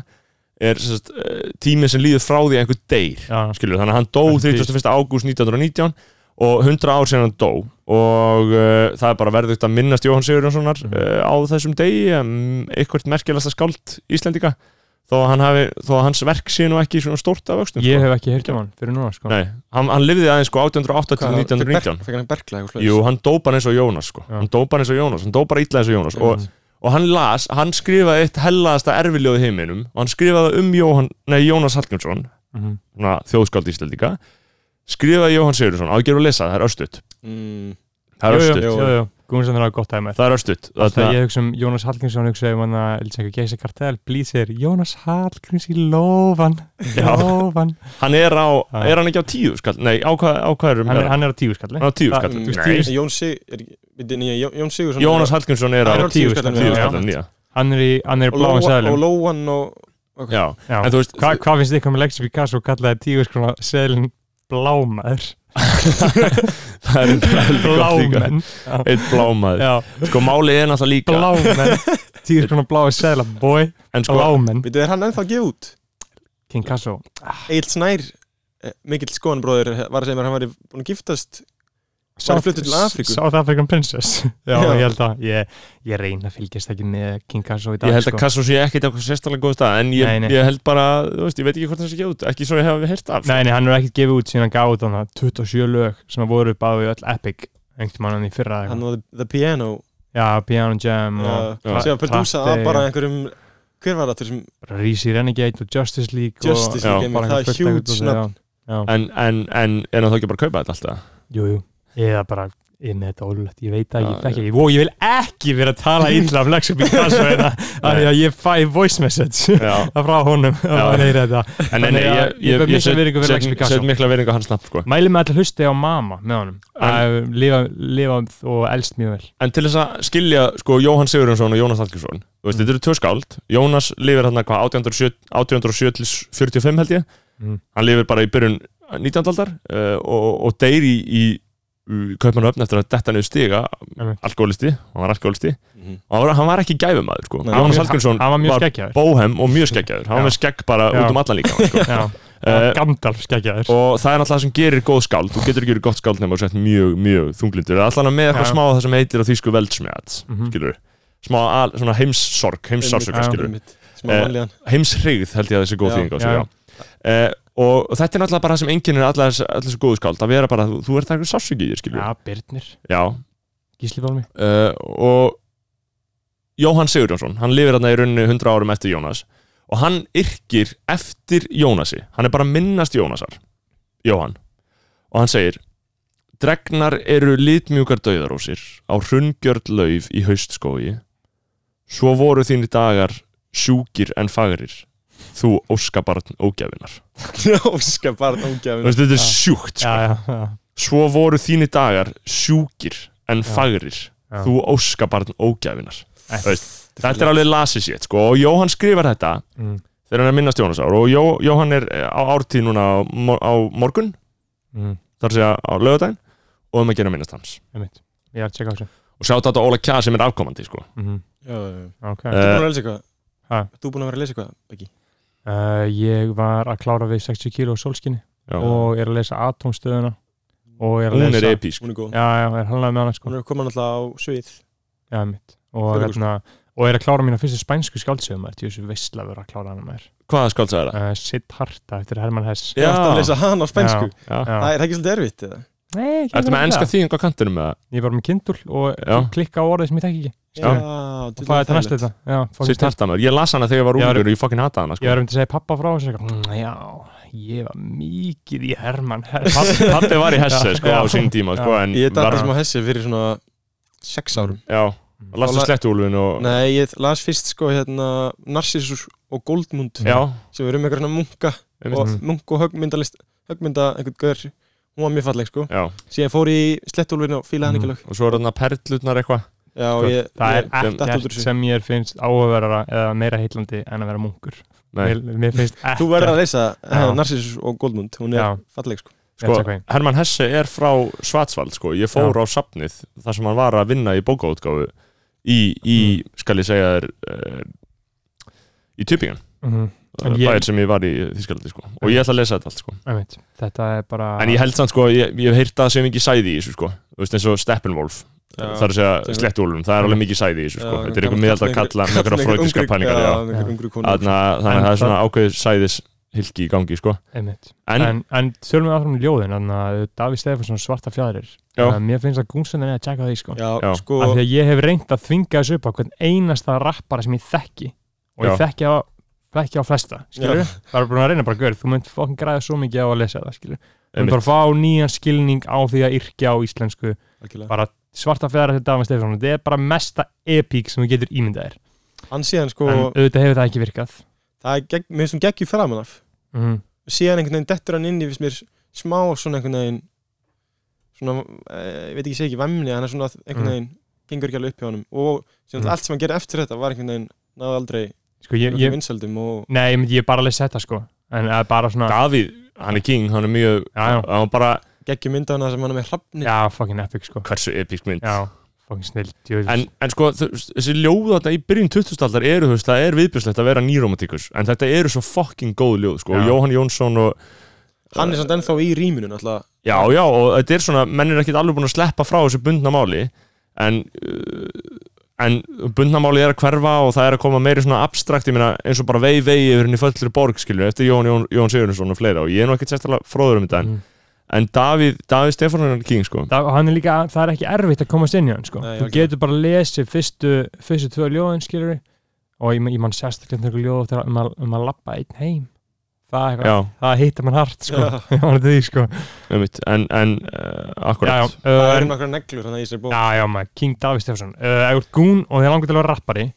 er sem sagt, eh, tími sem líður frá því að einhver deyr já, skilur, þannig að hann dó Hann deyr. 31. ágúst 1919 og 100 ár síðan hann dó og uh, það er bara verðugt að minnast Jóhann Sigurjónssonar Mhm. uh, á þessum degi um, eitthvað merkilegasta skáld Íslendinga þó að, hann hafi, þó að hans verk sé nú ekki svona stórt af vöxtum ég sko. hef ekki heyrt um hann fyrir núna sko Nei, hann, hann lifði aðeins sko 1808 til Hvað, fekk Berk- 1919 fekk hann berkla eitthvað Jú, hann dó bara eins og Jónas sko. Já. hann dó bara eins og Jónas, hann dó bara illa eins og Jónas og, Mhm. og hann las, hann skrifaði eitt hellaðasta erfiljóð í heiminum og hann skrifaði um Jóhann, nei, Jónas Hallgrímsson Mhm. svona, þjóðskáld Íslandika skrifaði Jóhann Sigurðsson, á ekki að lesa það það er östut mm, það er Jú, östut, jú, jú, jú, Guðmundsson er á gott dæmi það er östut Þegar Þarna- ég hugsa um Jónas Hallgrímsson hugsa um hann að lítið ekki geisa kartel blýsir Jónas Hallgríms í lofan Já. lofan hann er á, Já. er hann ekki á tíu skall nei, á hvað á hvað erum hann, er- við? hann er Ah, mm. á tíu skalli hann er á tíu Það- skall þú veist, Nei. tíu- Mm. Jón, Sig, er, ekki- bíddu, nei, Jón, Jón Sigursson Jónas Hallgrímsson er á Hann er tíu á tíu skall skallinu, tíu já. skall nýja hann er í, hann er í og bláum Lóan og seðlum Lóan og já, Já. en þú veist Hva, hvað finnst ykkur með Lexi Picasso kallaði tíu skrona seðlin blámaður það er heldur gott líka. blámenn eitt blámaður Já, sko málið er náttúrulega líka blámenn tíu skrona bláa seðla boy en sko blámenn Vitið, er hann ennþá að gefa út? King Kasso Egil Snær, eh, mikill skoðanbróður var að segja mér að hann væri búin að giftast Bara fluttur til Afríku. South African Princess Já, Já. ég held að ég, ég reyna að fylgjast ekki með King Kasso í dag ég held að sko. Kassó sé ekkit eitthvað sérstæðlega góð stað en ég, Nei, nei. ég held bara, þú veist, ég veit ekki hvort það sé ekki út ekki svo ég hef heyrt af sko. Nei, nei, hann er ekkert gefið út síðan hann gaf út þannig 27 lög sem að voru báðu í öll epic einhvern mann í fyrra hann hann... og The, the Piano Já, Piano Jam uh, og sem að prodúsa Tratti af bara einhverjum hver var það til sem Rísi Renegade og Justice League Justice Já, League og Gaming, Sko, bara einhver fullt af einhverju, það er huge nafn já, já. en, en, en er hann þá ekki bara að kaupa þetta alltaf Jú, jú, eða bara ég er með þetta ólulegt, ég veit að ég Já, þekki ekki og ég vil ekki vera að tala illa um Lexi Picasso hérna, af því að ég fæ voice message já, frá honum og hann heyri þetta En nei, nei, Þannig að ég, ég ber ég, ég mikla virðingu fyrir set- Lex set- Picasso. set mikla veringu hans nafn sko. Mæli með allir hlusti á mama með honum að lifa, lifa og elst mjög vel En til þess að skilja sko, Jóhann Sigurjónsson og Jónas Hallgrímsson Þú veist, Þetta eru tvö skáld Jónas lifir hann hvað 1807-45 held ég Mm. Hann lifir bara í byrjun 19. aldar uh, og, og deyr í, í, í Kaupmannöfn eftir að detta niður stiga Einmitt. Alkoholisti, hann var alkoholisti Mhm. og hann var, hann var ekki gæfumæður sko. Nei. Jónas Hann- Hallgrímsson hann var mjög var skeggjaður bóhem og mjög skeggjaður Já. Hann var með skegg bara Já. út um allan líka sko. Já, uh, Gandalf skeggjaður og það er náttúrulega það sem gerir góð skáld þú getur ekki verið gott skáld nema þú sett mjög, mjög þunglindur allan að með eitthvað Já. smá af það sem heitir á þýsku veldsmjöð Mm. Mhm. skilur smá al, svona heimssorg, heimssársöka Já. skilur Einmitt, sem að Eh, vanlíðan heimshrigð held ég að þessi góð Já. þýðing Já. á sig já. Eh, og, og þetta er náttúrulega bara það sem enginn er allar þessu góðu skáld að vera bara, þú, þú ert það eitthvað sásugi í þér skilur Já, Birnir, já. Gísli Bálmi Uh, og Jóhann Sigurjónsson hann lifir þarna í rauninni 100 árum eftir Jónas og hann yrkir eftir Jónasi hann er bara að minnast Jónasar Jóhann og hann segir Dregnar eru litmjúkar dauðarósir á hrungjörð lauf í haustskói svo voru þínir dagar sjúkir en fagrir þú óskabarn ógjafinar Óska barn ógjafin þetta er sjúkt sko. Já, já, já, svo voru þínir dagar sjúkir en fagrir já. þú óskabarn ógjafinar Æ. Þú veist, þetta er alveg lasið sétt sko, og Jóhann skrifar þetta mm, þegar hann er að minnast Jónasár og Jó, Jóhann er eh, á ártíð núna á, mor- á morgun mm, þar að segja á lögadaginn og um að gera að minnast hans einmitt. Ég er að tjekka á þessu og sjá þetta Óla Kjá sem er afkomandi sko. Mhm, Þú ok. búin uh, að lesa eitthvað? Eh. Ha? Þú búin að vera að lesa eitthvað, Beggi? uh, Ég var að klára við 60 kíló sólskinni og er að lesa atómstöðuna og er að Eh, hún er sko. lesa epísk Hún er góð Já, já, er hannlega með hana sko Hún er komin alltaf á svið Já, mitt og, Fyrir hérna, og er að klára mína fyrstu spænsku skáldsöðum maður, þessu veistla að vera að klára hana maður hvaða skálsa er það? uh, Siddharta eftir Herman Hess Ég ætti að lesa hana á spænsku já. Það er ekki svolítið erfitt eða? Nei, ekki Ertu með það. enska þýðing á kantinum með það? Ég er bara með kindul og Já. klikka á orðið sem ég þekki ekki Já, Skilurðu? og djúlega það er það næstu þægilegt. þetta Já, fucking Sitt hartamöður, ég las hana þegar ég var Já, er- ungur og ég fokkin hata hana Ég sko. var um til að segja pappa frá og segja "Mm, Já, ég var mikið í Herman Hess Pabbi pabbi var í hesse Já, sko, já. á sín tíma sko, en Ég var- dætti smá hessi fyrir svona sex árum já, lastu Óla- slettúlfin sko. og Nei, ég las fyrst sko hérna Narcissus og Goldmund já, sem eru um eitthvað svona munka og Einmitt. Mm. munk og högmyndalist högmynda einhvern gaur hún var mjög falleg sko já síðan fór ég í slettúlfinu og fílaði hann Mm. Sko, ekki lög og svo er þarna perlutnar eitthvað já og ég Það ég- er Sem- datt út úr ekkert þessu. sem ég finnst áhugaverara eða meira heillandi en að vera munkur Nei, Mér, mér finnst ekkert þú verður að leysa Já. Narcissus og Goldmund hún er Já. falleg sko Ég sko, ætla að segja hvað. Herman Hesse er frá Svartsvald sko. ég fór Já. á safnið þar sem hann var að vinna í bókaútgáfu í, í Mm. skal ég segja þér uh, í Tübingen Mhm, En ég- bæðir sem ég var í Þískalandi sko. og ég ætla að lesa þetta allt sko. einmitt. Þetta er bara en ég held samt, sko, ég, ég hef heyrt það sem ekki sæði í þessu sko. þú veist eins og Steppenwolf það er að segja Sem- slettúlum, það er alveg mikið sæði í þessu sko. Já, þetta er einhver gamall miðaldar karl- kalla með einhverja einhver fröytiska ungri- pælingar já, já. með Já. einhver ungri Þarna- konu En þannig að það er svona það- ákveð sæðis hilki í gangi sko. einmitt. en, En, en tölum við áfram um ljóðin Þannig að Davíð Stefansson svarta fjæðrir Já. Eh, Mér finnst að gúnsöndin er að tjekka á því sko já Já. sko af því að ég hef reynd að þvinga þessu upp á hvern einasta rappara sem ég þekki og ég Já. þekki á, þekki á flesta skilur það er búin að reyna bara gaur þú mynd fokkin græða svo mikið á að lesa það skilur þú mynd bara að fá nýjan skilning á því að yrkja á íslensku algjörlega. bara svarta fjara til Davins Stefán þetta er bara mesta epík sem þú getur ímyndað þér hann síðan sko en auðvitað hefur það ekki virkað það er gegn- mér finnst hún geggjur framan af mm. síðan einhvern veginn dettur hann inn í fyrst mér smá svona einhvern veginn svona, eh, ég veit ekki, ég segi ekki væmni hann er svona einhvern Mm. veginn, gengur ekki alveg upp hjá honum og sem Mm. allt sem hann gerði eftir þetta var einhvern veginn náði aldrei sko ég, ég... ég, vinsaldum og nei, ég, myndi- ég er bara að lesa þetta sko en það er bara svona Davíð, hann er king, hann er mjög Já, já. hann var bara, geggjum myndana sem hann er með hrafni já, fokkin epic sko hversu episk mynd já, fokkin snill en, en sko, þ- þessi ljóð þarna í byrjun 20. aldar eru, þú veist, það er viðbjörslegt að vera nýromantikus, en þetta eru svo fucking góð ljóð, sko, Já. og Jóhann Jónsson og, hann er samt ennþá í rýminu náttúrulega já, já, og þetta er svona menn er ekkert alveg búin að sleppa frá þessu bundna máli en uh, en bundna máli er að hverfa og það er að koma meiri svona abstrakt, ég meina eins og bara vei vei yfir henni föllur borg, skilju, eftir Jóhann Jón, Jón Sigurðsson og fleira, og ég er nú ekkert sérstæðlega fróður um þetta, en, Mm. en Davíð, Davíð Stefán er king, sko, það, og hann er líka, það er ekki erfitt að komast inn í hann sko. Nei, þú algjörlega. getur bara að lesa fyrstu, fyrstu tvö ljóðin skilur og ég, man- ég mann sérstaklega einhver ljóð eftir að- um að, um að lappa einn heim það, er eitthvað, já, það hittar mann hart sko. Já. Ég man eftir því, sko. um en, en já, uh, já, akkurat, það uh, er en- nokkra neglur þannig að ég Sko. sér bók já, já, maður, King Davíð Stefánsson uh, ef þú ert gún og þið langar til að vera rappari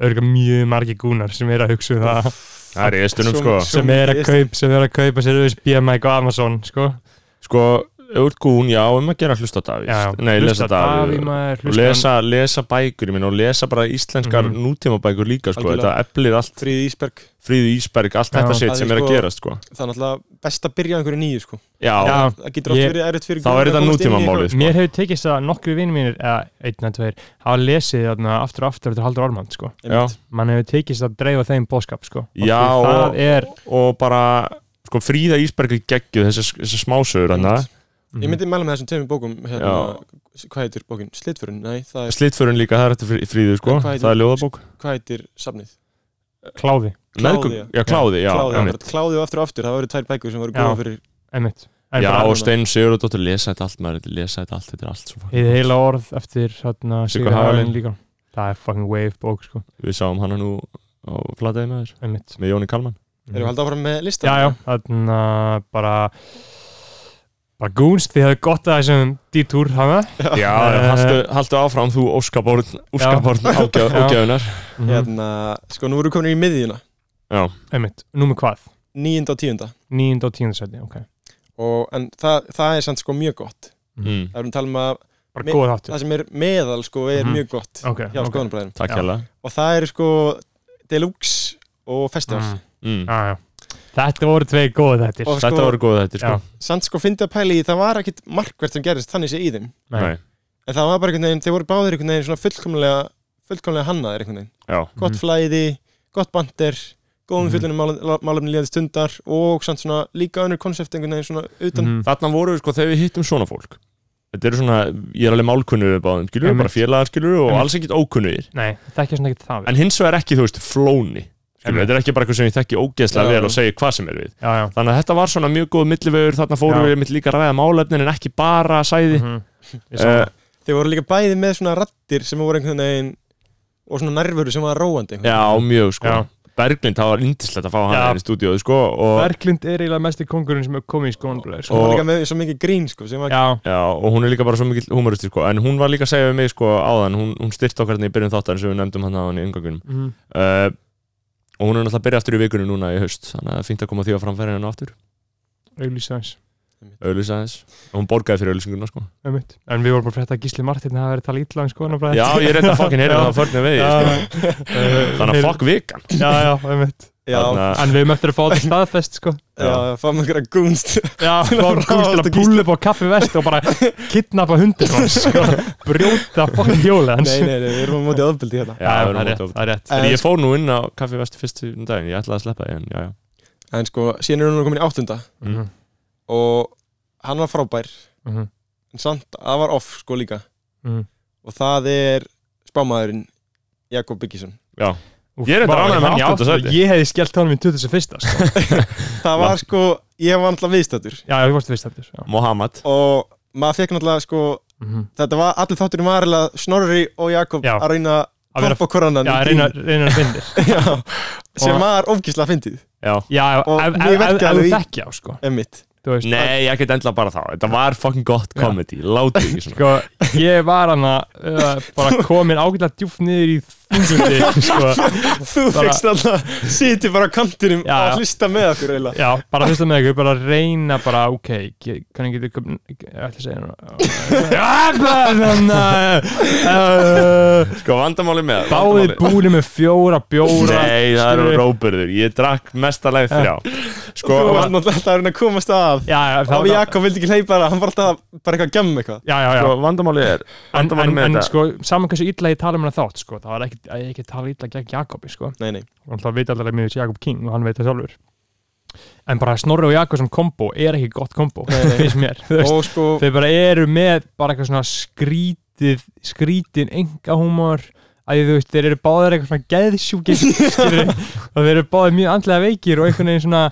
örgulega mjög margi gúnar sem er að hugsa um það það er í estunum, Svo- sko svo- sem er að kaupa, sem er að kaupa sér USB mic á Amazon sko. Sko, auðvitað gún, já, um að gera hlusta á Davíð já, Nei, lesa Davíð maður, Og hlusta lesa, lesa bækur, ég meina, og lesa bara íslenskar Mhm. nútíma bækur líka, sko Algjörlega. Þetta eflir allt, þrýð Ísberg, fríðu Ísberg, allt Já. þetta sitt Það er sem er að sko- gerast, sko það er náttúrulega best að byrja á einhverju nýju sko Já, Já. það getur oft Ég- verið erfitt þá fyrir gúruna er að þetta komast inn í nútíma eitthvað. málið, sko Mér hefur tekist að nokkru vinið mínir, eða einn eða tveir, hafa lesið þarna aftur og aftur eftir Haldur Ormand, sko. Já, Einmitt. Man hefur tekist að dreifa þeim bóðskap, sko. Og Já, því og- Það er... og bara, sko, fríða Ísberg er geggjuð, þessi, þessi smásögur hann ég Mhm. myndi mæla með þessum tveimur bókum hérna, hvað heitir bókin? Slitfurinn? Nei, það er Slitförun líka, það er þetta fríðu, sko Hvað heitir- Það er ljóðabók hvað heitir safnið? mm, kláði, Kláði, meðgöngu- já, kláði, já, kláði, einmitt. akkurat. kláði og aftur og aftur, það voru tvær bækur sem voru Já. góða fyrir einmitt En já, bara- og Stein Sigurðardóttir lesa þetta allt maður, lesa þetta allt, þetta er allt svo fucking- Hið heila orð eftir hérna, Sigga Sigur Hagalinn Hagalín. líka Það er fucking wave bók sko við sáum hana nú á flataði með þér, einmitt. með Jóni Kalman Erum við haldið áfram með listan? Já, já, þannig að bara bara gúnst, þið hefðu gott að þessum dítúr hana já, Eh, haltu, haltu áfram þú óskaborn óskaborn Já. ágjöðunar Mhm. Hérna, sko, nú voru komin í miðjuna já, Einmitt, númer hvað? Níunda og tíunda Níund og tíundarsæti, ok og, En það, það er samt sko mjög gott mm. Það erum talað um að Bara Mi- góð þáttur það sem er meðal sko er Mhm. mjög gott Ok, hjá ok skoðanabræðinum takk Já. hérlega Og það er sko Deluxe og Festival Mm. mm. Já, já. Þetta voru tvei góð þættir Og- þetta sko- voru góða þetta, sko Já. Samt sko fyndið að pæla í, það var ekkit markvert sem gerist þannig sé í þeim Nei. Nei. En það var bara einhvern veginn, þeir voru báðir einhvern veginn svona fullkomlega fullkomlega hannaðir einhvern veginn já, Gott Mhm. flæði, gott bandir Mhm. góðum mm. fjöllunum málefni liðandi stundar og samt svona líka önnur konsept einhvern veginn svona utan Mhm. þarna voru við sko þegar við hittum svona fólk þetta eru svona, ég er alveg málkunnu báðum, skilur, Einmitt. bara félagar skilur og Einmitt. alls ekkit ókunnugir Nei, það ekki svona ekkert það við en hins vegar ekki, þú veist, flóni skilur, Einmitt. þetta er ekki bara eitthvað sem ég þekki ógeðslega Já. vel og segi hvað sem er við Já, já þannig að þetta var svona mjög góð millivegur þarna fórum Já. við mitt líka að ræða málefnin en ekki bara sæði Mhm. Ég sá uh, það. Þeir voru líka bæði með svona rattir sem voru einhvern veginn og svona nærvöru sem var róandi einhvern já, mjög sko Já. Berglind, það var indislegt að fá hann Já. hér í stúdíóðu sko og, Berglind er eiginlega mesti kongurinn sem hefur komið í sko. skónblæður og hún var Og- líka með svo mikið grín sko, sem var, Já, já, og hún er líka bara svo mikill humoristi sko en hún var líka að segja við mig sko áðan hún, hún styrt okkar hérna í byrjun þáttan sem við nefndum hann á hann í yngangunum Mhm. uh, og hún er náttúrulega að byrja aftur í vikunni núna í haust þannig að það er fínt að koma því á framfæri hennu aftur auglýsa þess auðlýsa aðeins og hún borgaði fyrir auðlýsinguna sko Einmitt. En við vorum bara frétt að Gísli Martin hafa verið að tala ítla um skoðanabræði já, ég reynda að fokkin heyra Já. það förnum við Já, sko. já. þannig að fokk vikan Já, já, einmitt já, Þarna- En við höfum eftir að fá þetta staðfest, sko já, já, fáum einhverja gúnst Já, Til að fáum Gústi til ráðast á að púla upp á kaffi vest og bara kidnappa hundir hans, sko Brjóta fokkin hjólið hans Nei, nei, nei, við erum á móti aðbildi hérna já, við það er erum út rétt, af- það er rétt En En, ég fór nú inn á Kaffi Vest fyrst um daginn, ég ætlaði að sleppa því en já, já. en sko, síðan er hún komin í áttunda Mhm, og hann var frábær mhm, en samt, það var off sko líka mhm. og það er spámaðurinn Jakob Byggisson Úff, Ég er reyndar vá, ánægður hann með hann í í áttunda áttunda- sæti. Ég hefði skellt honum í 21. sko. Það var sko, ég var náttúrulega viðstættur Já, þú varst vist eftir já. Mohamed og maður fekk náttúrulega sko Mhm. þetta var, allir þátturinn var eiginlega Snorri og Jakob Já. að reyna Að vera- að poppa korannan Já, reyna reyna að finna þér. sem Og- var ofgislega fyndið Já. Já, ef- Og ef ég ef- verki ef- ef þú alveg í- þekkja á, sko emmitt Þú veist, Nei, ég get endla bara þá, þetta var fucking gott comedy, láti ekki Sko, svona ég var hana uh, bara komin ágætlega djúft niður í þungundi sko. Þú Bara- fegst alltaf, sitið bara á kantinum Já, já. að hlusta með okkur eiginlega Já, bara fyrst að með ykkur, bara reyna bara, ok, ge- hvernig getur kom- ég ætla að segja núna Já, bara, þannig að, uh, Sko, vandamáli með Báðið vandamáli- búinu með fjóra bjóra Nei, það eru skilurðu. róburður, ég drakk mestalegi þrjá Sko, Þú var van- náttúrulega alltaf að reyna að komast af Já, já, Það það var Jakob vildi ekki hleypa það, hann var alltaf bara eitthvað að gemma eitthvað Já, já, já sko vandamáli er En, vandamáli en, með en þetta sko, saman hversu illa ég tala um hana þátt sko, það var ekki, að ég ekki tala illa gegn Jakobi sko. Nei, nei, og það veit allir að miður Jakob King og hann veit það sjálfur en bara Snorri og Jakob sem kombo er ekki gott kombo Nei, nei. finnst mér, þú veist og sko þeir bara eru með bara eitthvað svona skrítið skrítin enga húmor að þú veist, þeir eru báðir eitthvað svona geðsjúkir skilurðu, og þeir eru báðir mjög andlega veikir og einhvern veginn svona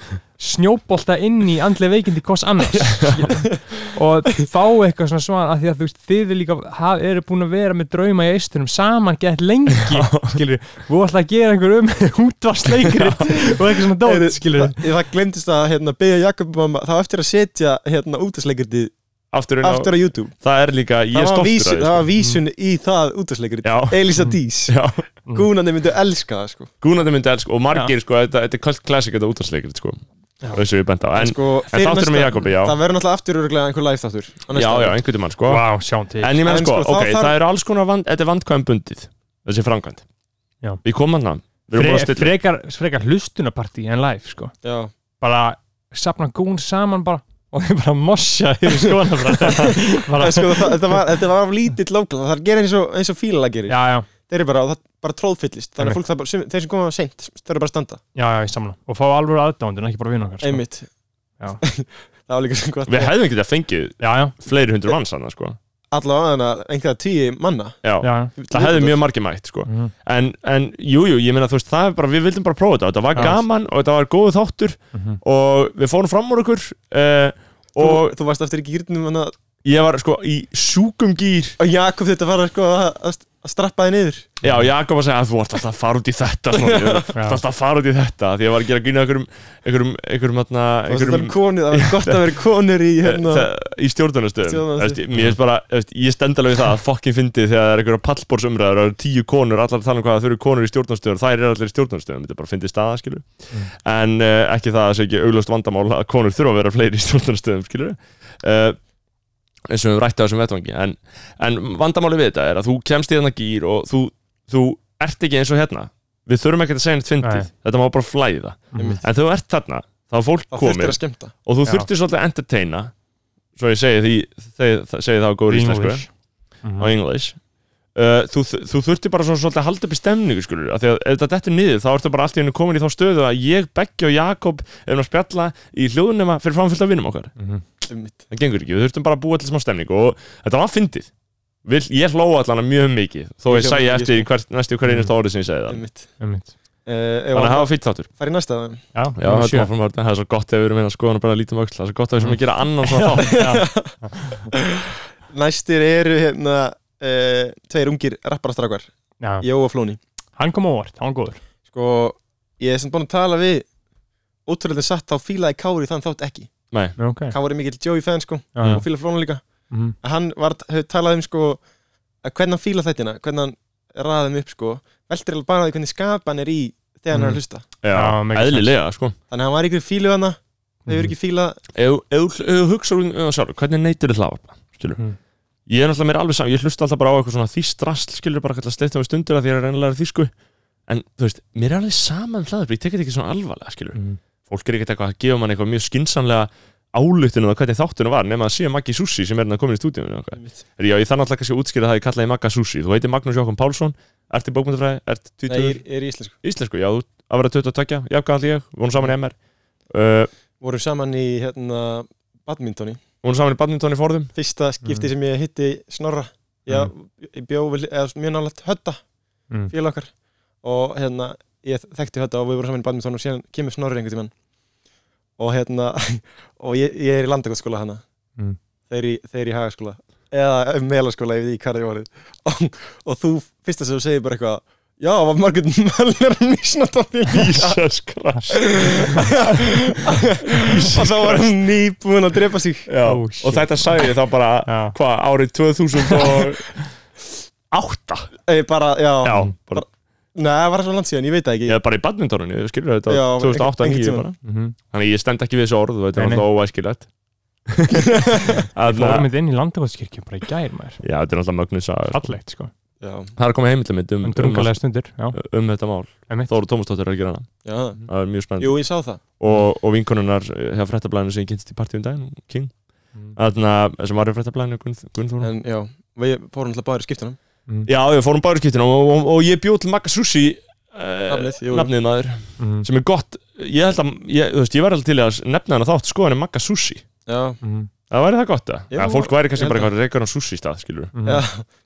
snjóbolta inn í andlega veikindi hvors annars skilurðu. og fá eitthvað svona svona að því að þú veist, þið eru líka haf, eru búin að vera með drauma í eistunum saman gett lengi, skilur við ætla að gera einhver um útvarsleikrit og eitthvað svona Heyrðu, dót, skilur það, það glemdist að hérna, beðja Jakob um að það á eftir að setja hérna, útasleikriti Aftur inn á, aftur á YouTube það er líka, ég er það, var stoltur vísun, að því það sko. var sko. vísun í það útasleikriti Já. Elisa Dís sko. Já, Gúnandi myndu elska það sko. gúnandi myndi elsku og margir, sko, þetta þetta er kvöld klassik þetta útarsleikrit, sko þessu ég bent á, en, sko, en fyrir þáttur með næsta- Jakobi, já Það verður náttúrulega aftur örugglega einhver live þáttur á Já, næsta já, ári. einhvern tímann, sko wow, sján til En ég meina En sko, sko, þá ok, þarf- það eru alls konar vand, þetta er vandkvæm bundið, þessi framkvæmt. Já. Við komum hann, við erum búin að Fre, stilla. frekar, frekar hlustunapartí en live sko. já. bara sapna gún saman bara og þeir bara mossa yfir skona bara, bara En Sko, það, þetta, var, þetta var af lítill lókla Það gerir eins og, eins og fílalag gerir já, já, Þeir eru bara, það bara tróðfyllist Einmitt. Þannig að fólk, það bara, sem, þeir sem koma seint Þeir eru bara að standa, já, já, ég samla og fá alveg aðdándur en ekki bara vinn okkar sko. einmitt Já. Það var líka svo gott Við hefðum ekki þetta fengið já, já, fleiri hundru manns hann, sko. allavega hana einhverja tíu manna já, já, það hefði mjög margir mætt sko. mhm, en, en jú, jú, ég meina þú veist það er bara, við vildum bara prófa þetta, þetta var Já. gaman og þetta var góð þáttur mhm. og við fórum fram úr okkur uh, og og þú varst eftir í gýrnum hana ég var sko í sjúkum gýr og Jakob þetta var sko að, að, að strappa þið niður já, Jakob að segja að þú ert alltaf að fara út í þetta svona, þú ert Mhm. Já. alltaf að fara út í þetta því ég var að gera gýna einhverjum einhverjum, einhverjum, þarna, það var einhverjum svolítið konur, það var gott að vera konur í hérna það, í stjórnunastöðum Stjórnunarstöðum. Þú veist, ég- mér finnst bara, þú veist, ég stend alveg við það að fokkin fyndið þegar það er einhverja pallbórsumræður og það eru tíu konur, allar að tala um hvað það þurfi konur í stjórnunastöðum þær eru allir í stjórnunastöðum, þetta er bara fyndið staða skilur Mm. en uh, ekki það að það sé ekki auglöst vandamál að konur þurfa að vera fleiri í stjórnunastöðum skilur uh, eins og við höfum rætt á þessum vettvangi en, en vandamáli við þetta er að þú kemst í þarna gýr og þú, þú ert ekki eins og hérna við þurfum ekkert að segja neitt fyndið, Nei. þetta má bara flæða Einmitt. en þú ert þarna, þá er fólk það komið þurftir að skemmta og þú Já. þurftir svolítið að entertaina svo ég segi því þeg- það- segi það á góður íslensku English. Mhm. á English uh, þú, þú þurftir bara svona svolítið að halda upp í stemningu skilur, af því að ef þetta dettur niður þá ertu bara allt í hennu komin í þá stöðu að ég, Beggi og Jakob erum að spjalla í hljóðunema fyrir framfyllt af vinnum okkar Mhm. einmitt. það gengur ekki, við þurftum bara að búa til smá stemningu og þetta var fyndið Vil, ég hlóa allan mjög mikið þó Ég ég hló segi mikið, eftir sko. í hvert, næstu hver einasta orði sem ég segi það Einmitt. Einmitt. Eh, ef þannig að að hafa fýtt þáttur fara í næsta það Já, Já, númer þetta sjö. var framfært, það er svo gott ef við erum hérna skoðan og bara lítum öll, það er svo gott ef við sem að gera annan svona þátt Næstir eru hérna uh, tveir ungir rapparastrákar Já. Jó og Flóni Hann kom á óvart, hann var góður Sko, ég er sem búin að tala við Ótrúlega satt þá fílaði Kári þann þátt ekki Já, ok. Kári er mikill Joey fan sko Já, já. og fílaði Flóni líka Mhm. að Hann var, hefur talað um sko að hvernig hann fíla þættina, hvernig hann raði þeim upp sko Veltir alveg bara á því hvernig skapan er í þegar hann Mhm. er að hlusta Já, make sense. eðlilega sko Þannig að hann var ykkur fílu hana Mm. Þau Mhm. eru ekki fíla ef ef- ef þú hugsar um það sjálf hvernig neytir þið hlavarpa skilur Mm. ég er náttúrulega mér alveg saman ég hlusta alltaf bara á eitthvað svona þýst rast skilur bara eitthvað sleittum við stundir að því ég er reynilega þýsku en þú veist mér er alveg saman hlavarpa ég tek þetta ekki svona alvarlega skilur Mhm. fólk er ekkert eitthvað að gefa mann eitthvað mjög skinsanlega álutinu að hvernig þáttunum var nema að sé Maggi Susi sem er hérna komin í stúdíunum já ég þannig alltaf kannski að útskýra það að ég kallaði Magga Susi þú heitir Magnús Jókon Pálsson ert í bókmyndafræði ert 20 Nei, er í íslensku íslensku já þú að vera 22 jafnkvæðan ég vonum saman í MR uh, Voru saman í hérna badmintoni vonum saman í badminton í forðum fyrsta skipti sem ég hitti Snorra ég, ég bjó við, eða, svona mjög nálægt Hötta, Mm. félag okkar og hérna, ég þekkti Hötta og við vorum saman í badminton og síðan kemur Snorri einhvern tímann og hérna og ég, ég er í landakottskóla hana Mm. þeir, í, þeir í hagaskóla eða eh, melaskóla, ég veit ekki hvað það voru og, og þú, fyrsta sem þú segir bara eitthvað Já, var margur möllir nýsnáttan Jesus Christ og þá var hann nýbúin að drepa sig Já, Oh, og shit. þetta sagði ég þá bara Já. hvað árið 2008 Ég bara, já, já, bara, Nei, það var svo langt síðan, ég veit það ekki ég er bara í badmintoninu ég skilur þetta Já, 2008 einhvern- ekki einhvern bara Mhm. þannig ég stend ekki við þessu orð Nei, þetta er nei. náttúrulega óæskilegt Fórum Þarna- við inn í landakvæðskirkju bara í gær maður já, þetta er náttúrulega mögnuð saga sko. Fallegt sko Já, það er komið heimildamind um, En um, drungalega stundir Já, um, um þetta mál emitt Þóra Tómasdóttir er að gera hana Mm. já, það er mjög spennandi jú, ég sá það og, og vinkonunnar eh, hjá frettablæðinu sem ég kynst í partíum daginn King Mm. þarna sem var í frettablæðinu Gunnþóra Eh. En já, við fórum alltaf báðir í skiptunum Já, við fórum bara í skiptinu og, og, og ég bjóð til Magga Sushi uh, Nafnið, jú. nafnið maður Mhm. sem er gott, ég held að ég, þú veist, ég væri alltaf til að nefna hana þátt skoðan er Magga Sushi, Já, Mhm. það væri það gott að Jú, ja, fólk væri kannski ég bara held eitthvað reikar á sushi stað, skilur já, Mhm.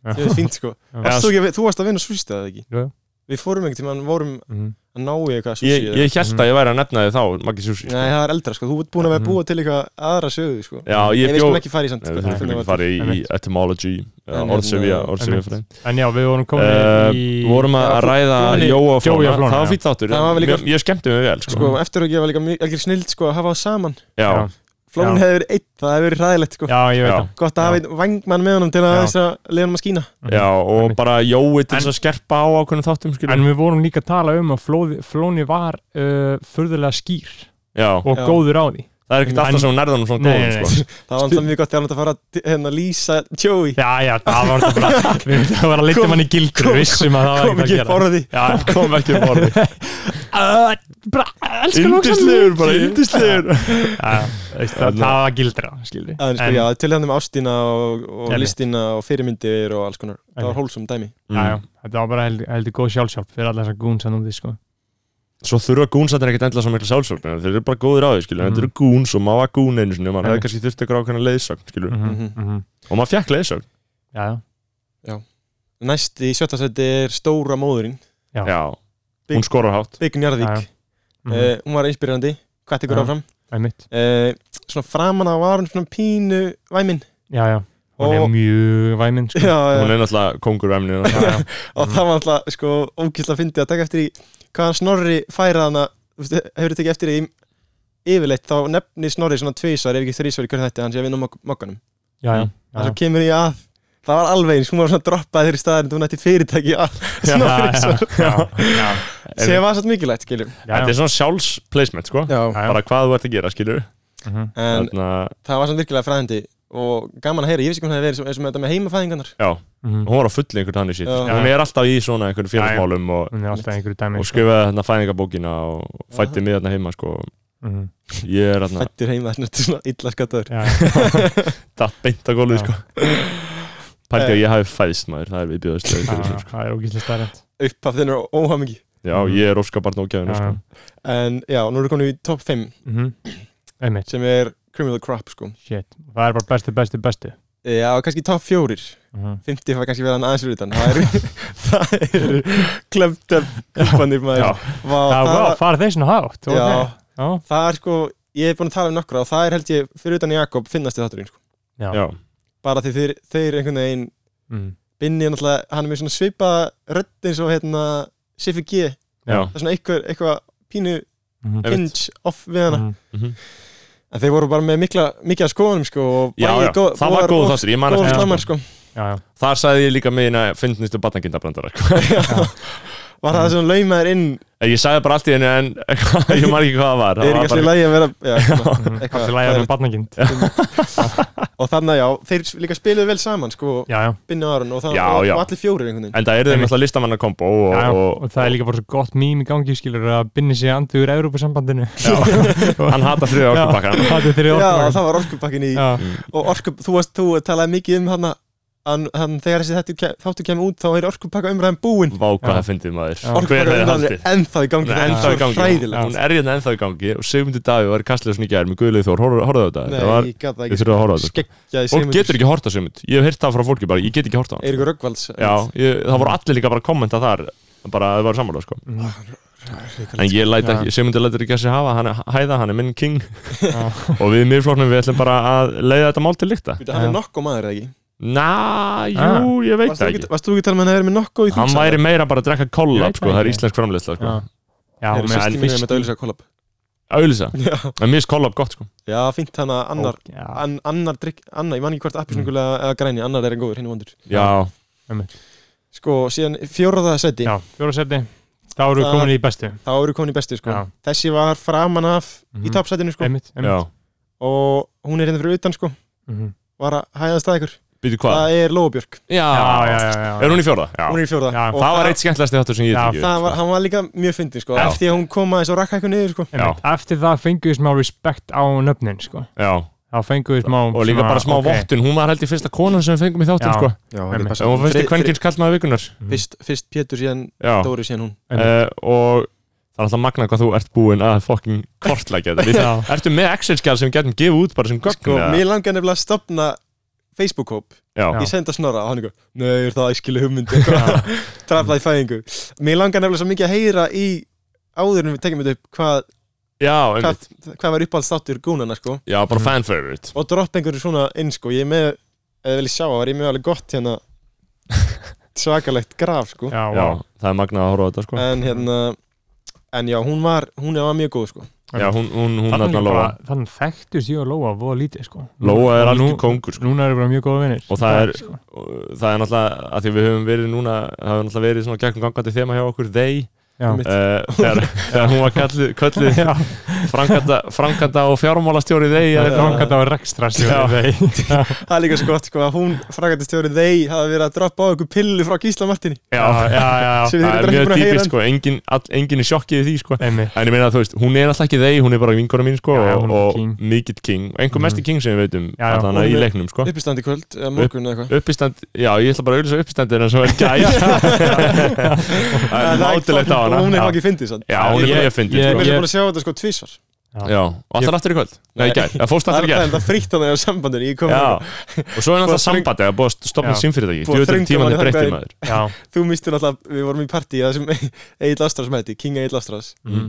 það er fínt sko Varst þú, ekki, þú varst að vinna sushi eða ekki? Jú, jú. Við fórum einhvern tímann, vorum Mhm. að ná í eitthvað sushi ég, eða- ég held að ég væri að nefna þið þá Maggi Sushi, Nei, það er eldra sko, þú ert búin að vera að búa til eitthvað aðra sögu sko já, Ég ég veist bjóð hún ekki fara í samt Nei, sko við þurfum Þannig ekki að- að fara í, í Einmitt. etymology En, orðsefja, en, orðsefja einmitt. fræðin En já, við vorum komin Eh, í vorum að Já, að ræða Flóni- Jóa og Jói Flóna, og Flóna, það var já. fýtt áttur Það var líka- Mér- ég skemmti mig vel, sko Sko, eftir ekki var líka mjög- algjör snild sko að hafa það saman já, Já. Flón Já. hefði verið einn, það hefði verið ræðilegt sko Já, ég veit Já. það Gott að hafa einn vangmann með honum til að Já. þess að leiða honum að skína já, og Einmitt. bara Jói til En- þess að skerpa á ákveðnum þáttum, skilur Mhm. En við vorum líka að tala um að flóði, Flóni var uh, furðulega skýr já, og Já. góður á því það er ekkert En- alltaf sem hún nærðan og svona Nei, nei, góðum, nei. sko Það var alltaf mjög gott þegar hann átti að fara að hérna, lýsa Joey Já, já, það var þetta bara Við það var að leita Kom- manni gildur kom- við Vissum að það var Kom ekkert að ekki upp gera orði Já, kom ekki um orði uh, bara, elsku Yndislegur, bara yndislegur Já, veist, það, það var gildra, skildi En, sko, já, til hann um ástina og, og Einmitt. listina og fyrirmyndir og alls konar Það var Einmitt. hólsum dæmi Mm. já, já, þetta var bara heldur held góð sjálfsjálf fyrir alla þessar gúns að núti, sko Svo þurfa gúnsættin ekkert endilega svo mikla sjálfsögn en Þeir eru bara góðir á því, skilur Mhm. Þeir eru gúns og maður var gún einu sinni og maður Einmitt. Mhm. Mhm. hefði kannski þurft eitthvað ákveðna leiðsögn, skilur mm -hmm. Og maður fekk leiðsögn já, já. Næst í sjötta seti er stóra móðurinn Já. já, hún skorar hátt Big Já, Njarðvík já. Mm. Eh, uh, Hún var inspirerandi, hvað ykkur Já. áfram Einmitt. uh, Svona framan á var hún svona pínu væmin já, já, hún Og- er mjög væminn sko. já, já. hún er náttúrulega kongur emnina Já, já. og það var alltaf sko ógæsla fyndið að taka eftir í hvað hann snorri færa hann að hefur tekið eftir í yfirleitt þá nefni snorri svona tvísar ef ekki þrísar í hverju þetta hann sé að vinna á mok- mokkanum já, já, það já. svo kemur ég að það var alveg eins, hún var svona droppað þeirri staðar en hún ætti fyrirtæki að snorri svo já, sem var svolítið mikilvægt skiljum já, þetta er svona sjálfsplacement sko Já. bara hvað þú ert að gera skilur Mhm. en Þarna, það var svona virkilega fræðandi og gaman að heyra, ég vissi ekki hún hefði verið svo- eins og með þetta með heimafæðingarnar já, Mhm. hún var á fulli einhvern þannig shit Já. hún er alltaf í svona einhvern félagsmálum og, hún er alltaf í einhverju dæmi og sko. skrifaði þarna fæðingabókina og fætti mig þarna heima sko Mhm. ég er þarna fættir heima, þetta er svona illa skattaður Já, já. datt beint á góluð Já. sko pælti að ég hafi fæðst maður það er viðbjóðast Eh. Já, já, það er ógíslega starrend upp af þennar óhamingi já, ég er óskabarn ógæðinu sko en já, nú erum við komin í top 5 Mhm. einmitt, sem er Criminal Crop sko shit það er bara bestu, bestu, bestu Já, kannski top fjórir Mhm. 50 var kannski verið hann aðeins fyrir utan Það eru- það eru klemmt upp klubbanir maður Já. Vá, það það, var, fara þeir svona hátt ok. Já. já, það er sko Ég hef búin að tala um nokkra og það er held ég fyrir utan Jakob finnast þið þátturinn sko. já, Bara því þeir, þeir einhvern veginn Mm. Binni er náttúrulega, hann er með svona svipa rödd eins og hérna Siffi G, já, það er svona eitthvað, eitthvað pínu Mhm. einmitt. pinch off við hana Mhm. Mhm. En þeir voru bara með mikla, mikla skoðunum sko og já, bæði já, góð- það var góðar góð og- þáttur, ég man Góð eftir slammar því, sko. sko já, já, þar sagði ég líka með hérna fyndnistu batnagindabrandara Var Mhm. það sem laumaður inn sko. Eh, ég sagði bara allt í henni en ég man ekki hvað það var Það það er ekki var alltaf í bara, lagi að vera já, svona, Mhm. eitthvað- allir lægja með barnagind já, Og þannig að já, þeir líka spiluðu vel saman sko, já, Binni og Aron og, það, Já, og, já. og allir fjórir einhvern veginn en það eru þeim Einmitt. alltaf listamanna kombo og, já og, og það er líka bara svo gott mím í gangi skilur að binni sig andur úr Evrópusambandinu hann hata þriða orkubakka það er þeirri Já, orkubakkan það var orkupakkin í já, Og orkup, þú, varst, þú talaði mikið um hann Hann, hann þegar þessi þættur ke- þáttur kemur út þá er orkupakka umræðin búin vá hvað Já. það fyndið maður Já. hver Orkupakka hefði umræðin haldið er ennþá í gangi Hún er það er ennþá í svo gangi hræðilegt hún er hérna ennþá í gangi og Sigmundur Davi var í kastljósni gær með Guðlið Þór, horfðu horfðu á þetta Nei, það var, ég gat það ég ekki þurfið að horfa á þetta sko. Skeggja í fólk getur ekki horta Sigmund, ég hef heyrt það frá fólki bara, ég get ekki horta á hann Eiríkur Röggvalds já, ég, það voru allir líka bara að kommenta þar bara að það var sammála sko en ég læt Já. ekki, Sigmundur lætur ekki að sig hafa hann er hæða, hann er minn king Já. og við í miðflóknum við ætlum bara að leiða þetta mál til lykta Býtu, Hann Já. er nokko maður eða ekki na, Ah. jú, ég veit Varst það þú ekki ekki varst þú ekki að tala með hann að vera með nokko í hann þingsal? væri meira bara að drekka kollab Ég veit sko, það það er ekki. Ah. íslensk framleysla sko. já, já, Það en er sýsti mínu fyrst- með dælisa kollab auðvisa, Já, en mér er kollab gott sko. já fínt hann að annar ok, já, an, annar drikk, annar, ég man ekki hvort Mm. appisnungulega eða græni, annar er en góður, hinn er vondur já, sko, síðan fjóraða seti, já, fjóra seti þá eru við Það- komin í bestu þá eru komin í bestu sko. Já. þessi var framan af í Mhm. topsetinu sko. einmitt, já einmitt og hún er hérna fyrir utan sko, Mhm. var að hæðast að ykkur býtu hvað, það er Lóabjörg, já, já, já, já, já. er hún í fjórða? já, hún er í fjóraða Já, og það var eitt skemmtilegasti þáttur sem ég Já, tekið það var, hann var líka mjög fyndin sko. sko, Já. eftir að hún koma eins og rakka eitthvað niður sko. Einmitt. Eftir það fenguðu smá respekt á nöfnin sko. já, þá fenguðu smá og líka bara smá ok. vottun hún var held í fyrsta konan sem við fengum í þáttum Já. sko. já, Einmitt. bara En hún fyrst í Fri- fri- kvenkins kallmaði vikunar fyrst, fyrst Pétur síðan já, Dóri síðan hún uh, og það er alltaf magnað hvað þú ert búinn að fokkin kortlækja þetta Við- Já. ertu með Excel-skjál sem við getum gefið út bara sem gögn sko, eða? mér langar nefnilega að stopna Facebook-hóp, já, ég sendi að snorra og hann ykkur, nei, er það æskilu hugmynd traflaði fæðingu mér langar nefnilega svo mikið að heyra í áður en við tekjum þetta upp hvað já, einmitt. hvað, hvað var uppáhaldstáttur gúnana sko já, bara fan favorite og dropp einhverju svona inn sko ég er með, eða vil ég sjá, var ég með alveg gott hérna svakalegt graf sko Já, já, já, það er magnað að horfa á þetta sko en hérna en já, hún var, hún var mjög góð sko já, hún, hún, hún þannig, þarna bara, Lóa þannig þekktust ég og Lóa voða lítið sko. Lóa er Og algjör nú- kongur sko. Núna eru bara sko. mjög góða vinnir Og það er- Og það er náttúrulega, að því við höfum verið núna það hefur náttúrulega verið svona gegnum gangandi þema hjá okkur they, Já, Mitt. uh, þegar, þegar hún var kallið, kallið Já. franganda, franganda og fjármálastjóri það they eða er eitthvað. frangat á rekstra Já. það er líka svo gott sko að hún frækatistjóri þeir hafa verið að droppa á ykkur pillu frá Gísla Martini já, já, já, Sem við það erum er ekki mjög búin að heyra típist enn. sko, engin, all, engin er sjokkið í því sko Einmitt, En ég meina að þú veist, hún er alltaf ekki þeir, hún er bara vinkona mín sko Já, já, hún er og, king. Mhm. og mikill king, og einhver mesti king sem við veitum Já, já, allan hún í er- leiknum sko uppistandi kvöld, eða morgun eða eitthvað Uppistand, já ég ætla bara að auðvitað uppistandir en svo er gæð Það er En það er mátilegt á fucking- hana hún er Já. ekki fyndið sann Já, hún er Ég- mjög fyndið Ég ég- er sko búin að sjá þetta sko tvísvar Já, og alltaf aftur í kvöld Nei, í gær, það fórst Það aftur er í það gær enda frítt að það er sambandinu Ég kom hérna, Já, og að svo er Búið náttúrulega að þröng- sambandi að búið að stopna Já. símfyrirtæki Búið að djöðlum þröngva tíman manni er breytið þangað maður já, Þú mistur alltaf, við vorum í partí Það sem Egil Astras mætti, King Egil Astras mm.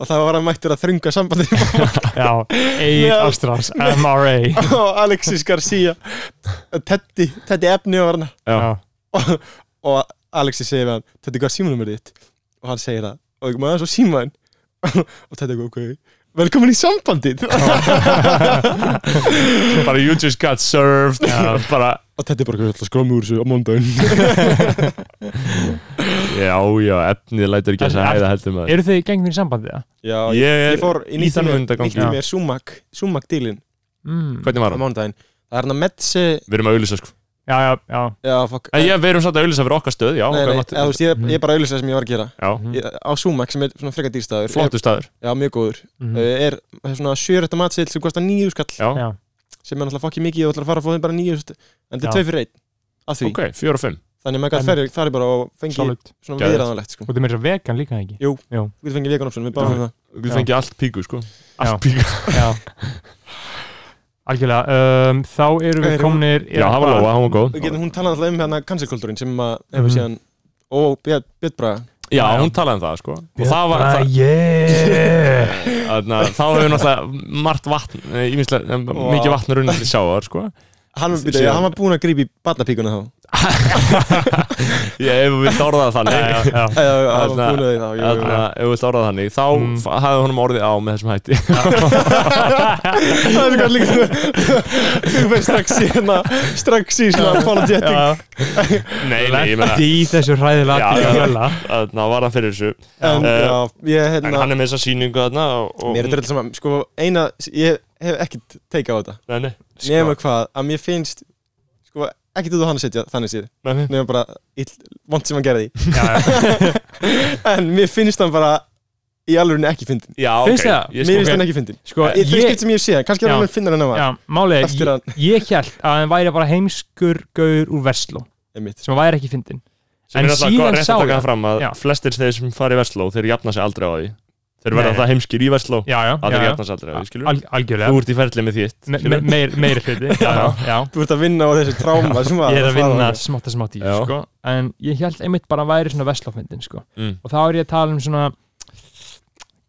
Og það var hann mættur að þrunga sambandinu já Egil Meðal- Ástrás, MRA Og Alexis Garcia Teddy, Teddy Efni var hann Já. já, og, og Alexi segir við hann Teddy, hvað er símanumrið þitt? Og hann segir það Og ég maður svo símaðin Og Teddy, ok, velkomin í sambandið bara you just got served Já. bara, Og Teddy bara, hvað er skrómi úr þessu á mondaginn já, já, efnið lætur ekki að En- hæða heldur maður eru þið gengnir í sambandi það? Já, Ég er ég fór í í þann nýttum mundagang, já. mér Sumac, Sumac dílin Mm. hvernig var á hann? mánudaginn það er hann að Metsi Við erum að auðlýsa sko já, já, já, já, fuck eh, En Eh, já, við erum samt að auðlýsa fyrir okkar stöð, já, nei, okkar Mm. nei, máttu- eða, þú veist, ég, ég er bara að auðlýsa það sem ég var að gera já. ég, á Sumac sem er svona frekar dýrstaður flottu staður já, mjög góður Mhm. uh, er er svona sjörötta matseil sem kostar nýju skall Mm. Eh, Já, já. sem er náttúrulega fokkið mikið og ætlar að fara að fá þeim bara nýju en þetta Já. er tvei fyrir einn af því ok, fjör og fimm þannig að maður gæti En- ferði það er bara og fengi Solid. svona Geðveikt. viðræðanlegt sko og þið meira vegan líka ekki við fengið vegan option við hérna. bara Já. fengið það Við Já. fengið allt píku sko Allt Já. píku já algjörlega, um, þá erum Erum- við komnir Já, það var bara- lóa, hann var góð og getum hún talað alltaf um hérna cancelkultúrin sem að Mhm. hefur síðan og Björnbraga Já, Já. hún talaði um það sko Og það var, Bara, það, yeah Þannig að þá hefur náttúrulega margt vatn, eh, ýmislega, eh, mikið vatn runnið til sjáar, sko. hann, var- Síðan- byrja, hann var búin að grípa í barnapíkuna þá Ég, ef við vilt orða það þannig, já, já, Já, já, já, hann Þarna- var búin að því þá jú, jú, þannig jú. að ef við vilt orða það þannig, þá Mm. mm. hafði honum orðið á með þessum hætti. Það er eitthvað líka Þú veist strax í hérna Strax í svona apologetic já. nei, nei, ég meina, lendi í þessu Já, hræðilega já. atriði. þannig að var hann fyrir þessu. En Eh, já, ég En hérna hann er með þessa síningu þarna og... og Mér er þetta saman Sko, eina Ég hef ekkert teika á þetta Nei, Sko, nei, Nefnum hvað Að mér finnst Sko, ekkert út á hann að setja Þannig séð nei, nei. Nefnum bara ill, Vont sem hann gerði í. já, já. En mér finnst hann bara Í alveg ekki fyndin Já, Finnst þér ok, það? ég Mér sko, finnst ok. hann ekki fyndin sko, Í þau ég, skipt sem ég sé Kannski er Já. hann alveg fyndin en hann já, var málið Eftir er, hann ég, ég held að hann væri bara heimskur gaur úr Vestló Einmitt. sem væri ekki fyndin sem en er alltaf góð síðan rétt sá að taka ég- það fram að Já. flestir þeir sem fara í Vestló, þeir jafna sig aldrei á því. Þeir verða Nei. það heimskir í Vestló, já, já, að já, þeir já. jafna sig aldrei á því, skilur. Al, algjörlega Þú ert í ferli með þitt, Me- me- meir- meiri hluti já, já, já. Þú ert að vinna á þessu tráma sem var ég er að fara vinna þangað. smátt að smátt í Já. sko. en ég held einmitt bara að væri svona Vestlófmyndin sko. Mm. og þá er ég að tala um svona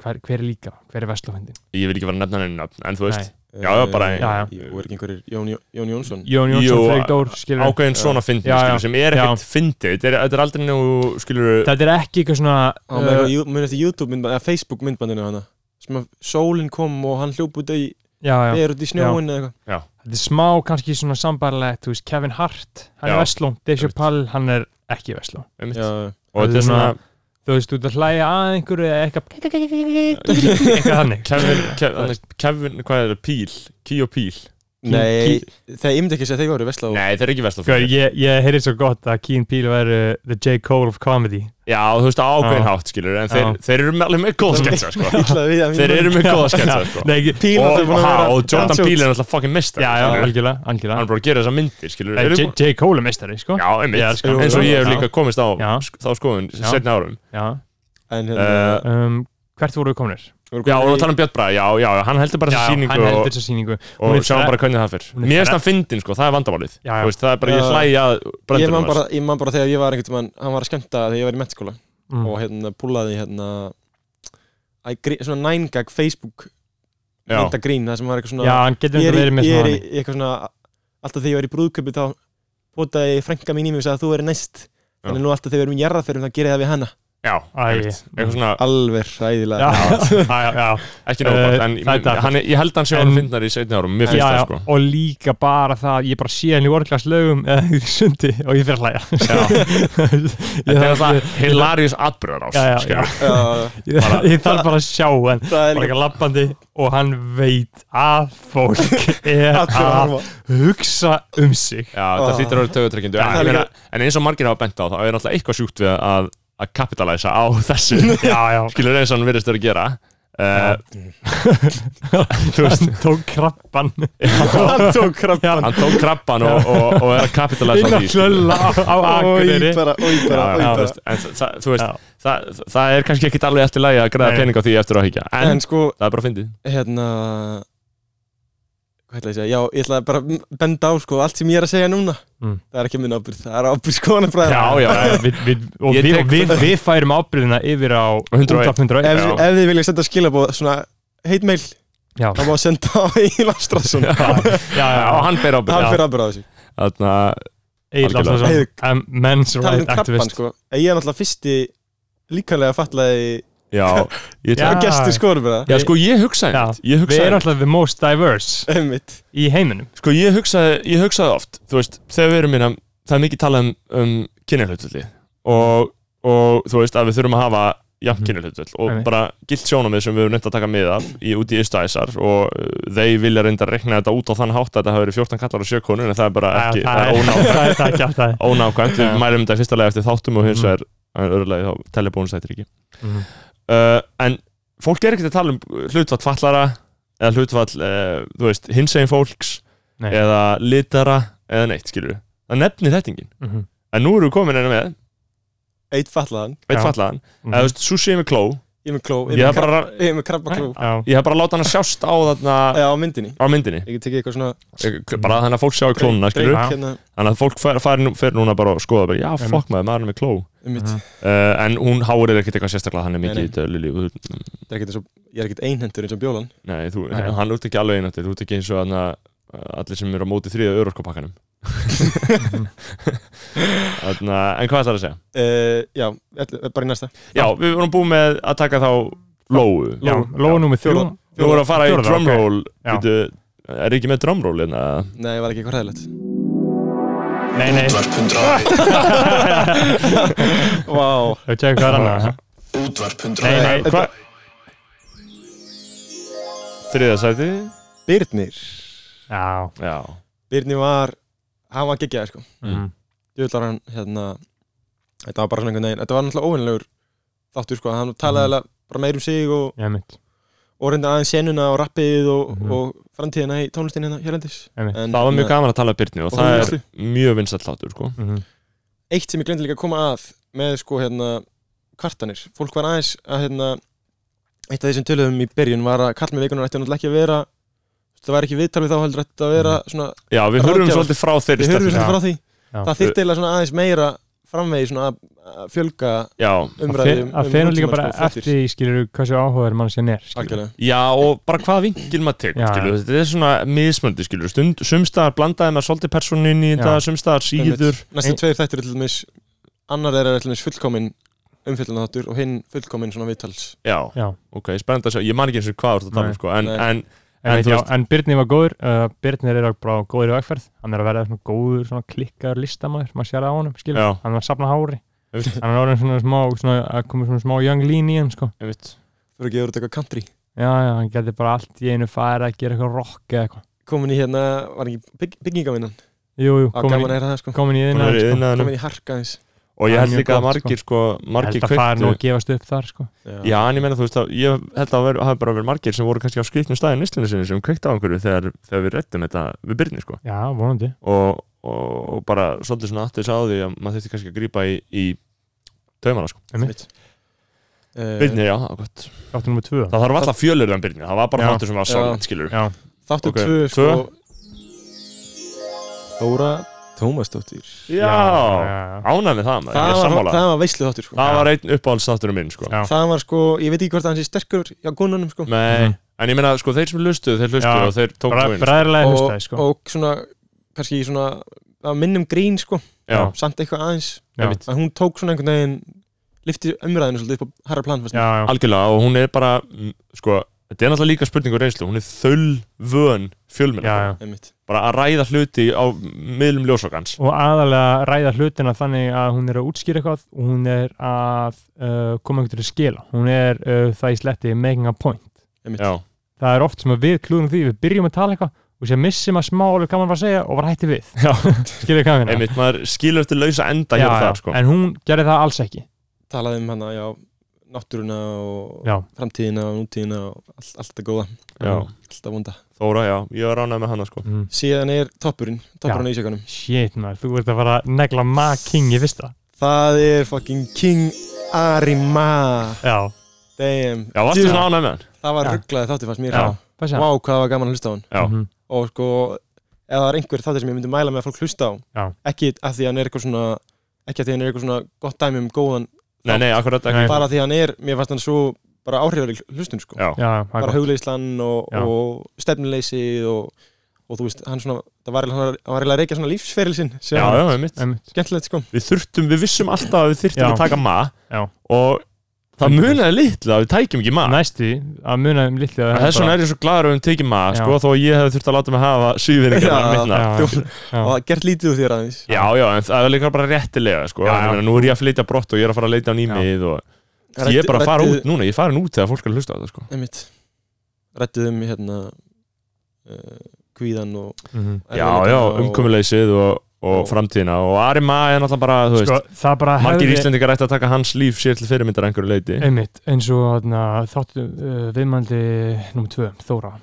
hver, hver er líka, hver er Vestlófmyndin ég vil ekki vera að nefna henni nöfn, en þú veist, Nei. Já, já, bara Eh, Já, já. Jú, er ekki einhverjir Jón, Jón, Jón Jónsson Jón Jú, Jónsson, Freyr Dór skilur ákveðin svona fyndin, Já, já. skilur, sem er ekkert fyndið, þetta er, þetta er aldrei nú, skilur, þetta er ekki eitthvað svona Á, með uh, eitthvað, jú- munið eftir YouTube myndband, eða Facebook myndbandinu hana sem að sólinn kom og hann hljóp út í já, já. verut í snjóin eða eitthvað þetta er smá kannski svona sambarlegt veist, Kevin Hart, hann Já. er Vestló Deja Pall, hann er ekki Vestló einmitt. Já, og þetta er svona, þú veist, þú ert að hlæja að einhverju eða eitthvað eitthvað þannig Kevin, Kevin, hann er- Kevin, hvað er það, Píl, Kí og Píl, Nei, það ég myndi ekki að segja þegar voru vesla og nei, þeir eru ekki Sko, vestlafyrir, ég, ég heyri svo gott að Keen Peel væri the J. Cole of comedy já, þú veist, á ákveðin Já. hátt, skilur, en Já. þeir, þeir eru með- alveg með góða sketsa, sko, illa við að þeir eru með góða sketsa, Já, sko, Nei, ekki, Píl og, náttúrulega búin að ha, vera- og Jordan Já. Píl er alltaf fucking mistar, já, já, hann algjörlega, er algjörlega. bara að gera þessar myndir, skilur, Nei, J. J. Cole er meistari, sko já, Já, einmitt, sko. eins og ég hef Já. líka komist á Já. þá skoðun, Já. setna árum, já. En Eh, hérna Um, Hvert voru við komnir? voru Já, og komin við í- tala um Björn Braga, já, já, já, hann heldur bara Já, þessa síningu hann og- heldur þessa sýningu Hún og er sjáum þre- bara hvernig það fyrr hún er mér finnst þre- hann fyndin sko, það er vandamálið Já, Uh, já. Þú veist, það er bara, ég Já. hlæja Ég man brendurinn bara, ég man bara þegar ég var einhvern veginn, hann var að skemmta þegar ég var í mentaskóla Mm. og hérna púlaði hérna æ, grí- svona nængag Facebook já, myndagrín, það sem var eitthvað svona Já, hann getur hérna- þetta ég verið er, í, með ég er í, svona í eitthvað svona alltaf þegar ég var í brúðköpi þá potaði frænka mín í mig og sagði að þú er næst Já. þannig nú alltaf þegar við erum í jarðarferðum þá gerir ég það við hana já, Æ. einmitt. eitthvað svona alveg Já, ræðilega já, já, já. ekki náttúrulega, Eh, en það er ég- dapurt. hann, er- ég held hann sé En- hann fyndnar í setni árum, mér finnst já, já, það sko og líka bara það ég bara sé henni í orðglas lögum eða í sundi og ég fyrir að hlæja þetta er ég, þarf- það hilarious atbyrðar Já, já, ás skilur. það ég, ég þarf bara að sjá henn er bara líka eitthvað lappandi og hann veit að fólk er allir að að horfa hugsa um sig já, það Ah. hlýtur að vera tögutrekkindu það er en, líka- en eins og margir hafa bent á þá er náttúrulega eitthvað sjúkt við að að kapitalæsa á þessu já, já, skilur eins og hann virðist vera að gera uh, Þú veist, tók krabban Hann tók krabban hann tók krabban og, og, og er að kapitalize inn á að því sko. hlölla á, á Í akureyri bara, Já, já, í bara, í þú bara veist, en það- það- þú veist Já. það, það- það er kannski ekkit alveg eftir lagi að græða Nei. pening á því eftir að higgja en, En sko, það er bara fyndið hérna Hvað ætla ég að segja? Já, ég ætla bara að benda á sko allt sem ég er að segja núna Mm. Það er ekki minn ábyrð, það er ábyrð skoðanabræða já, já, já, við, við, og Ég við, tek- og við, við færum ábyrðina yfir á 101. útvarp 101 ef, já. ef þið vilja senda skilabóð svona heitmeil, Já. þá má senda á Egil Ástrásson Já, já, já, og já, hann ber ábyrgð hann já. fyrir ábyrð á þessu Þarna, Egil Algjörlega. Áslason um, Men's tala um Right krabban Activist sko ég er náttúrulega fyrsti líkanlega fatlaði já, ég, Já. já. ah. gestur skoðanabræða já, sko, ég hugsaði Já. já. ég Við hugsaði erum alltaf the most diverse einmitt í heiminum Sko ég hugsaði, ég hugsaði oft Þú veist, þegar við erum innan Það er mikið talað um, um kynjahlutulli og, og þú veist að við þurfum að hafa jafn Mhm. kynjahlutulli og Einmitt. bara gilt sjónamið sem við erum nefnt að taka mið af í, út í ystæsar og uh, þeir vilja reynda að rekna þetta út á þann hátt að þetta hafa verið 14 kallar og 7 konur en það er bara ekki, Já, það er ónákvæmt það er- það er ekki alltaf það. ónákvæmt, við Já. mælum þetta í fyrsta lagi eftir þáttum og hins Mhm. vegar mm. öðrulega þá telja bónusættir ekki Mhm. uh, en fólk er ekkert að tala um hlutfall fallara eða hlutfall, uh, þú veist, hinsegin fólks Nei. eða litara eða neitt, skilur við það nefnir þetta enginn, Mhm. en nú erum við komin enn með eitt fatlaðan eitt Já. fallaðan, Mhm. eða þú veist, Susi með kló ég er með kló ég ég er hef með bara, krab- ég er með krabbakló Mhm. Já, ég hef bara látað hann að sjást á þarna já á myndinni á myndinni, ég get tekið eitthvað svona bara þannig að fólk sjá klónuna, skilur dreik Já. hérna þannig að fólk fer, fer, nú- fer núna bara og skoða bara, já, Einmitt. fokk maður, maður er með kló einmitt Mhm. uh, en hún hárir ekkert eitthvað sérstaklega hann er mikið Nei, í dölu það er ekkert eins og ég er ekkert einhendur eins og bjólan Nei, þú, Nei. hann út ekki alveg einnáttið, þú ert ekki eins og hana, allir sem eru á móti þriða örorkopakkanum Þarna, En hvað ætlar að segja? uh, já ætli- bara í næsta Já, við vorum búið með að taka þá Lóu Já, lóa númer þrjú Fjórða- Þú voru að fara í Fjórða, drumroll Já. okay. Er ekki með drumroll hérna? nei var ekki eitthvað hræðilegt ok. Nei, nei, Útvarp 101 vá þau tjekka hvað er annað ha? Útvarp Nei, 101 nei, Þetta- hvað? Þriða sæti? Birnir Já, Já Birnir var hann var geggjaði sko Mm. Mhm. djúvillar hann hérna þetta var bara svona einhvern veginn þetta var náttúrulega óvinnilegur þáttur sko hann talaði mm. bara meir um sig og ég mitt og reynda aðeins senuna og rappið og, Mhm. og framtíðina í tónlistinni hérna hérlendis Einmitt. En Það var mjög hérna, gaman að tala um Byrni og, Og það þú er mjög vinsælt þáttur sko. Mm. eitt sem ég glemdi líka að koma að með sko hérna kvartanir fólk var aðeins að hérna eitt af því sem töluðum í byrjun var að kallmenn vikunar ætti náttúrulega ekki að vera það var ekki viðtal við þá heldur ætti að vera svona Já, við hurfum Ráðgjafar. svolítið frá þeirri við hörðum Mhm. stefnu svolítið Já. frá því Já. það þyrfti eiginlega svona aðeins meira framvegi svona að, að fjölga Já, umræðum um Að þeir eru líka bara eftir því skilur hversu áhugaður mann sér er skilurðu. algjörlega Já og bara hvaða vingil maður tekur Já, skilur, þetta er svona mismöndi skilur stund, sumstaðar blandaði maður svolítið personinni í þetta, Já. sumstaðar síður Einmitt. Næstu tveir þættir er til dæmis annar þeirra er til dæmis fullkominn umfyllunarþáttur og hinn fullkominn svona viðtals Já, Já. ok, spennandi að sjá, ég man ekki eins og hvað þú ert að tala um Nei. sko, en, Nei. en En, En veit, þú já, veist- en Byrnir var góður uh, Byrnir er bara góður í vegferð hann er að verða svona góður svona klikkaður listamæður maður sér það á honum, skilur Já. hann var að safna hári Einmitt. hann er orðin svona smá svona, að koma svona smá young lean í hann sko. einmitt, Þú eru ekki að vera eitthvað country já, já, hann getur bara allt í einu færa að gera eitthvað rock eða eitthvað komin í hérna, var ekki bygg, byggingavinnan jú, jú, á gaman komin, að heyra það sko í- komin í hún er iðnaðinn, í sko. innanum komin í harka eins og Það ég er held mjög líka að gott, margir sko, margir held að það er nú kveiktu að gefast upp þar sko. Já, en ég meina þú veist að ég held að það hafi bara verið margir sem voru kannski á skrifnum staðin nýstlunni sinni sem kveiktu á einhverju þegar, þegar við rettum þetta við byrni sko já, vonandi og, og, og bara svolítið svona aftur sá því að maður þurfti kannski að grípa í, í taumana sko, einmitt, uh, byrni, já, það var gott þáttu nummer tvö Það þarf alltaf fjölur en byrni, það var bara Já. þáttur sem var Já. solid, skilur já, þáttu ok, tvö sko tvö. Þóra Tómasdóttir já, Já, já, já. ánæg með það maður, ég það er var, sammála það var veislu þáttur sko Það var einn uppáhaldsþátturinn minn sko Já. það var sko, ég veit ekki hvort að hann sé sterkur hjá konunum sko Nei, en ég meina sko þeir sem lustuðu, þeir lustuðu Já. og þeir tók Bra, tóin bræðarlega og, hlustaði sko. og svona, kannski svona að minnum grín sko, Já. Já, samt eitthvað aðeins já, einmitt. að hún tók svona einhvern veginn lifti umræðinu svolítið upp á harra plan fannst já, mér. já, algjörlega og hún er bara, mm, sko, þetta er náttúrulega líka spurningur reynslu Hún er þöll vön já, fjölmennar já. Einmitt. Bara að ræða hluti á miðlum ljósokans og aðalega ræða hlutina þannig að hún er að útskýra eitthvað og hún er að uh, koma einhvern til að skila hún er uh, það í sletti making a point Einmitt. Já, það er oft sem að við klúðum því við byrjum að tala eitthvað og sér missum að smá alveg hvað mann var að segja og var hætti við Já. skilur hvað minna einmitt, maður skilur eftir lausa enda hér og það sko en hún gerði það alls ekki talaði um hana, já náttúruna og já, framtíðina og nútíðina og all, allt það góða, já, allt það vonda Þóra, já, ég var ránað með hana sko mm. síðan er toppurinn, toppurinn á ísjökanum shit maður, þú ert að fara að negla ma-king í fyrsta það er fucking King Arima já, damn, Já, varstu Djú- svona ánægð með hann? það var Já. rugglaði þátti fannst mér Já. það. Passi vá hvað það var gaman að hlusta á hann Já, Mhm. og sko, ef það er einhver þáttir sem ég myndi mæla með að fólk hlusta á Já. ekki að því hann er eitthvað svona ekki að því hann er eitthvað svona gott dæmi um góðan nei, nei, akkurat ekki Nei. bara því hann er, mér fannst hann svo bara áhrifalig hlustun sko Já, Já, það er bara gott. hugleislan og, Já. og stefnuleysi og, og þú veist, hann svona það var, hann var hann var eiginlega að reykja svona lífsferil sinn sem já, var já, einmitt Einmitt. skemmtilegt sko Við þurftum, við vissum alltaf að við þurftum Já. að taka ma Já. og það munaði litla að við tækjum ekki ma næsti að muna um litli að- Þess vegna er ég svo gladur að við tekið ma Já. sko, þó að ég hefði þurft að láta mig hafa síðverðingar Já. minna Já, Þú- já. og það gert lítið úr þér aðeins Já, já, en það er líka bara réttilega sko. Já, já, já. Nú er ég að flytja brott og ég er að fara að leita á nýmið og... Ég er bara að fara út núna, ég er farin út þegar fólk er að hlusta á þetta sko. einmitt, rættið um hérna uh, kvíðan og Mhm. Já, erfiðleikana já, og- umkomuleysið og, og Já. framtíðina og Ari Ma er náttúrulega bara, þú veist sko, það bara Margir hefði- Íslendingar ætti að taka hans líf sér til fyrirmyndar að einhverju leiti einmitt, eins og þarna, þáttu uh, viðmældi nummer 2, Þóra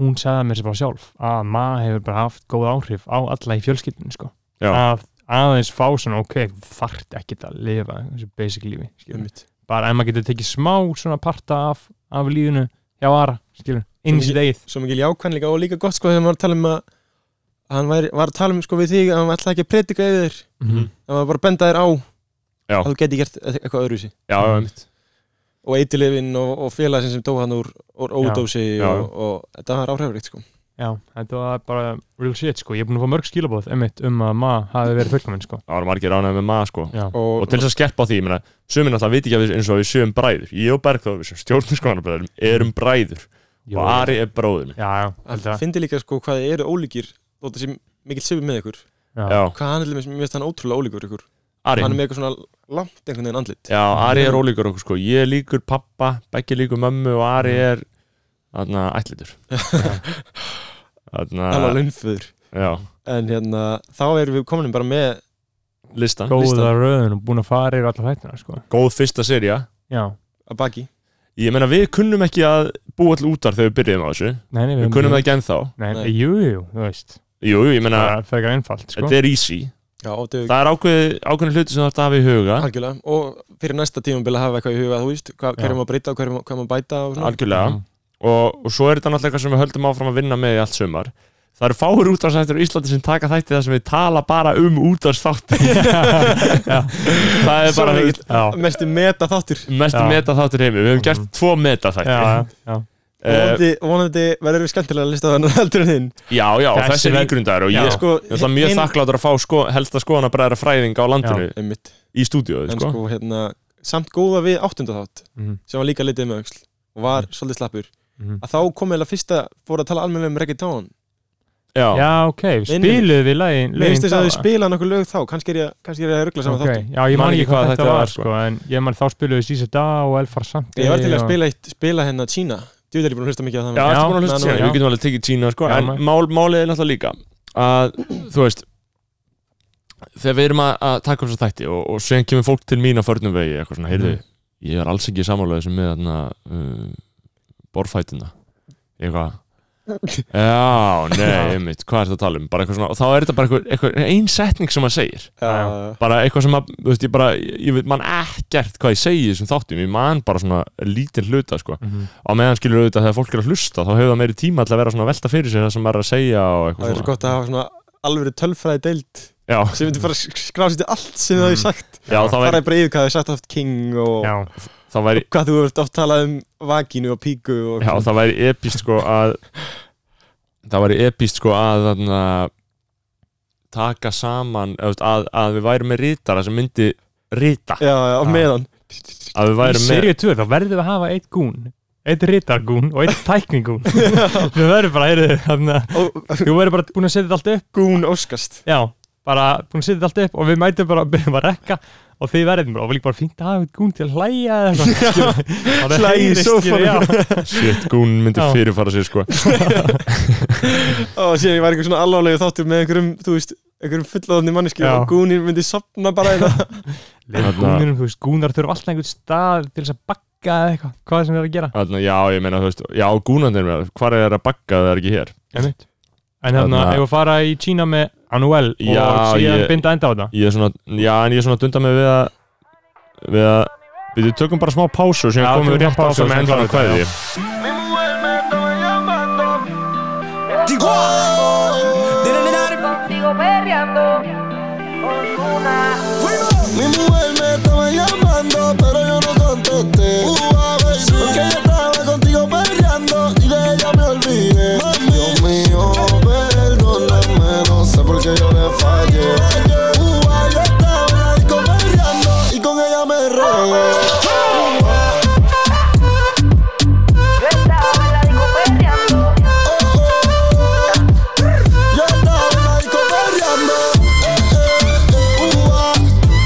hún sagði mér sér bara sjálf að maður hefur bara haft góð áhrif á alla í fjölskyldinu sko. Já. að aðeins fá svona ok, þart ekki að lifa þessu basic lífi skilur. einmitt, bara ef maður getur tekið smá svona parta af, af lífinu hjá aðra, skilur, inn í sitt eigið svo mikil jákvæmleika og líka gott sko þegar maður var að tala um að hann væri, var að tala um sko við þig að hann ætlaði ekki að predika yfir þér Mhm. hann var bara að benda þér á Já. að þú geti gert eitthvað öðruvísi Já, já, einmitt og eitilefin og, og félagsinn sem dó hann úr, úr ódósi Já. og, og þetta var áhrifrikt sko Já, þetta var bara real shit sko, ég er búin að fá mörg skilabóð einmitt um að maður hafi verið fullkominn sko Það var margir ánægð með Ma sko. Já, og, Og til þess að skerpa á því, ég meina, sömur náttúrulega viti ekki að við eins og við séum bræður Ég og Bergþóð, við sem stjórnum skoðanabræðurum, erum bræður Jú. Og Ari er bróðum Já, já, held að að fyndi líka sko hvað þið eru ólíkir þótt að sé mikill svipið með ykkur Já, Já, hvað hann er mér finnst hann ótrúlega ólíkur ykkur Ari hann er með eitthvað svona langt einhvern veginn andlit Já, Ari er ólíkur okkur sko Ég er líkur pappa, Beggi líkur mömmu og Ari er Þarna, ætlitur hann var Þarna, launföður já en hérna þá erum við komin bara með Listan, góða listan. röðun og búin að fara yfir alla þættina sko góð fyrsta serja Já, að baki Ég meina við kunnum ekki að búa all útar þegar við byrjuðum á þessu nei, nei, Við höfum- kunnum það ekki ennþá Nei, Nei. nei. Jú, jú, jú, þú veist Jú, ég meina, Það er frekar einfalt, sko þetta er easy já, og þau Það er ákveð, ákveðin hluti sem þú ert að hafa í huga algjörlega og fyrir næsta tímabili hafa eitthvað í huga þú veist hvað, Já. hverju maður breyta og hverju maður- hvað maður bæta og svona Algjörlega Mhm. og, og svo er þetta náttúrulega eitthvað sem við höldum áfram að vinna með í allt sumar Það eru fáir útvarsættir á Íslandi sem taka þætti þar sem við tala bara um útvarsþátti Það er Svo bara mikill- Já, mestu meta þáttur mest Já. meta þáttir heimi Við hefum gert tvo meta já, þætti já, já. Eh, vonandi, vonandi verður við skemmtilega að lista þannig heldur en þinn Já, já, Þessi þessi er verð- ígrundar og ég Já. sko, sko, ég er alltaf mjög hin- þakkláttur að fá sko, helsta skoðan að bræðra fræðinga á landinu einmitt, í stúdíóið en sko. sko, hérna samt góða við áttunda þátt Mhm. sem var líka litið með auksl og var svolítið slappur Mhm. að þá kom eða fyrsta fór að tala almennilega um reggaetón Já, já, ok, spiluðu við lægin mér finnst þess að þau spila nokkur lög þá kannski er ég, kannski er ég að ruggla saman okay. Já, ég man ekki hvað þetta var, sko En ég man þá spiluðu við Sísa Da og Elfar Sandi þáttum ég var til að og- spila, eitt, spila hérna Kína djú er ég búin að hlusta mikið á já, það maður. ertu Já, búin að hlusta na, sína, já. við getum alveg tekið Kína sko, Já, en maður. mál, málið er náttúrulega líka að, þú veist þegar við erum að, að taka upp þess þætti og, og sen kemur fólk til mín á förnum vegi eitthvað svona, heyrðu, Mhm. ég er alls ekki samálega sem með þarna uh, borfætina eitthvað Já, nei, einmitt, hvað er þetta að tala um? Bara eitthvað svona, og þá er þetta bara eitthvað, eitthvað ein setning sem maður segir Já, bara eitthvað sem að, þú veist, ég bara ég veit, man ekkert hvað ég segi í þessum þáttum ég man bara svona lítinn hluta, sko Mhm. á meðan skilur auðvitað þegar fólk er að hlusta þá hefur það meiri tíma til að vera svona að velta fyrir sér það sem maður er að segja og það eitthvað er svo gott að hafa svona alvöru tölfræði deild Já, sem myndi bara skrási til allt sem það er sagt já, þá fara væri, bara yfir hvað það er sagt oft king og Já, þá væri, hvað þú ert oft talað um vagínu og píku og já, það væri epist sko að það væri epist sko að þarna taka saman eða, þú veist, að, að við værum með rítara sem myndi rita, já, já, á Já. meðan að við í værum með serið 2 þá verðum við að hafa eitt gún Eitt rítargún og eitt tækningún Við verðum bara, heyrðu, þannig að og Þú verður bara búin að setja þetta allt upp gún óskast Já, bara búin að setja þetta allt upp og við mætum bara að byrjum að rekka og þið verðum bara, og við líka bara fínt að hafa eitthvað gún til að hlæja eða eitthvað Og það Hlæja í heyrist, sófanum. já. shit, gún myndi Já. fyrirfara sér sko og síðan ég var einhver svona alvarlegu þáttur með einhverjum, þú veist, einhverjum fullóðni manneski Já. og gúnin myndi sopna bara hérna. í það Leif Þarna- gúninum, þú veist, gúnar þurfa alltaf einhvern stað til þess að bakka bakka eða eitthvað, hvað sem er að gera Þarna, já, ég meina, þú veist, já, gúnandir mér, hvar er að bagga það er ekki hér? Einmitt. en hérna, Þarna- ef við fara í Kína með Anuel og Já, síðan ég- binda enda á þetta Ég er svona, já, en ég er svona að dunda mig við að, við að, við tökum bara smá pásu og Já, síðan tökum komum við rétt smá pásu pásu og með síðan endan að klárum kvæði. þetta, Digo, Contigo perreando con una. Mi mujer me estaba llamando, pero yo no contesté. Uh, ah, baby. Porque yo estaba contigo peleando y de ella me olvidé. Dios mío, perdóname, no sé por qué yo le fallé. Uh, ah, yo estaba en la disco peleando y con ella me regué. Uh, ah, Yo estaba en la disco perreando. oh, oh. Yo estaba en la disco peleando. Eh, eh, eh. Uh, ah,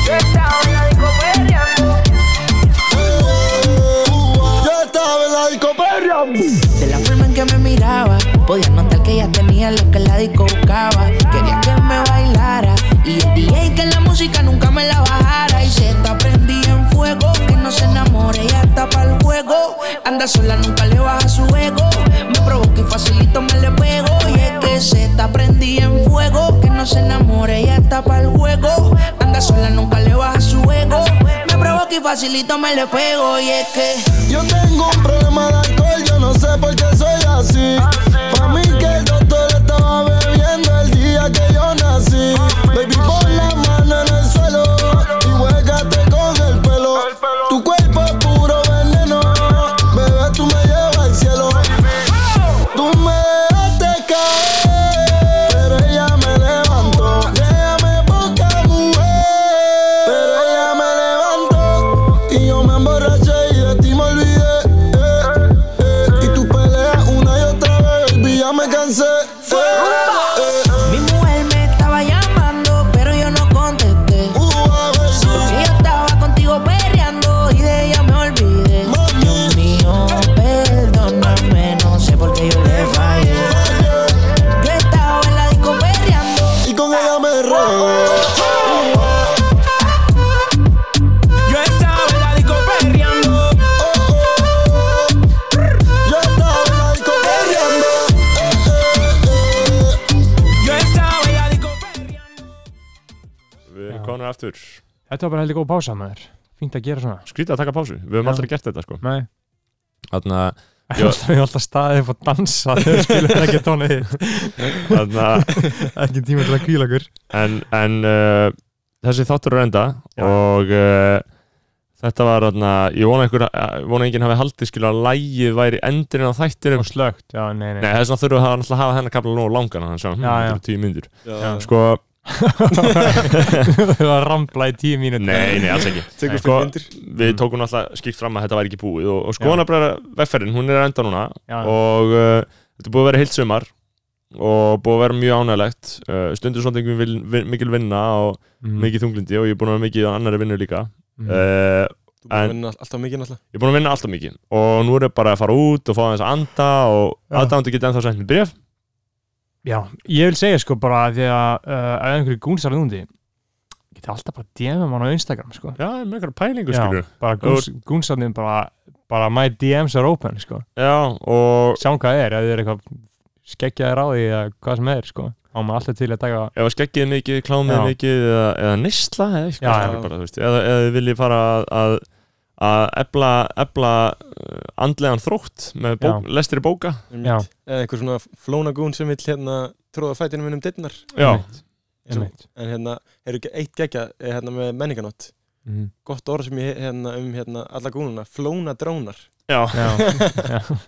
Yo estaba en la disco perreando. eh, uh, ah. Yo estaba en la disco peleando. De la forma en que me miraba, podía notar que ella tenía lo que la disco buscaba. Quería que me bailara y el DJ que la música nunca me la bajara. Y se está prendí en fuego, que no se enamore, ella está para el juego. Anda sola, nunca le baja su ego. Me provoca y facilito me le pego. Y es que se está prendí en fuego, que no se enamore, ella está para el juego. Anda sola, nunca le baja su ego. Me provoca y facilito me le pego. Y es que. Yo tengo un problema de alcohol, yo no sé por qué soy así. Pa' mí que el doctor estaba bebiendo el día que yo nací. Baby, pon la mano en el suelo y huégate con el pelo. Tu cuerpo es puro veneno, bebé, tú me llevas al cielo. Tú me dejaste caer, pero ella me levantó. Déjame poca mujer, pero ella me levantó. Y yo me emborraché y de ti me olvidé. eh, eh. Y tú peleas una y otra vez, baby, ya me cansé. eh, eh. Mi mujer me estaba llamando, pero yo no contesté. Uh, a ver, Que yo estaba contigo perreando y de ella me olvidé. Dios mío, perdóname, no sé por qué yo le fallé. Yo estaba en la disco perreando. Y con ella me regué. yo estaba en la disco perreando. Yo estaba en la disco perreando, eh, eh, eh. Yo estaba en la disco perreando. Við erum konar aftur. þetta var bara heldur góð pása maður, fínt að gera svona Skrítið að taka pásu, við höfum Já. aldrei gert þetta, sko. nei, Þarna, ég hef alltaf staðið upp og dansa þegar við spilum ekki tónið þitt. þarna, ekki tíma til að kvíla okkur en, en uh, þessi þáttur er að enda Já. og uh, þetta var þarna, ég vona einhver ég vona enginn hafi haldið skilur að lægið væri endurinn á þættinum og slögt, já, nei, nei, Nei, þess vegna þurfum við að náttúrulega að hafa hennar kapla nógu langan þannig að Já, já. hann sjá, tíu myndur Já, Sko, það var að rambla í tíu mínútur nei, nei, alls ekki Tökum sko, fyrir myndir. Við tókum alltaf skýrt fram að þetta væri ekki búið og, og skoðanabræðra vegferðin, hún er að enda núna Já. og uh, þetta er búið að vera heilt sumar og búið að vera mjög ánægilegt uh, stundur svona einhver vil- vil- mikil vinna og Mhm. mikið þunglindi og ég er búin að vera mikið á annari vinnu líka Mhm. uh, Þú búin En- að vinna alltaf mikið náttúrulega. ég er búin að vinna alltaf mikið og nú er ég bara að fara út og fá aðeins að anda og Já. aðdæmandi geta ennþá sendt mér bref Já, ég vil segja sko bara því að uh, ef einhverju gúnsar er úndi geti alltaf bara DM mann á Instagram sko já, með einhverja pælingu skilur bara gúns, gúnsarnir bara, bara my DMs are open sko já, og sjáum hvað er, ef þið er eitthvað skeggjaði ráði eða hvað sem er sko á maður alltaf til að taka ef að skeggið er mikið, klámið er Já. mikið eða, eða neysla Já, eða eitthvað já. skilur bara, þú veist, eða, eða þið viljið fara að, að að ebla, ebla uh, andlegan þrótt með bók, lestri bóka já, Einmitt. Eða einhver svona flónagún sem vill hérna tróða fætinu minn um dittnar. já, einmitt En hérna, er ekki eitt gegja eh, hérna með menninganót. Mhm. Gott orð sem ég hérna um hérna alla gúnuna. Flóna drónar. já, já, já,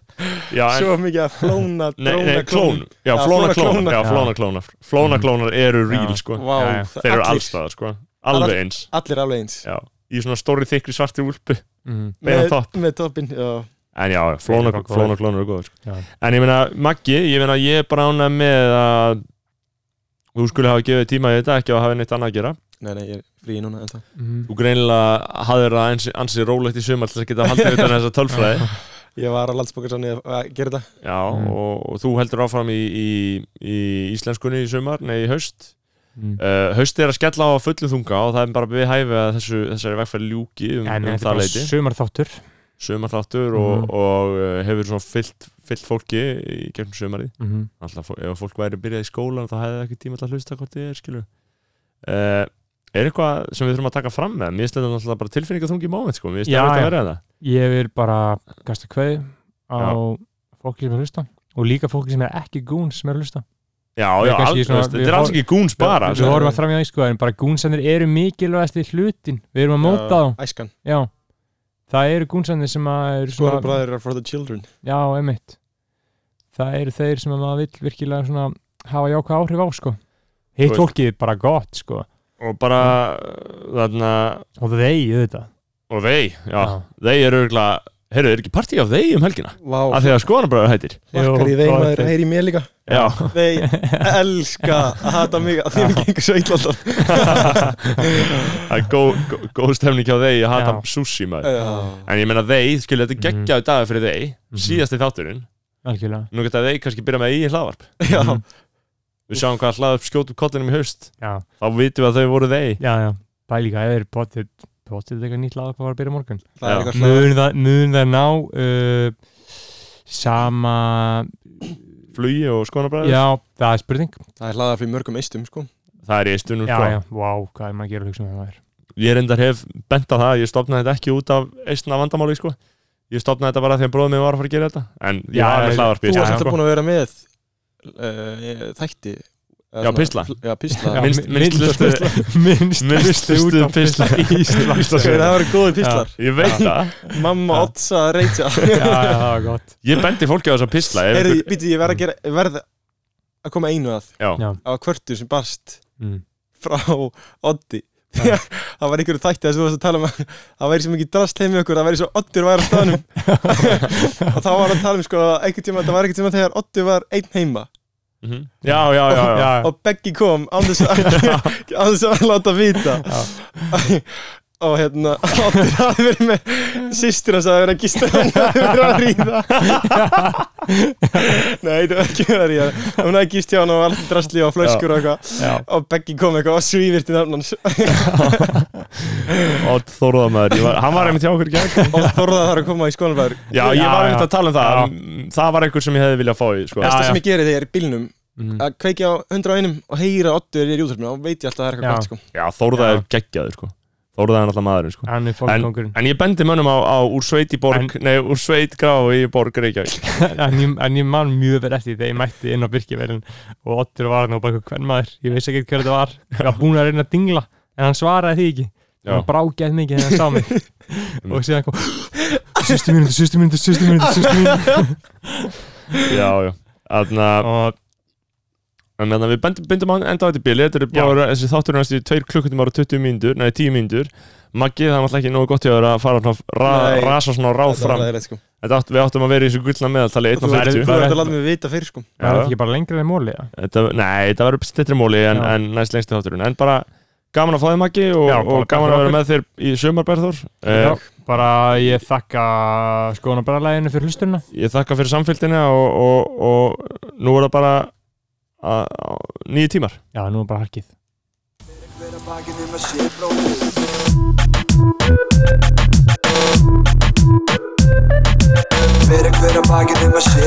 já en, Svo mikið að flóna nei, dróna nei, klón, já, flóna klónar já, Já. flóna klónar, flóna klónar eru real Já. sko, Vá, Já, já. það- þeir eru allir- allstaðar sko, alveg eins Allir alveg eins. já, í svona stóri þykri svartir úlpu mm, Með topp. Með toppin, já. en já, flóna, Þeir eru bara flóna klónur er góður sko. já. en ég meina, Maggi, ég meina ég er bara ánað með að þú skulle hafa gefið tíma í þetta ekki að hafa neitt annað að gera Nei, nei, ég er frí núna en það. Mm. þú greinilega hafðir það ansi, ansi rólegt í sumar til að geta haldið utan þessa tölfræði Ég var á landsbókarsanni að gera þetta. já, Mm. og, og þú heldur áfram í, í, í íslenskunni í sumar nei, í haust Mm. uh, haust er að skella á fullum þunga og það er bara við hæfi að þessu, þessari vegferð ljúki um, En um þetta er það bara leiti sumar þáttur sumarþáttur og, Mhm. og eh, hefur svona fyllt, fyllt fólki í gegnum sumarið Mhm. Alltaf, fó- ef fólk væri byrjað í skólan þá hefði það ekki tíma til að hlusta hvort þið er skilur uh, Er eitthvað sem við þurfum að taka fram með? Mér finnst þetta náttúrulega bara tilfinningaþungi móment sko, mér finnst Já, þetta að já. vera það Ég vil bara kasta kveði á Já. fólki sem er að hlusta og líka fólki sem er ekki goons sem er að hlusta Já, Við já, kannski alveg, svona- þetta við er alls hor- ekki gúns bara sko. Við horfum að fram í æsku en bara goonsendir eru mikilvægasti hlutin Við erum að móta þá Æskan Já Það eru goonsendir sem að eru Skora svona bræðir are for the children Já, emitt Það eru þeir sem að maður vill virkilega svona hafa jákvæð áhrif á sko Þú Hitt veist- fólkið er bara gott sko og bara þarna, Og þeir auðvitað og þeir já, þeir eru örgulega, heyrðu, er ekki partí af þeir um helgina, Vá, af því að skoðanabröður hættir lakkar í Jú, þeim gott. maður heyri í mér líka Já, Nei, elska að hata mig að því að mér gengur svo illa alltaf það er góð gó, gó stemning hjá þeir að hata Já. sushi maður Já. En ég meina þeir, skilja, þetta er Mhm. geggjaðu dagar fyrir þeir síðasti þátturinn, Algjörlega Mm. nú geta þeir kannski byrja með eigin hlaðvarp Já, Við sjáum hvað hlaðvarp skjótum kollinum í haust Já, þá vitum við að þau voru þeir já, já Það er líka, það er potið potið eitthvað nýtt lag að fara að byrja á morgun það er Já. eitthvað hlaðar mun það, mun það ná uh, sama flugi og skoðanabröður já, það er spurning Það er hlaðar fyrir mörgum eistum sko Það er ég stunum já, sko já, vá, hvað er maður að gera að hugsa um það er ég reyndar hef bent á það að ég stopnaði þetta ekki út af eistna vandamáli sko. ég stopnaði þetta bara því að bróðum minn var að fara að gera þetta en ég Já, var já, með hlaðarpi Þú Já, ert alltaf sko. búin að vera með uh, þætti eða Já, svona- pistla. Já, pistla Já. minnst- minnst hlustu- minnst minnst hlustu hlustu út á pistla pistla. í Ísland Það eru góði pistlar ég veit það, Mamma Já. Otsa reytja já, já, það var gott ég bendi fólki á þess að pistla ef Heyrðu, ykkur- býttu, ég verð að gera ég verð að koma einu að Já. Já. á kvörtur sem barst Mm. frá Oddi það var einhverju þætti þess að þú varst að tala um að það væri svo mikið drast heim í okkur það væri svo Oddur væri á staðnum og þá var hann að tala um sko einhvern tíma, það var einhvern tíma þegar Oddur var einn heima Mhm. já, já, já, já. já, og Beggi kom án þess að án þess að láta vita og hérna Oddur hafði verið með sýstir hans að verið að gista hann hafði verið að ríða nei það var ekki verið að ríða hún hafði gist hjá hann og var alltaf drastli og flöskur og eitthvað já. og Beggi kom eitthvað og svívirti nafn hans og þorðamæður, var, hann var einmitt hjá okkur í gær. og þorðað þar að koma í skonabæður já, ég Já, var einmitt já. að tala um það Mm, það var einhver sem ég hefði viljað fá í sko. Já, besta já. sem ég geri þegar ég er í bílnum Mm. að kveikja á 101 og heyra Oddur er í útvarpinu og veit ég alltaf að það er Já. eitthvað gott sko. já, þorða Já. er geggjaður sko. þorða er alltaf maðurinn sko. hann er en, fólkongurinn en ég bendi mönnum á, á úr sveit í borg nei, úr sveit grá í borg Reykjavík en, ég- en ég man mjög verið eftir því þegar ég mætti inn á Birkiverðin og Ottur var hann og bara hvern maður ég veist ekki hver þetta var ég var búin að reyna að dingla en hann svaraði því ekki Já. hann brákjaði mikið þegar hann sá mig og síðan kom sýstu mínúti, sýstu mínúti, sýstu mínúti, sýstu mínúti já, já Þannig og En þannig að við bendum, bendum á enda á þetta bíli Þetta eru Já. bara þessi þáttur næstu í 2 klukkutum ára 20 mínútur Nei, 10 mínútur Maggi, það er alltaf ekki nógu gott hjá þér að fara svona ra, Nei. Rasa svona ráð Þetta var fram hræðilegt, sko. Þetta átt, Við áttum að vera í þessu gullna meðaltali þú verður 1.40 þú verður að láta mig vita fyrir sko. það er Já. ekki bara lengra en móli Þetta- Nei, þetta verður stittri móli en, Já. en næst lengstu þátturinn En bara gaman að fá þig Maggi Og, Já, bara og gaman gaman að vera okkur. með þér í sömarberður Já, uh, Eh, bara ég þakka skoðanabræðalæginu fyrir hlustunna Ég þakka fyrir samfélgdina og, og, og nú er það bara að- á- Nýju tímar já, nú er bara harkið Fyrir hver að bakið um að sé